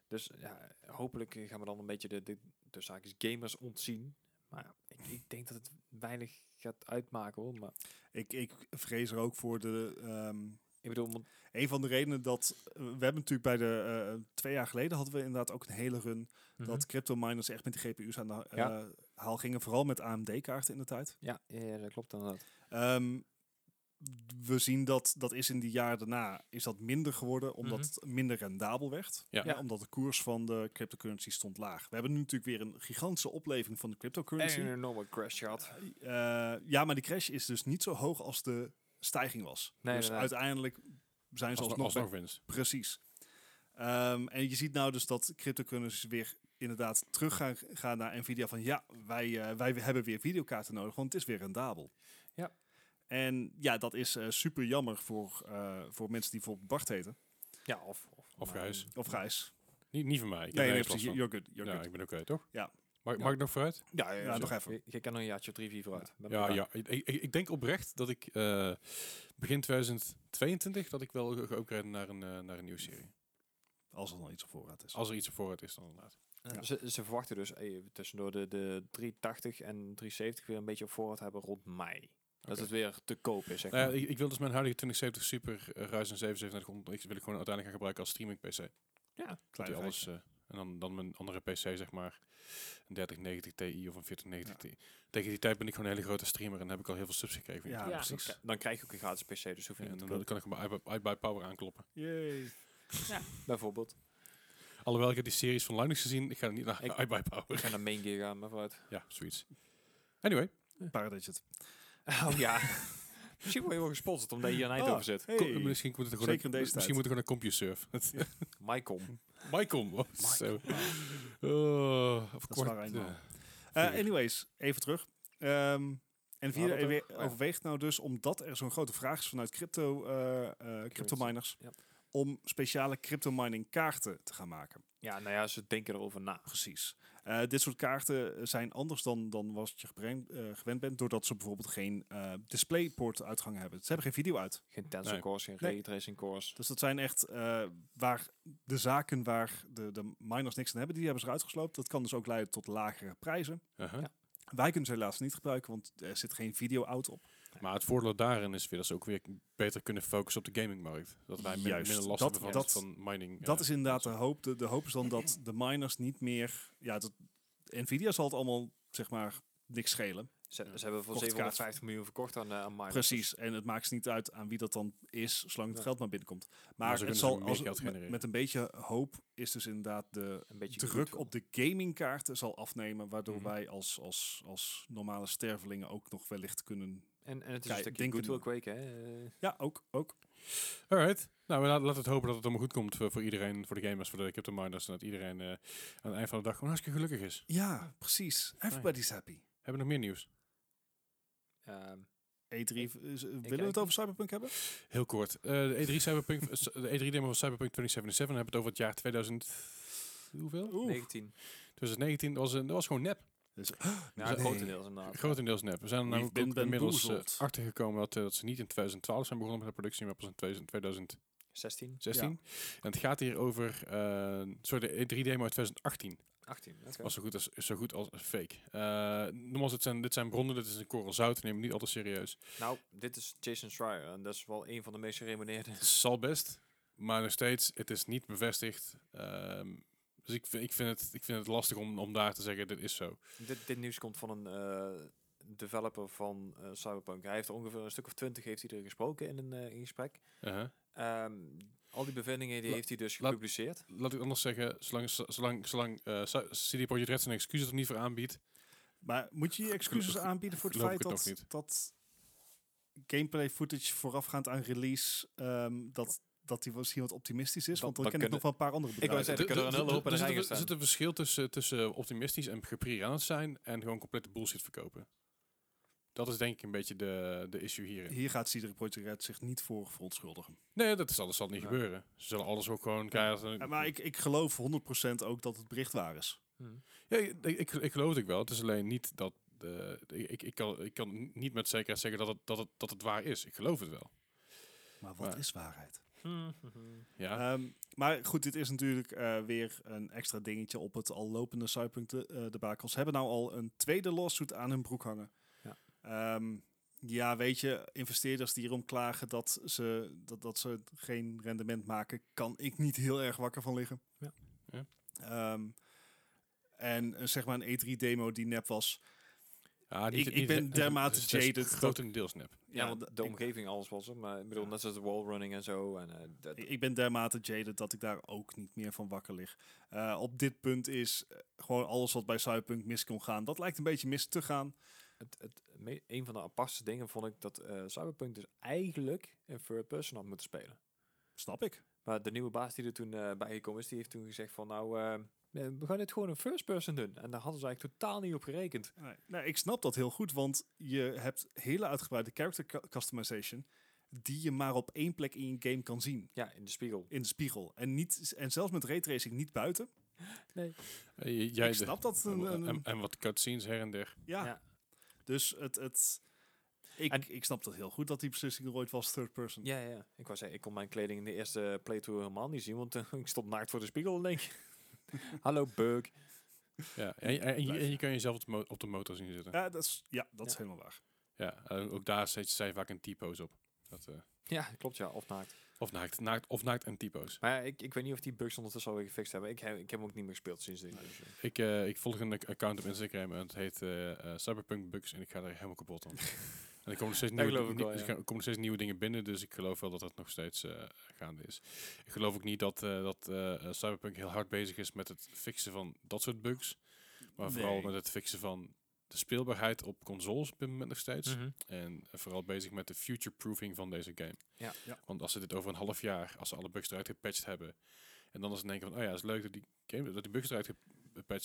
Dus ja, hopelijk eh, gaan we dan een beetje de, de, de zaakjes gamers ontzien. Maar ja, ik, ik denk dat het weinig gaat uitmaken hoor. Maar Ik, ik vrees er ook voor de... ehm, ik bedoel, want- een van de redenen dat... eh, We hebben natuurlijk bij de... eh, twee jaar geleden hadden we inderdaad ook een hele run... dat crypto miners echt met die GPU's aan de ha- Mhm. Ja. eh, haal gingen. Vooral met AMD-kaarten in de tijd. ja, ja, dat klopt inderdaad. Ehm, we zien dat dat is in die jaren daarna is dat minder geworden omdat Mhm. het minder rendabel werd. Ja. Hè, Omdat de koers van de cryptocurrency stond laag. We hebben nu natuurlijk weer een gigantische opleving van de cryptocurrency. En een enorme crash gehad. Eh, ja, maar die crash is dus niet zo hoog als de stijging was. Nee, dus inderdaad. uiteindelijk zijn ze Als, alsnog, als nog nog winst. precies. Ehm, en je ziet nou dus dat cryptocurrencies weer inderdaad terug gaan, gaan naar Nvidia van ja, wij, eh, wij hebben weer videokaarten nodig, want het is weer rendabel. Ja. En ja, dat is eh, super jammer voor, eh, voor mensen die bijvoorbeeld Bart heten. Ja, of... Of, Of maar- Gijs. Of Gijs. Niet, niet van mij. Ik heb Nee, er nee, niks precies. last van. You're good. You're Ja, good. ik ben oké, toch? Ja. Mag, Ja. mag ik nog vooruit? Ja, Ja, nog even. Je, je kan nog een jaartje of drie, vier vooruit. Ben Ja, ik ja. Ik, ik, ik denk oprecht dat ik eh, begin 2022 dat ik wel ge- geüpgrade naar een, eh, naar een nieuwe serie. Als er nog iets op voorraad is. Als er iets op vooruit is dan inderdaad. bij. Ja. Ze, ze verwachten dus eh, tussendoor de, de 380 en 370 weer een beetje op voorraad hebben rond mei. Dat Oké. het weer te koop is, zeg Nou maar. ja, ik, ik wil dus mijn huidige 2070 Super eh, Ryzen 7 3700 X wil ik gewoon uiteindelijk gaan gebruiken als streaming PC. Dat Klein die alles, feitje. eh, en dan, dan mijn andere PC zeg maar een 3090 Ti of een 4090 Ja. Ti. Tegen die tijd ben ik gewoon een hele grote streamer en heb ik al heel veel subs gekregen. Ja, Ja, precies. Dan, dan krijg je ook een gratis PC, dus hoef je en niet te dan kan ik hem bij iBuy- iBuy Power aankloppen. Yay. kopen. Bijvoorbeeld. Alhoewel ik heb die series van Linux gezien, ik ga niet naar Ik- iBuy We Power. gaan naar main gear gaan, maar vooruit. Ja, zoiets. Anyway, Paradigit. Oh ja. Misschien word je wel gesponsord omdat je hier een eind Ah, over zit. hey. kom- misschien moet het gewoon Zeker in deze misschien moet ik gewoon naar CompuServe. Mycom. Mycom. wat Zo. Eh, of Dat is kort, waar, eenmaal. eh, Eh, Vier. anyways, even terug. Ehm en Waar via hadden we het over? overweegt nou dus, omdat er zo'n grote vraag is vanuit crypto, eh, eh, crypto miners, Ja. om speciale crypto mining kaarten te gaan maken. Ja, nou ja, ze denken erover na. Precies. Eh, dit soort kaarten zijn anders dan, dan wat je gebreng- eh, gewend bent, doordat ze bijvoorbeeld geen eh, DisplayPort uitgang hebben. Ze hebben geen video uit. Geen tensor Nee. cores, geen Nee. raytracing cores. Dus dat zijn echt eh, waar de zaken waar de, de miners niks aan hebben, die hebben ze eruit gesloopt. Dat kan dus ook leiden tot lagere prijzen. aha. Ja. Wij kunnen ze helaas niet gebruiken, want er zit geen video-out op. Maar het voordeel daarin is weer dat ze ook weer beter kunnen focussen op de gamingmarkt. Dat wij min- Juist, minder last dat- hebben van, dat- van mining. Dat eh, is inderdaad de hoop. De, de hoop is dan dat de miners niet meer... Ja, dat, Nvidia zal het allemaal, zeg maar, niks schelen. Ze, Ja. ze hebben voor Kocht kaart. 750 miljoen verkocht aan, eh aan Microsoft. Precies. En het maakt ze niet uit aan wie dat dan is, zolang het Ja. geld maar binnenkomt. Maar Maar ze het kunnen zal, dus meer als, geld met, genereren. met een beetje hoop is dus inderdaad de Een beetje druk goed. op de gamingkaarten zal afnemen. Waardoor Mhm. wij als, als, als normale stervelingen ook nog wellicht kunnen... En, en het is Kijk, een stukje denk goodwill een- kweken, hè? eh. Ja, ook. ook. Alright. Nou, we la- laten we het hopen dat het allemaal goed komt voor, voor iedereen, voor de gamers, voor de crypto miners. En dat iedereen eh, aan het eind van de dag gewoon hartstikke gelukkig is. Ja, precies. Everybody's happy. Hebben we nog meer nieuws? Ehm, E3, E is- willen we kijk- het over Cyberpunk hebben? Heel kort. Eh, de E3 Cyberpunk, eh, de E3 demo van Cyberpunk 2077 hebben we het over het jaar 2000. Hoeveel? Oeh. 19. 2019 was, een, dat was gewoon nep. Dus, Ja, Nee. grotendeels inderdaad. Grotendeels nep. We zijn er We've namelijk been ook inmiddels eh, bamboozled. achtergekomen dat, eh, dat ze niet in 2012 zijn begonnen met de productie, maar pas in 2000- 2000 16, 16. En het gaat hier over, eh sorry, de E3-demo uit 2018. 18. Oké. Was zo goed als, zo goed als fake. Eh nogmaals, het zijn, dit zijn bronnen, dit is een korrel zout, neem het niet altijd serieus. Nou, dit is Jason Schreier. En dat is wel een van de meest geremuneerde. Het zal best, maar nog steeds, het is niet bevestigd. Ehm, dus ik, vind- ik, vind het, ik vind het lastig om, om daar te zeggen, dit is zo. dit, dit nieuws komt van een eh, developer van eh, Cyberpunk. Hij heeft er ongeveer een stuk of twintig heeft hij er gesproken in een eh, in gesprek. Uh-huh. Ehm, al die bevindingen die La- heeft hij dus laat- gepubliceerd. Laat ik anders zeggen, zolang, zolang, zolang eh, Sa- CD Projekt Red zijn excuses er niet voor aanbiedt, Maar moet je je excuses Geloof- aanbieden voor het geloof feit ik het nog dat, niet. dat gameplay footage voorafgaand aan release, ehm, dat, dat die misschien wat optimistisch is? Dat- want dan dat ken ik nog kunnen- wel een paar andere wou bedrijven. zeggen, er kunnen er een hele hoop in de rij zit, gaan een- staan. er zit een verschil tussen, tussen optimistisch en gepriaans zijn en gewoon complete bullshit verkopen. Dat is denk ik een beetje de, de issue hierin. Hier gaat Cedric Project Red zich niet voor verontschuldigen. Nee, dat, zal, dat zal niet Nee. gebeuren. Ze zullen alles ook gewoon keihard... Eh, Maar ik, ik geloof 100% ook dat het bericht waar is. Hm. Ja, ik, ik, ik geloof het ook wel. Het is alleen niet dat... eh, ik, ik, kan, ik kan niet met zekerheid zeggen dat het, dat, het, dat het waar is. Ik geloof het wel. Maar wat Maar- is waarheid? Ja. Ehm, maar goed, dit is natuurlijk eh, weer een extra dingetje op het al lopende Cyberpunk de, eh, debakels. Hebben nou al een tweede lawsuit aan hun broek hangen. Ja. Ja, ja weet je, investeerders die erom klagen dat ze, dat, dat ze geen rendement maken, kan ik niet heel erg wakker van liggen. Ja. Ja. Ehm, en eh, zeg maar een E3-demo die nep was. Ja, ik- ik ben het- dermate het is best jaded dat- dus Grotendeels nep. Ja, want want de ik- omgeving alles was er. Maar ik bedoel, net zoals de wallrunning en zo. En, eh, dat, Ik ik ben dermate jaded dat ik daar ook niet meer van wakker lig. Eh, op dit punt is eh, gewoon alles wat bij Cyberpunk mis kon gaan. Dat lijkt een beetje mis te gaan. het, het, me- een van de apartste dingen vond ik dat eh, Cyberpunk dus eigenlijk in third person had moeten spelen. Snap ik. Maar de nieuwe baas die er toen eh, bijgekomen is, die heeft toen gezegd van nou, eh, eh, we gaan dit gewoon in first person doen. En daar hadden ze eigenlijk totaal niet op gerekend. Nee. Nou, ik snap dat heel goed, want je hebt hele uitgebreide character cu- customization die je maar op één plek in je game kan zien. Ja, in de spiegel. In de spiegel. En, niet, en zelfs met raytracing niet buiten. Eh, jij ik de- snap dat. Een, een- en, en wat cutscenes her en der. ja. Ja. Dus het... het ik, En- ik snap dat heel goed dat die beslissing er ooit was third person. Ja, ja. Ik wou zeggen, ik kon mijn kleding in de eerste playthrough helemaal niet zien, want eh, ik stond naakt voor de spiegel, denk ik. Hallo, Bug. Ja. En, en, en je, Blijf. en je kan jezelf op de, mo- op de motor zien zitten. Ja, dat is, ja, dat is Ja. helemaal waar. Ja, eh, ook daar zet zij vaak een typo's op. Dat, eh, Ja, klopt ja, of naakt. of, naakt, naakt, of naakt en typo's. Maar ja, ik, ik weet niet of die bugs ondertussen alweer gefixt hebben. Ik, heb- ik heb hem ook niet meer gespeeld sindsdien. Dus, eh, Ik, eh, ik volg een ac- account op Instagram en het heet eh, eh, Cyberpunk Bugs en ik ga er helemaal kapot aan. en er komen nog steeds, nieuwe, geloof ik nie- wel, er ja. gaan- komen nog steeds nieuwe dingen binnen, dus ik geloof wel dat dat nog steeds eh, gaande is. Ik geloof ook niet dat, eh, dat eh, eh, Cyberpunk heel hard bezig is met het fixen van dat soort bugs. Maar vooral Nee. met het fixen van de speelbaarheid op consoles op dit moment nog steeds. Mhm. En vooral bezig met de future-proofing van deze game. Ja. Ja. Want als ze dit over een half jaar, als ze alle bugs eruit gepatcht hebben, en dan is het denken van, oh ja, het is leuk dat die, game, dat die bugs eruit gepatcht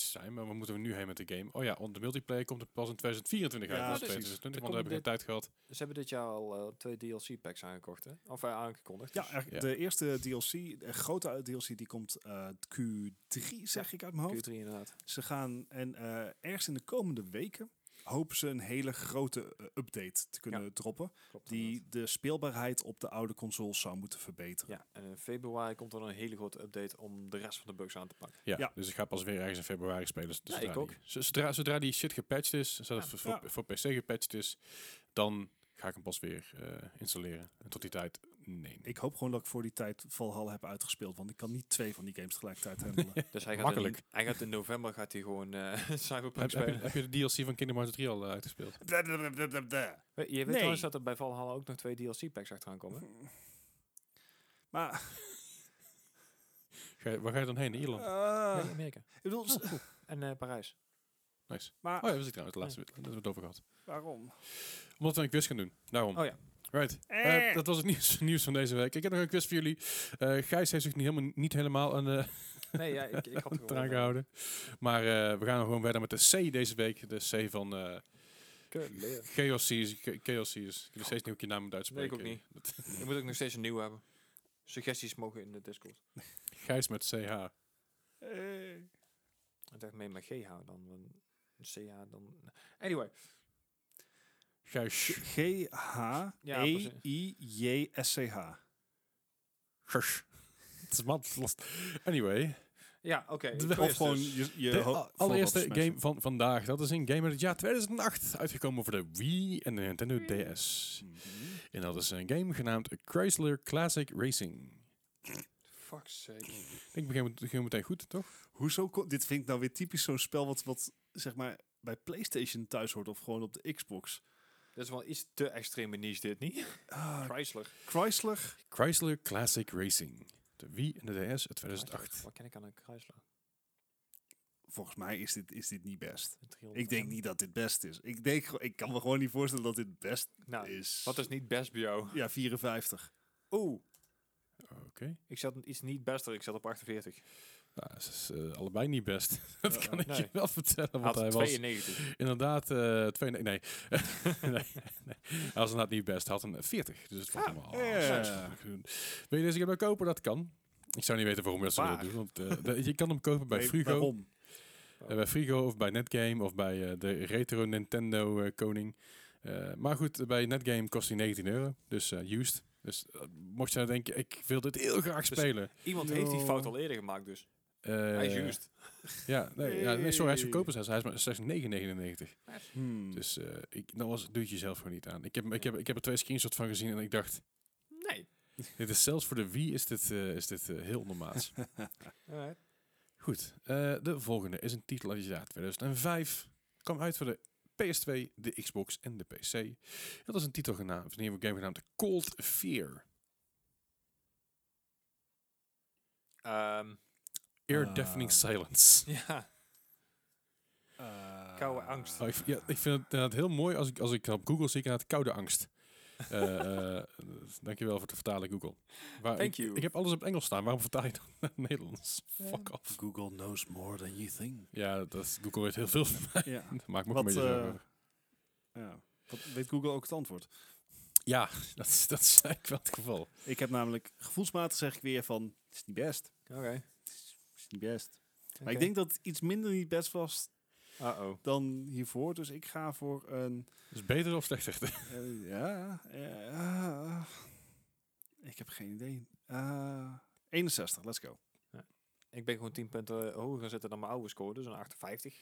zijn, maar waar moeten we nu heen met de game? Oh ja, want de multiplayer komt er pas in 2024 uit, Ja, ja, precies. 2020, Dan want we hebben geen komt tijd gehad. Ze hebben dit jaar al eh, twee DLC-packs aangekocht, hè? Of eh, aangekondigd. Ja, er- Ja. de eerste DLC, de grote DLC, die komt eh, Q3, zeg ik uit mijn hoofd. Q3 inderdaad. Ze gaan, en eh, ergens in de komende weken hopen ze een hele grote eh, update te kunnen droppen. Klopt, inderdaad. Die de speelbaarheid op de oude consoles zou moeten verbeteren. Ja, en in februari komt er dan een hele grote update om de rest van de bugs aan te pakken. Ja, Ja. dus ik ga pas weer ergens in februari spelen. Dus Ja, zodra ik ook. die- zo- zodra, zodra die shit gepatcht is, zodra het voor, voor- Ja. voor PC gepatcht is, dan ga ik hem pas weer eh, installeren. En tot die tijd, nee. Ik hoop gewoon dat ik voor die tijd Valhalla heb uitgespeeld. Want ik kan niet twee van die games tegelijkertijd handelen. Dus hij gaat Makkelijk. In, hij gaat in november gaat hij gewoon eh, Cyberpunk Heb, heb, je, spelen. heb je de DLC van Kingdom Hearts 3 al eh, uitgespeeld? Blablabla. We- Je weet Nee. trouwens dat er bij Valhalla ook nog twee DLC-packs achteraan komen. maar, Ga je- waar ga je dan heen? Naar Ierland? eh, Nee, Amerika. ik bedoel, s- En eh, Parijs. Nice. maar Oh ja, dat is trouwens de laatste. Dat hebben we het over gehad. waarom? Omdat we een quiz gaan doen. Daarom. Oh ja. Right. Eh. Eh, dat was het nieuws, nieuws van deze week. Ik heb nog een quiz voor jullie. Eh, Gijs heeft zich niet helemaal, niet helemaal aan de Nee, ja, ik, ik had er traan gehouden. Maar eh, we gaan gewoon verder met de C deze week. De C van eh Kut, Chaos Seas. Ke- Chaos Seas. Ik weet nog steeds niet hoe ik je naam moet Nee, ik uitspreken. ook niet. Ik moet ook nog steeds een nieuw hebben. Suggesties mogen in de Discord. Gijs met CH. Eh, Ik dacht mee met GH dan. want CH dan. Anyway. Gijs. E G-H-E-I-J-S-C-H. Kers. Het is maandlast. Anyway, Ja, oké. De- ik Of wist gewoon dus. je, je de ho- a- voorbeeld allereerste smashen. game van vandaag. Dat is een game uit het jaar 2008. Uitgekomen voor de Wii en de Nintendo DS. Mhm. En dat is een game genaamd Chrysler Classic Racing. Fuck's sake. Ik begin met- begin meteen goed, toch? Hoezo? kon- Dit vind ik nou weer typisch zo'n spel wat, wat zeg maar bij PlayStation thuis hoort of gewoon op de Xbox. Dat is wel iets te extreme niche dit, niet? Ah, Chrysler. Chrysler. Chrysler Classic Racing. De Wii en de DS uit 2008. Wat ken ik aan een Chrysler? Volgens mij is dit, is dit niet best. Een 300 Ik denk M. niet dat dit best is. Ik, denk, gewoon- ik kan me gewoon niet voorstellen dat dit best Nou, is. wat is niet best bij jou? Ja, 54. Oeh, Oké. ik zat iets niet bester. Ik zat op 48. Nou, ze is eh, allebei niet best. dat Eh, kan ik je nee. wel vertellen. Had Want hij was 92. inderdaad... eh twee, nee, nee. nee, nee. Hij was inderdaad niet best. Hij had een 40. Dus het valt hem al. ja. Wil je deze game nou kopen? Dat kan. Ik zou niet weten waarom je dat zou Waar? doen. Want, eh, de- je kan hem kopen bij Nee, Frigo. Waarom? Eh, bij Frigo of bij Netgame of bij eh, de retro Nintendo eh, koning. Eh, maar goed, eh, bij Netgame kost hij 19 euro. Dus eh, used. Dus eh, mocht je nou denken, ik wil dit heel graag Dus- spelen. Iemand heeft die Yo. fout al eerder gemaakt, dus. Eh, Hij is used. Ja, nee, ja, nee, sorry, hij is Hey. goedkoper zelfs. Hij is maar slechts 9,99. Hmm. Dus eh ik, dat was, doe het jezelf gewoon niet aan. Ik heb, ik, heb, ik heb er twee screenshots van gezien en ik dacht... Nee. Dit is zelfs voor de Wii is dit, eh, is dit eh, heel ondermaats. Alright. Goed, eh, de volgende is een titel uit het jaar 2005. Kwam uit voor de PS2, de Xbox en de PC. Dat is een titel genaamd, een nieuwe game genaamd Cold Fear. Ehm, Air Ah. Deafening Silence. ja, Eh, Koude angst. Oh, ik, vind- ja, ik vind het inderdaad heel mooi als ik, als ik op Google zie, ik inderdaad koude angst. Eh, eh, dankjewel voor het vertalen, Google. Waar Thank ik, you. ik heb alles op het Engels staan, waarom vertaal je dan naar het Nederlands? Fuck off. Google knows more than you think. Ja, dat is, Google weet heel veel van mij. ja. Dat maakt me ook Wat, een beetje eh, zorgen over. ja. Wat, weet Google ook het antwoord? Ja, dat is, dat is eigenlijk wel het geval. Ik heb namelijk gevoelsmatig zeg ik weer van, het is niet best. oké. Het is niet best. Maar oké. ik denk dat het iets minder niet best was Uh-oh. dan hiervoor. Dus ik ga voor een... Dus beter of slechter? eh, ja... eh, ik heb geen idee. Eh, 61, let's go. Ik ben gewoon 10 punten hoger gaan zitten dan mijn oude score, dus een 58.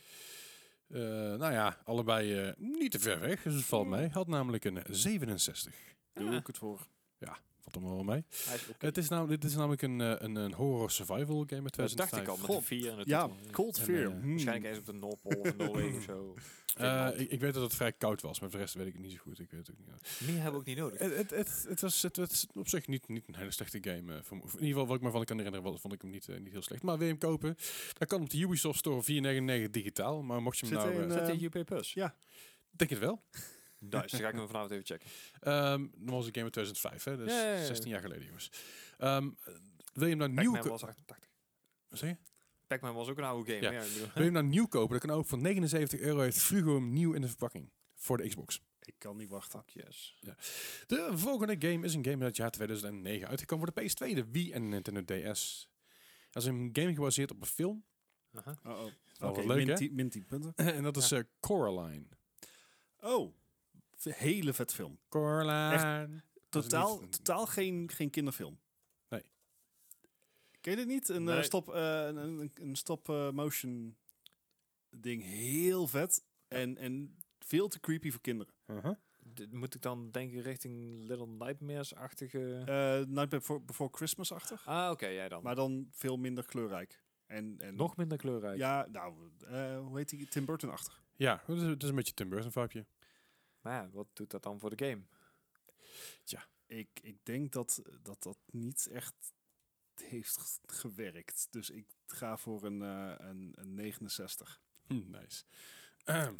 Eh, nou ja, allebei eh, niet te ver weg, dus het valt mee. Had namelijk een 67. Doe Ah. ik het voor. Valt allemaal wel mee. Hij is oké. Het is namelijk, dit is namelijk een, eh, een, een horror survival game uit Dat 2005. dacht ik al, met een Goh. 4 en het Ja, Cold En, Fear. eh, hmm. Waarschijnlijk eens op de Noordpool of in Noorwegen of zo. Eh, ik, ik weet dat het vrij koud was, maar voor de rest weet ik het niet zo goed. Ik weet het ook niet. Meer hebben we ook niet nodig. Het, het, het, het was het, was op zich niet, niet een hele slechte game. eh, voor me. Of in ieder geval, wat ik me van kan herinneren, was, vond ik hem niet, eh, niet heel slecht. Maar wil je hem kopen? Dat kan op de Ubisoft Store 4,99 digitaal. Maar mocht je hem Zit nou... er een, eh, Zet ehm, die UP Plus? ja. denk het wel. Nice, dan ga ik hem vanavond even checken. Ehm dat was een game uit 2005, hè? Dus Ja, ja, ja. 16 jaar geleden, jongens. Ehm, wil je hem nou nieuw... Pac-Man ko- was 88. Wat zeg je? Pac-Man was ook een oude game. Ja. maar Ja. ik bedoel- Wil je hem nou nieuw kopen? Dat kan ook voor 79 euro. Heeft Frugo hem nieuw in de verpakking. Voor de Xbox. Ik kan niet wachten. Fuck yes. De volgende game is een game uit het jaar 2009. Uitgekomen voor de PS2, de Wii en Nintendo DS. Dat is een game gebaseerd op een film. Aha. Oh, oh. Oké, wel leuk, min, hè? 10 min 10 punten. en dat is eh, Coraline. Oh, v- hele vet film. Coraline. Dat is Totaal, niet- totaal geen, geen kinderfilm. Nee. Ken je dit niet? Een eh, Nee. stop, eh, een, een, een stop eh, motion ding. Heel vet. En, en veel te creepy voor kinderen. Uh-huh. Dit moet ik dan denken richting Little Nightmares-achtige... Eh Night Before, Before Christmas-achtig. ah, oké, jij Oh. dan. Maar dan veel minder kleurrijk. En, en Nog minder kleurrijk. Ja, nou, eh, hoe heet die? Tim Burton-achtig. Ja, het is, het is een beetje Tim Burton vibeje. Maar ja, wat doet dat dan voor de game? Ik, ik denk dat, dat dat niet echt heeft g- gewerkt. Dus ik ga voor een, eh, een, een 69. Hm, nice. Ehm,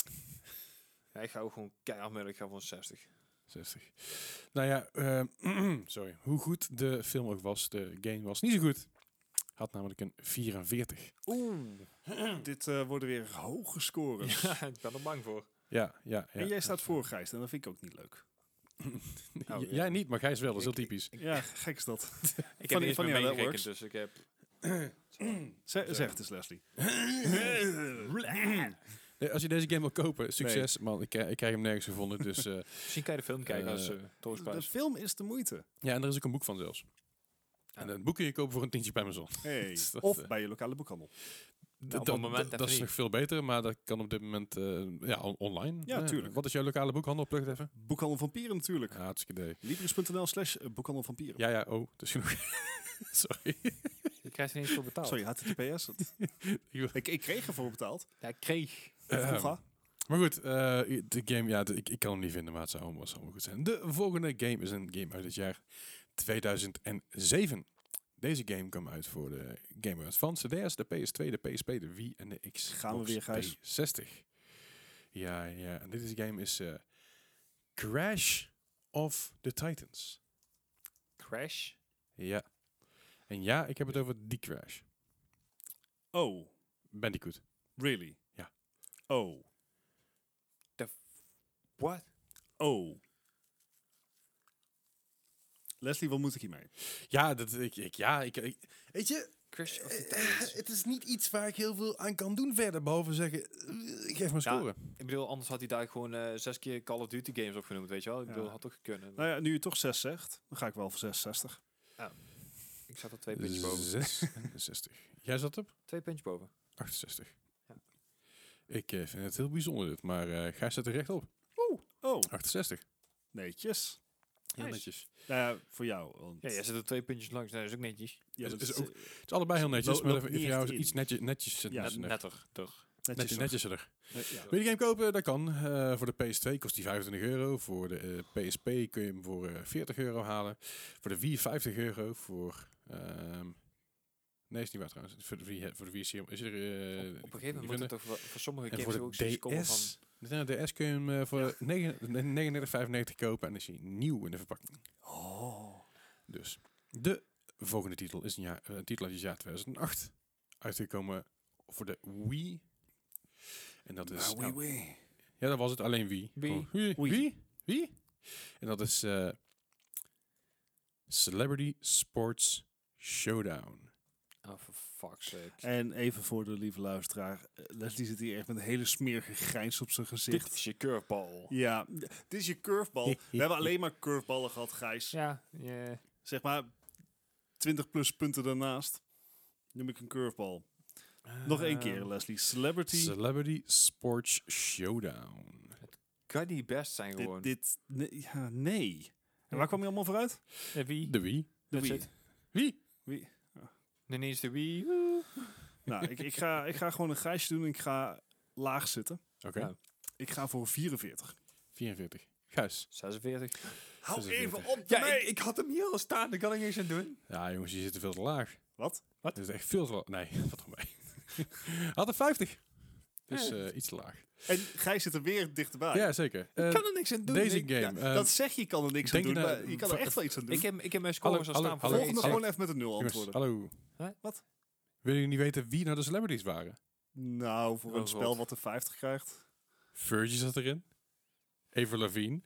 Ja, ik ga ook gewoon keihard meer. Ik ga voor een 60. 60. Nou ja, ehm, sorry. Hoe goed de film ook was, de game was niet zo goed. Had namelijk een 44. Oeh. Hmm. Dit eh, worden weer hoge scores. Ja, ik ben er bang voor. Ja, ja, ja. En jij staat voor Gijs en dat vind ik ook niet leuk. J- Oh, ja. Jij niet, maar Gijs wel. Dat is heel Ik- ik- typisch. Ja, gek is dat. Ik Funny- heb niet funny meer how that works. meegerekend, dus ik heb... Zeg, zeg het eens, dus Leslie. Nee, als je deze game wil kopen, succes. Man, ik, krijg- ik krijg hem nergens gevonden. Dus, eh, Misschien kan je de film kijken als Eh, uh, Toy De film is de moeite. ja, en er is ook een boek van zelfs. En een boek kun je kopen voor een tientje bij Amazon. Hey. Dus dat, Of eh, bij je lokale boekhandel. Nou, op dat, het moment dat, even is niet. nog veel beter, maar dat kan op dit moment eh, ja, on- online. Eh, Ja, tuurlijk. Wat is jouw lokale boekhandel? Plug het even. Boekhandel Vampieren natuurlijk. Ja, hartstikke idee. Libris.nl slash eh, boekhandel Vampieren. Ja, ja, oh, dat is genoeg. Sorry. Je krijgt er niet eens voor betaald. Sorry, HTTPS. Dat- ik, ik kreeg ervoor betaald. Ja, ik kreeg. Vroeger. Ehm, maar goed, eh, de game, ja, de- ik, ik kan hem niet vinden, maar het zou allemaal, zou allemaal goed zijn. De volgende game is een game uit het jaar 2007. Deze game kwam uit voor de Game Boy Advance, de DS, de PS2, de PSP, de Wii en de Xbox Gaan we weer, Gijs. 60. Ja, ja, en dit is game is eh, Crash of the Titans. Crash. Ja. En ja, ik heb het over die Crash. Oh, Bandicoot. really? Ja. Oh, What? oh. Leslie, wat moet ik hiermee? Ja, dat, ik, ik, ja ik, ik- weet je, Crash of the eh, Titans. het is niet iets waar ik heel veel aan kan doen verder, behalve zeggen, eh, ik geef maar Ja. scoren. Ik bedoel, anders had hij daar gewoon eh, zes keer Call of Duty games op genoemd, weet je wel? Ik Ja. bedoel, had ook kunnen. Nou ja, nu je toch 6 zegt, dan ga ik wel voor 66. Ik zat er twee puntjes boven. 66. Jij zat op? Twee puntjes boven. 68. Ja. Ik eh, vind het heel bijzonder dit, maar eh Gijs zit er recht op. Oh, 68. netjes. Heel Nice. netjes. Nou ja, voor jou. Want Ja, jij zit er twee puntjes langs. Nou, dat is ook netjes. Ja, is- dat is is, ook eh, Het is allebei heel Lo- netjes, maar loopt voor niet jou is echt in. iets netje, netjes. Ja, netjes, Net- netter, toch? netjes. netjes, nog. netjes er. Net- ja. Wil je de game kopen? Dat kan. Eh, voor de PS2 kost die 25 euro. Voor de eh, PSP kun je hem voor eh, 40 euro halen. Voor de Wii 50 euro. Voor... ehm, nee, is niet waar trouwens. Voor de Wii, he- voor de Wii is, hij- is er... eh, Op, op een gegeven ik kan moment niet moet vinden. het toch wel- voor sommige En games voor ook zoiets de komen DS... van... De DS kun je hem eh, voor 39,95 kopen. En is hij nieuw in de verpakking. Oh, Dus de volgende titel is een, jaar, eh, een titel uit het jaar 2008. Uitgekomen voor de Wii. En dat is... nou, wee, wee. Ja, dat was het. Alleen wie. Wie? Gewoon, Wie? Wie. Wie? Wie? En dat is eh, Celebrity Sports Showdown. Oh, for fuck's sake. En even voor de lieve luisteraar. eh, Leslie zit hier echt met een hele smerige grijns op zijn gezicht. Dit is je curveball. Ja, d- dit is je curvebal. We hebben alleen maar curveballen gehad, Gijs. Ja, ja. Zeg maar 20 plus punten daarnaast. Noem ik een curvebal. Nog één Ah. keer, Leslie. Celebrity. Celebrity Sports Showdown. Kan die best zijn gewoon? Dit, dit, nee, ja, nee. En waar kwam je allemaal vooruit? Eh, wie? De wie? De That's Wii. it. Wie? Nee, nee, is de wie. Nou, ik, ik, ga, ik ga gewoon een grijsje doen. Ik ga laag zitten. Oké. Ja. Ik ga voor 44. 44. Gijs. 46. Hou 46. even op Ja, mij. ik, ik had hem hier al staan. Daar kan ik niks aan doen. Ja, jongens, je zit veel te laag. Wat? Wat? Dit is echt veel te laag. Nee, wat dan mee. Had een 50. Dus Ja. Ah, eh, iets te laag. En Gijs zit er weer dichterbij. Ja, zeker. Eh, Ik kan er niks aan doen. deze Ik- game. Ja, eh, dat zeg je, je kan er niks aan denk je doen, nou- maar je kan er echt wel iets aan doen. Ik heb, ik heb mijn Hallo, scores al hallo, staan voor hallo. de Volgende eerste. gewoon even met een nul jongens, antwoorden. hallo. Hè? Wat? Willen jullie niet weten wie nou de celebrities waren? Nou, voor Oh, een spel God. wat de 50 krijgt. Virgil zat erin. Ava Lavigne.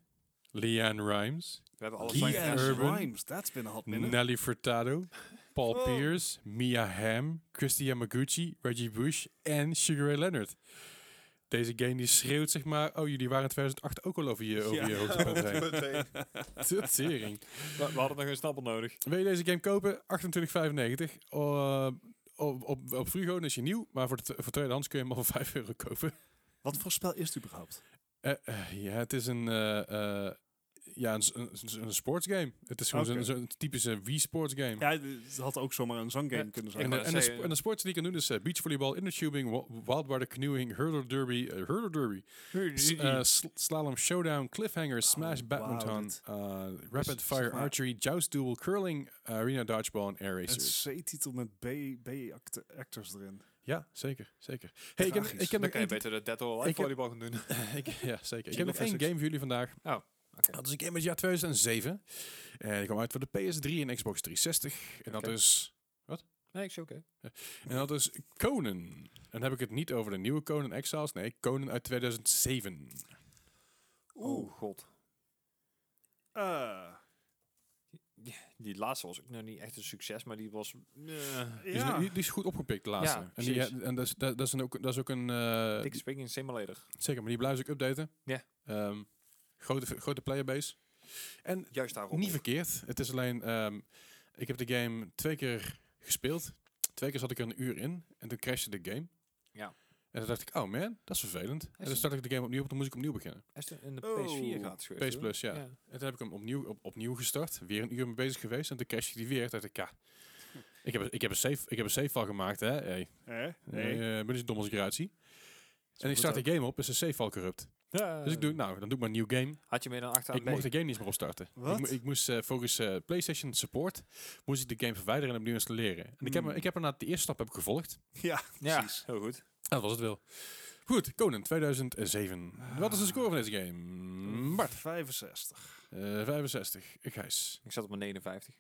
Leanne Rimes. We hebben alles Keith maar Keith Urban. gedaan. Rhymes, that's been a hot minute. Nelly Furtado. Paul Oh. Pierce. Mia Hamm. Christy Yamaguchi. Reggie Bush. En Sugar Ray Leonard. Deze game die schreeuwt zeg maar... Oh, jullie waren in 2008 ook al over je, over je hoogtepunt heen. Tut Tering. We, we hadden nog een snappel nodig. Wil je deze game kopen? 28,95. Uh, op, op, op Frugo is je nieuw. Maar voor, de, voor tweedehands kun je hem al voor 5 euro kopen. Wat voor spel is het überhaupt? Eh, eh, ja, het is een, eh, eh, ja, een, s- een, s- een sportsgame. Het is gewoon Oké. zo'n- zo'n typische Wii sports game. Ja, het had ook zomaar een zanggame Ja, kunnen ik zijn. En, wou de, net en, de zeggen. sp- en de sports die je kan doen is eh, beachvolleybal, innertubing, wa- wildwater canoeing, hurdle derby, eh, hurdle derby, s- eh, sl- slalom showdown, cliffhanger, smash wauw, badminton, dit- eh, zeg rapid fire maar- archery, joust duel, curling, eh, arena dodgeball en air Een racer. C-titel met B-actors erin. Ja, zeker, zeker. Hey, ik heb, Tragisch. ik heb Dan nog kan je één beter de Dead or Alive ik heb- volleybal gaan doen. ik, ja, zeker. Ik Jingle heb nog één physics. game voor jullie vandaag. Oh, oké. Dat is een game uit het jaar 2007. En die kwam uit voor de PS3 en Xbox 360. En dat Oké. is... Nee, ik zie oké. En dat is Conan. En dan heb ik het niet over de nieuwe Conan Exiles. Nee, Conan uit 2007. Oh, god. Eh, Die laatste was ook nog niet echt een succes, maar die was... eh, Die, is, ja. die, die is goed opgepikt, de laatste. en die, precies. en dat, is, dat, dat is een ook, dat is ook een... eh, Dick die- Swinging Simulator. zeker, maar die blijven ze ook updaten. Ja. Ehm, grote, grote playerbase. En Juist daarop. niet verkeerd. Het is alleen... ehm, Ik heb de game twee keer gespeeld. Twee keer zat ik er een uur in en toen crashte de game. Ja. En toen dacht ik, oh man, dat is vervelend. En het- toen startte ik de game opnieuw op, dan moest ik opnieuw beginnen. Hij is er in de Oh, PS4 gaat het PS Plus, ja. En toen heb ik hem opnieuw, op, opnieuw gestart. Weer een uur mee bezig geweest. En toen crashte die weer. Toen dacht ik, ja, ik heb, ik heb een safe, ik heb een safe file gemaakt, hè. Hey, Hè? nee. Nee. ben je zo dom als ik eruit zie. En ik goed start ook. de game op, is de safe file corrupt. Dus ik doe, nou, dan doe ik maar een nieuw game. Eh, Had je meer dan achteraan Ik mocht de game niet eens meer opstarten. Wat? Ik, mo- ik moest eh, volgens eh, PlayStation Support moest ik de game verwijderen en opnieuw installeren. En ik heb, Hmm. me- ik heb er na de eerste stap heb ik gevolgd. Ja, Ja, precies. heel goed. En dat was het wel. Goed, Conan 2007. Wat is de score van deze game? Bart. 65. Eh, 65. Ik Gijs. Ik zat op mijn 59.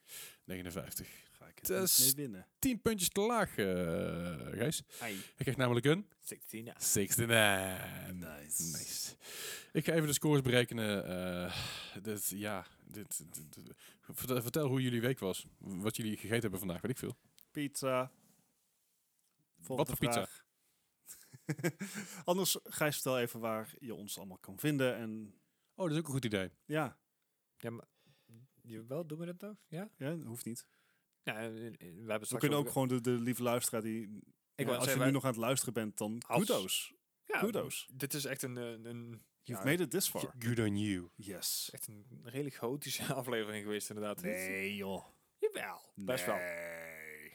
59. Ga ik het Dus- niet mee winnen. 10 puntjes te laag, eh Gijs. Ai, Ik krijg namelijk een 16 ja. 69. Nice. Nice. Ik ga even de scores berekenen. eh, dit, ja, dit, dit- dit- vertel, vertel hoe jullie week was. Wat jullie gegeten hebben vandaag, weet ik veel. Pizza. Volgende voor pizza? vraag. Anders, Gijs, vertel even waar je ons allemaal kan vinden. En Oh, dat is ook een goed idee. ja, ja maar, jawel, doen we dat toch? Ja? ja hoeft niet. ja eh, eh, we hebben straks We kunnen ook over- gewoon de, de lieve luisteraar die... Ik ja, wou als je zeggen, nu wij- nog aan het luisteren bent, dan Als- kudos. ja, kudos. Dit is echt een, eh, een, een, You've ja, made it this far. Good on you. Yes. echt een redelijk gotische aflevering geweest inderdaad. Nee, joh. Jawel, best wel. Nee.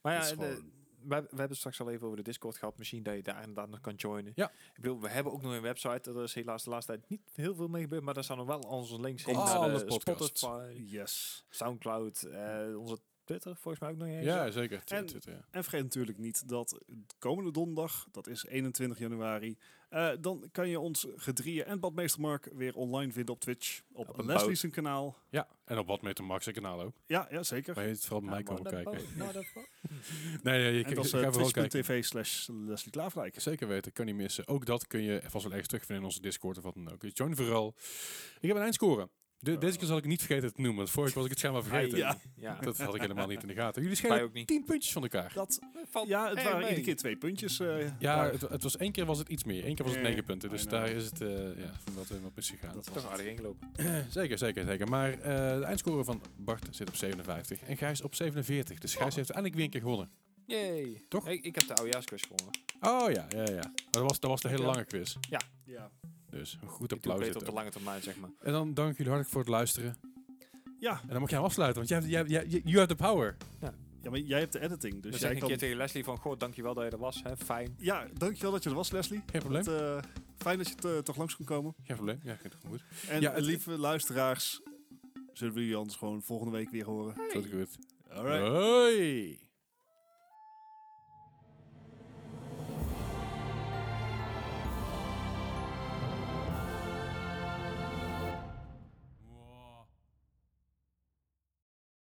Maar Dat ja, is de- gewoon- we, heb- we hebben het straks al even over de Discord gehad. Misschien dat je daar inderdaad nog kan joinen. Ja. Ik bedoel, we hebben ook nog een website. Er is helaas de laatste tijd niet heel veel mee gebeurd. Maar daar staan nog wel onze links in. Komt naar alle de podcasts. Spotify, Yes. Soundcloud, eh, onze Twitter volgens mij ook nog eens. Ja, zeker. Tw- En- Twitter, ja. En vergeet natuurlijk niet dat komende donderdag, dat is 21 januari, eh, dan kan je ons gedrieën en Badmeester Mark weer online vinden op Twitch. Op, Op een Leslie's zijn kanaal. ja, en op wat meter Max zijn kanaal ook. Ja, ja zeker. Maar je het vooral bij mij komen kijken. Nou, dat wel. Nee, nee, je en kan dat is ga eh, vooral kijken. twitch.tv slash Leslie Klaverlijk. Zeker weten, kan niet missen. Ook dat kun je vast wel ergens terugvinden in onze Discord of wat dan ook. Dus join vooral. Ik heb een eindscore. De, Oh. Ah, Deze keer zal ik niet vergeten te noemen, want vorige keer was ik het schijnbaar vergeten. Ja. Ja, Dat had ik helemaal niet in de gaten. Jullie wij schelen ook niet. 10 puntjes van elkaar. Dat, Valt ja, het erg waren mee. iedere keer twee puntjes. eh, Ja, daar. het, het was één keer was het iets meer. Eén keer was het Eh, 9 punten. Dus I know. daar is het eh ja, van wat helemaal misgegaan. dat was Toch het. aardig ingelopen. Eh, Zeker, zeker, zeker. Maar eh, de eindscore van Bart zit op 57 en Gijs op 47. Dus Oh. Gijs heeft eindelijk weer een keer gewonnen. Yay. Toch? Ik, ik heb de oudejaarsquiz gewonnen. Oh ja, ja, ja. Maar dat was, dat was de hele Ja. lange quiz. Ja. Dus een goed Ik doe applaus. beter Dus dit op de ook. lange termijn, zeg maar. En dan dank jullie hartelijk voor het luisteren. Ja. En dan mag jij hem afsluiten, want jij, hebt- jij, jij, you have the power. ja, maar jij hebt de editing. Dus Dus jij zeg ik een kan... keer tegen Leslie van, goh, dankjewel dat je er was. Hè, fijn. Ja, dankjewel dat je er was, Leslie. Geen probleem. Het, eh, fijn dat je eh, toch langs kon komen. Geen probleem. Ja, goed. goed. En Ja, het- lieve luisteraars, zullen we jullie anders gewoon volgende week weer horen? Tot goed. Alright. Hoi.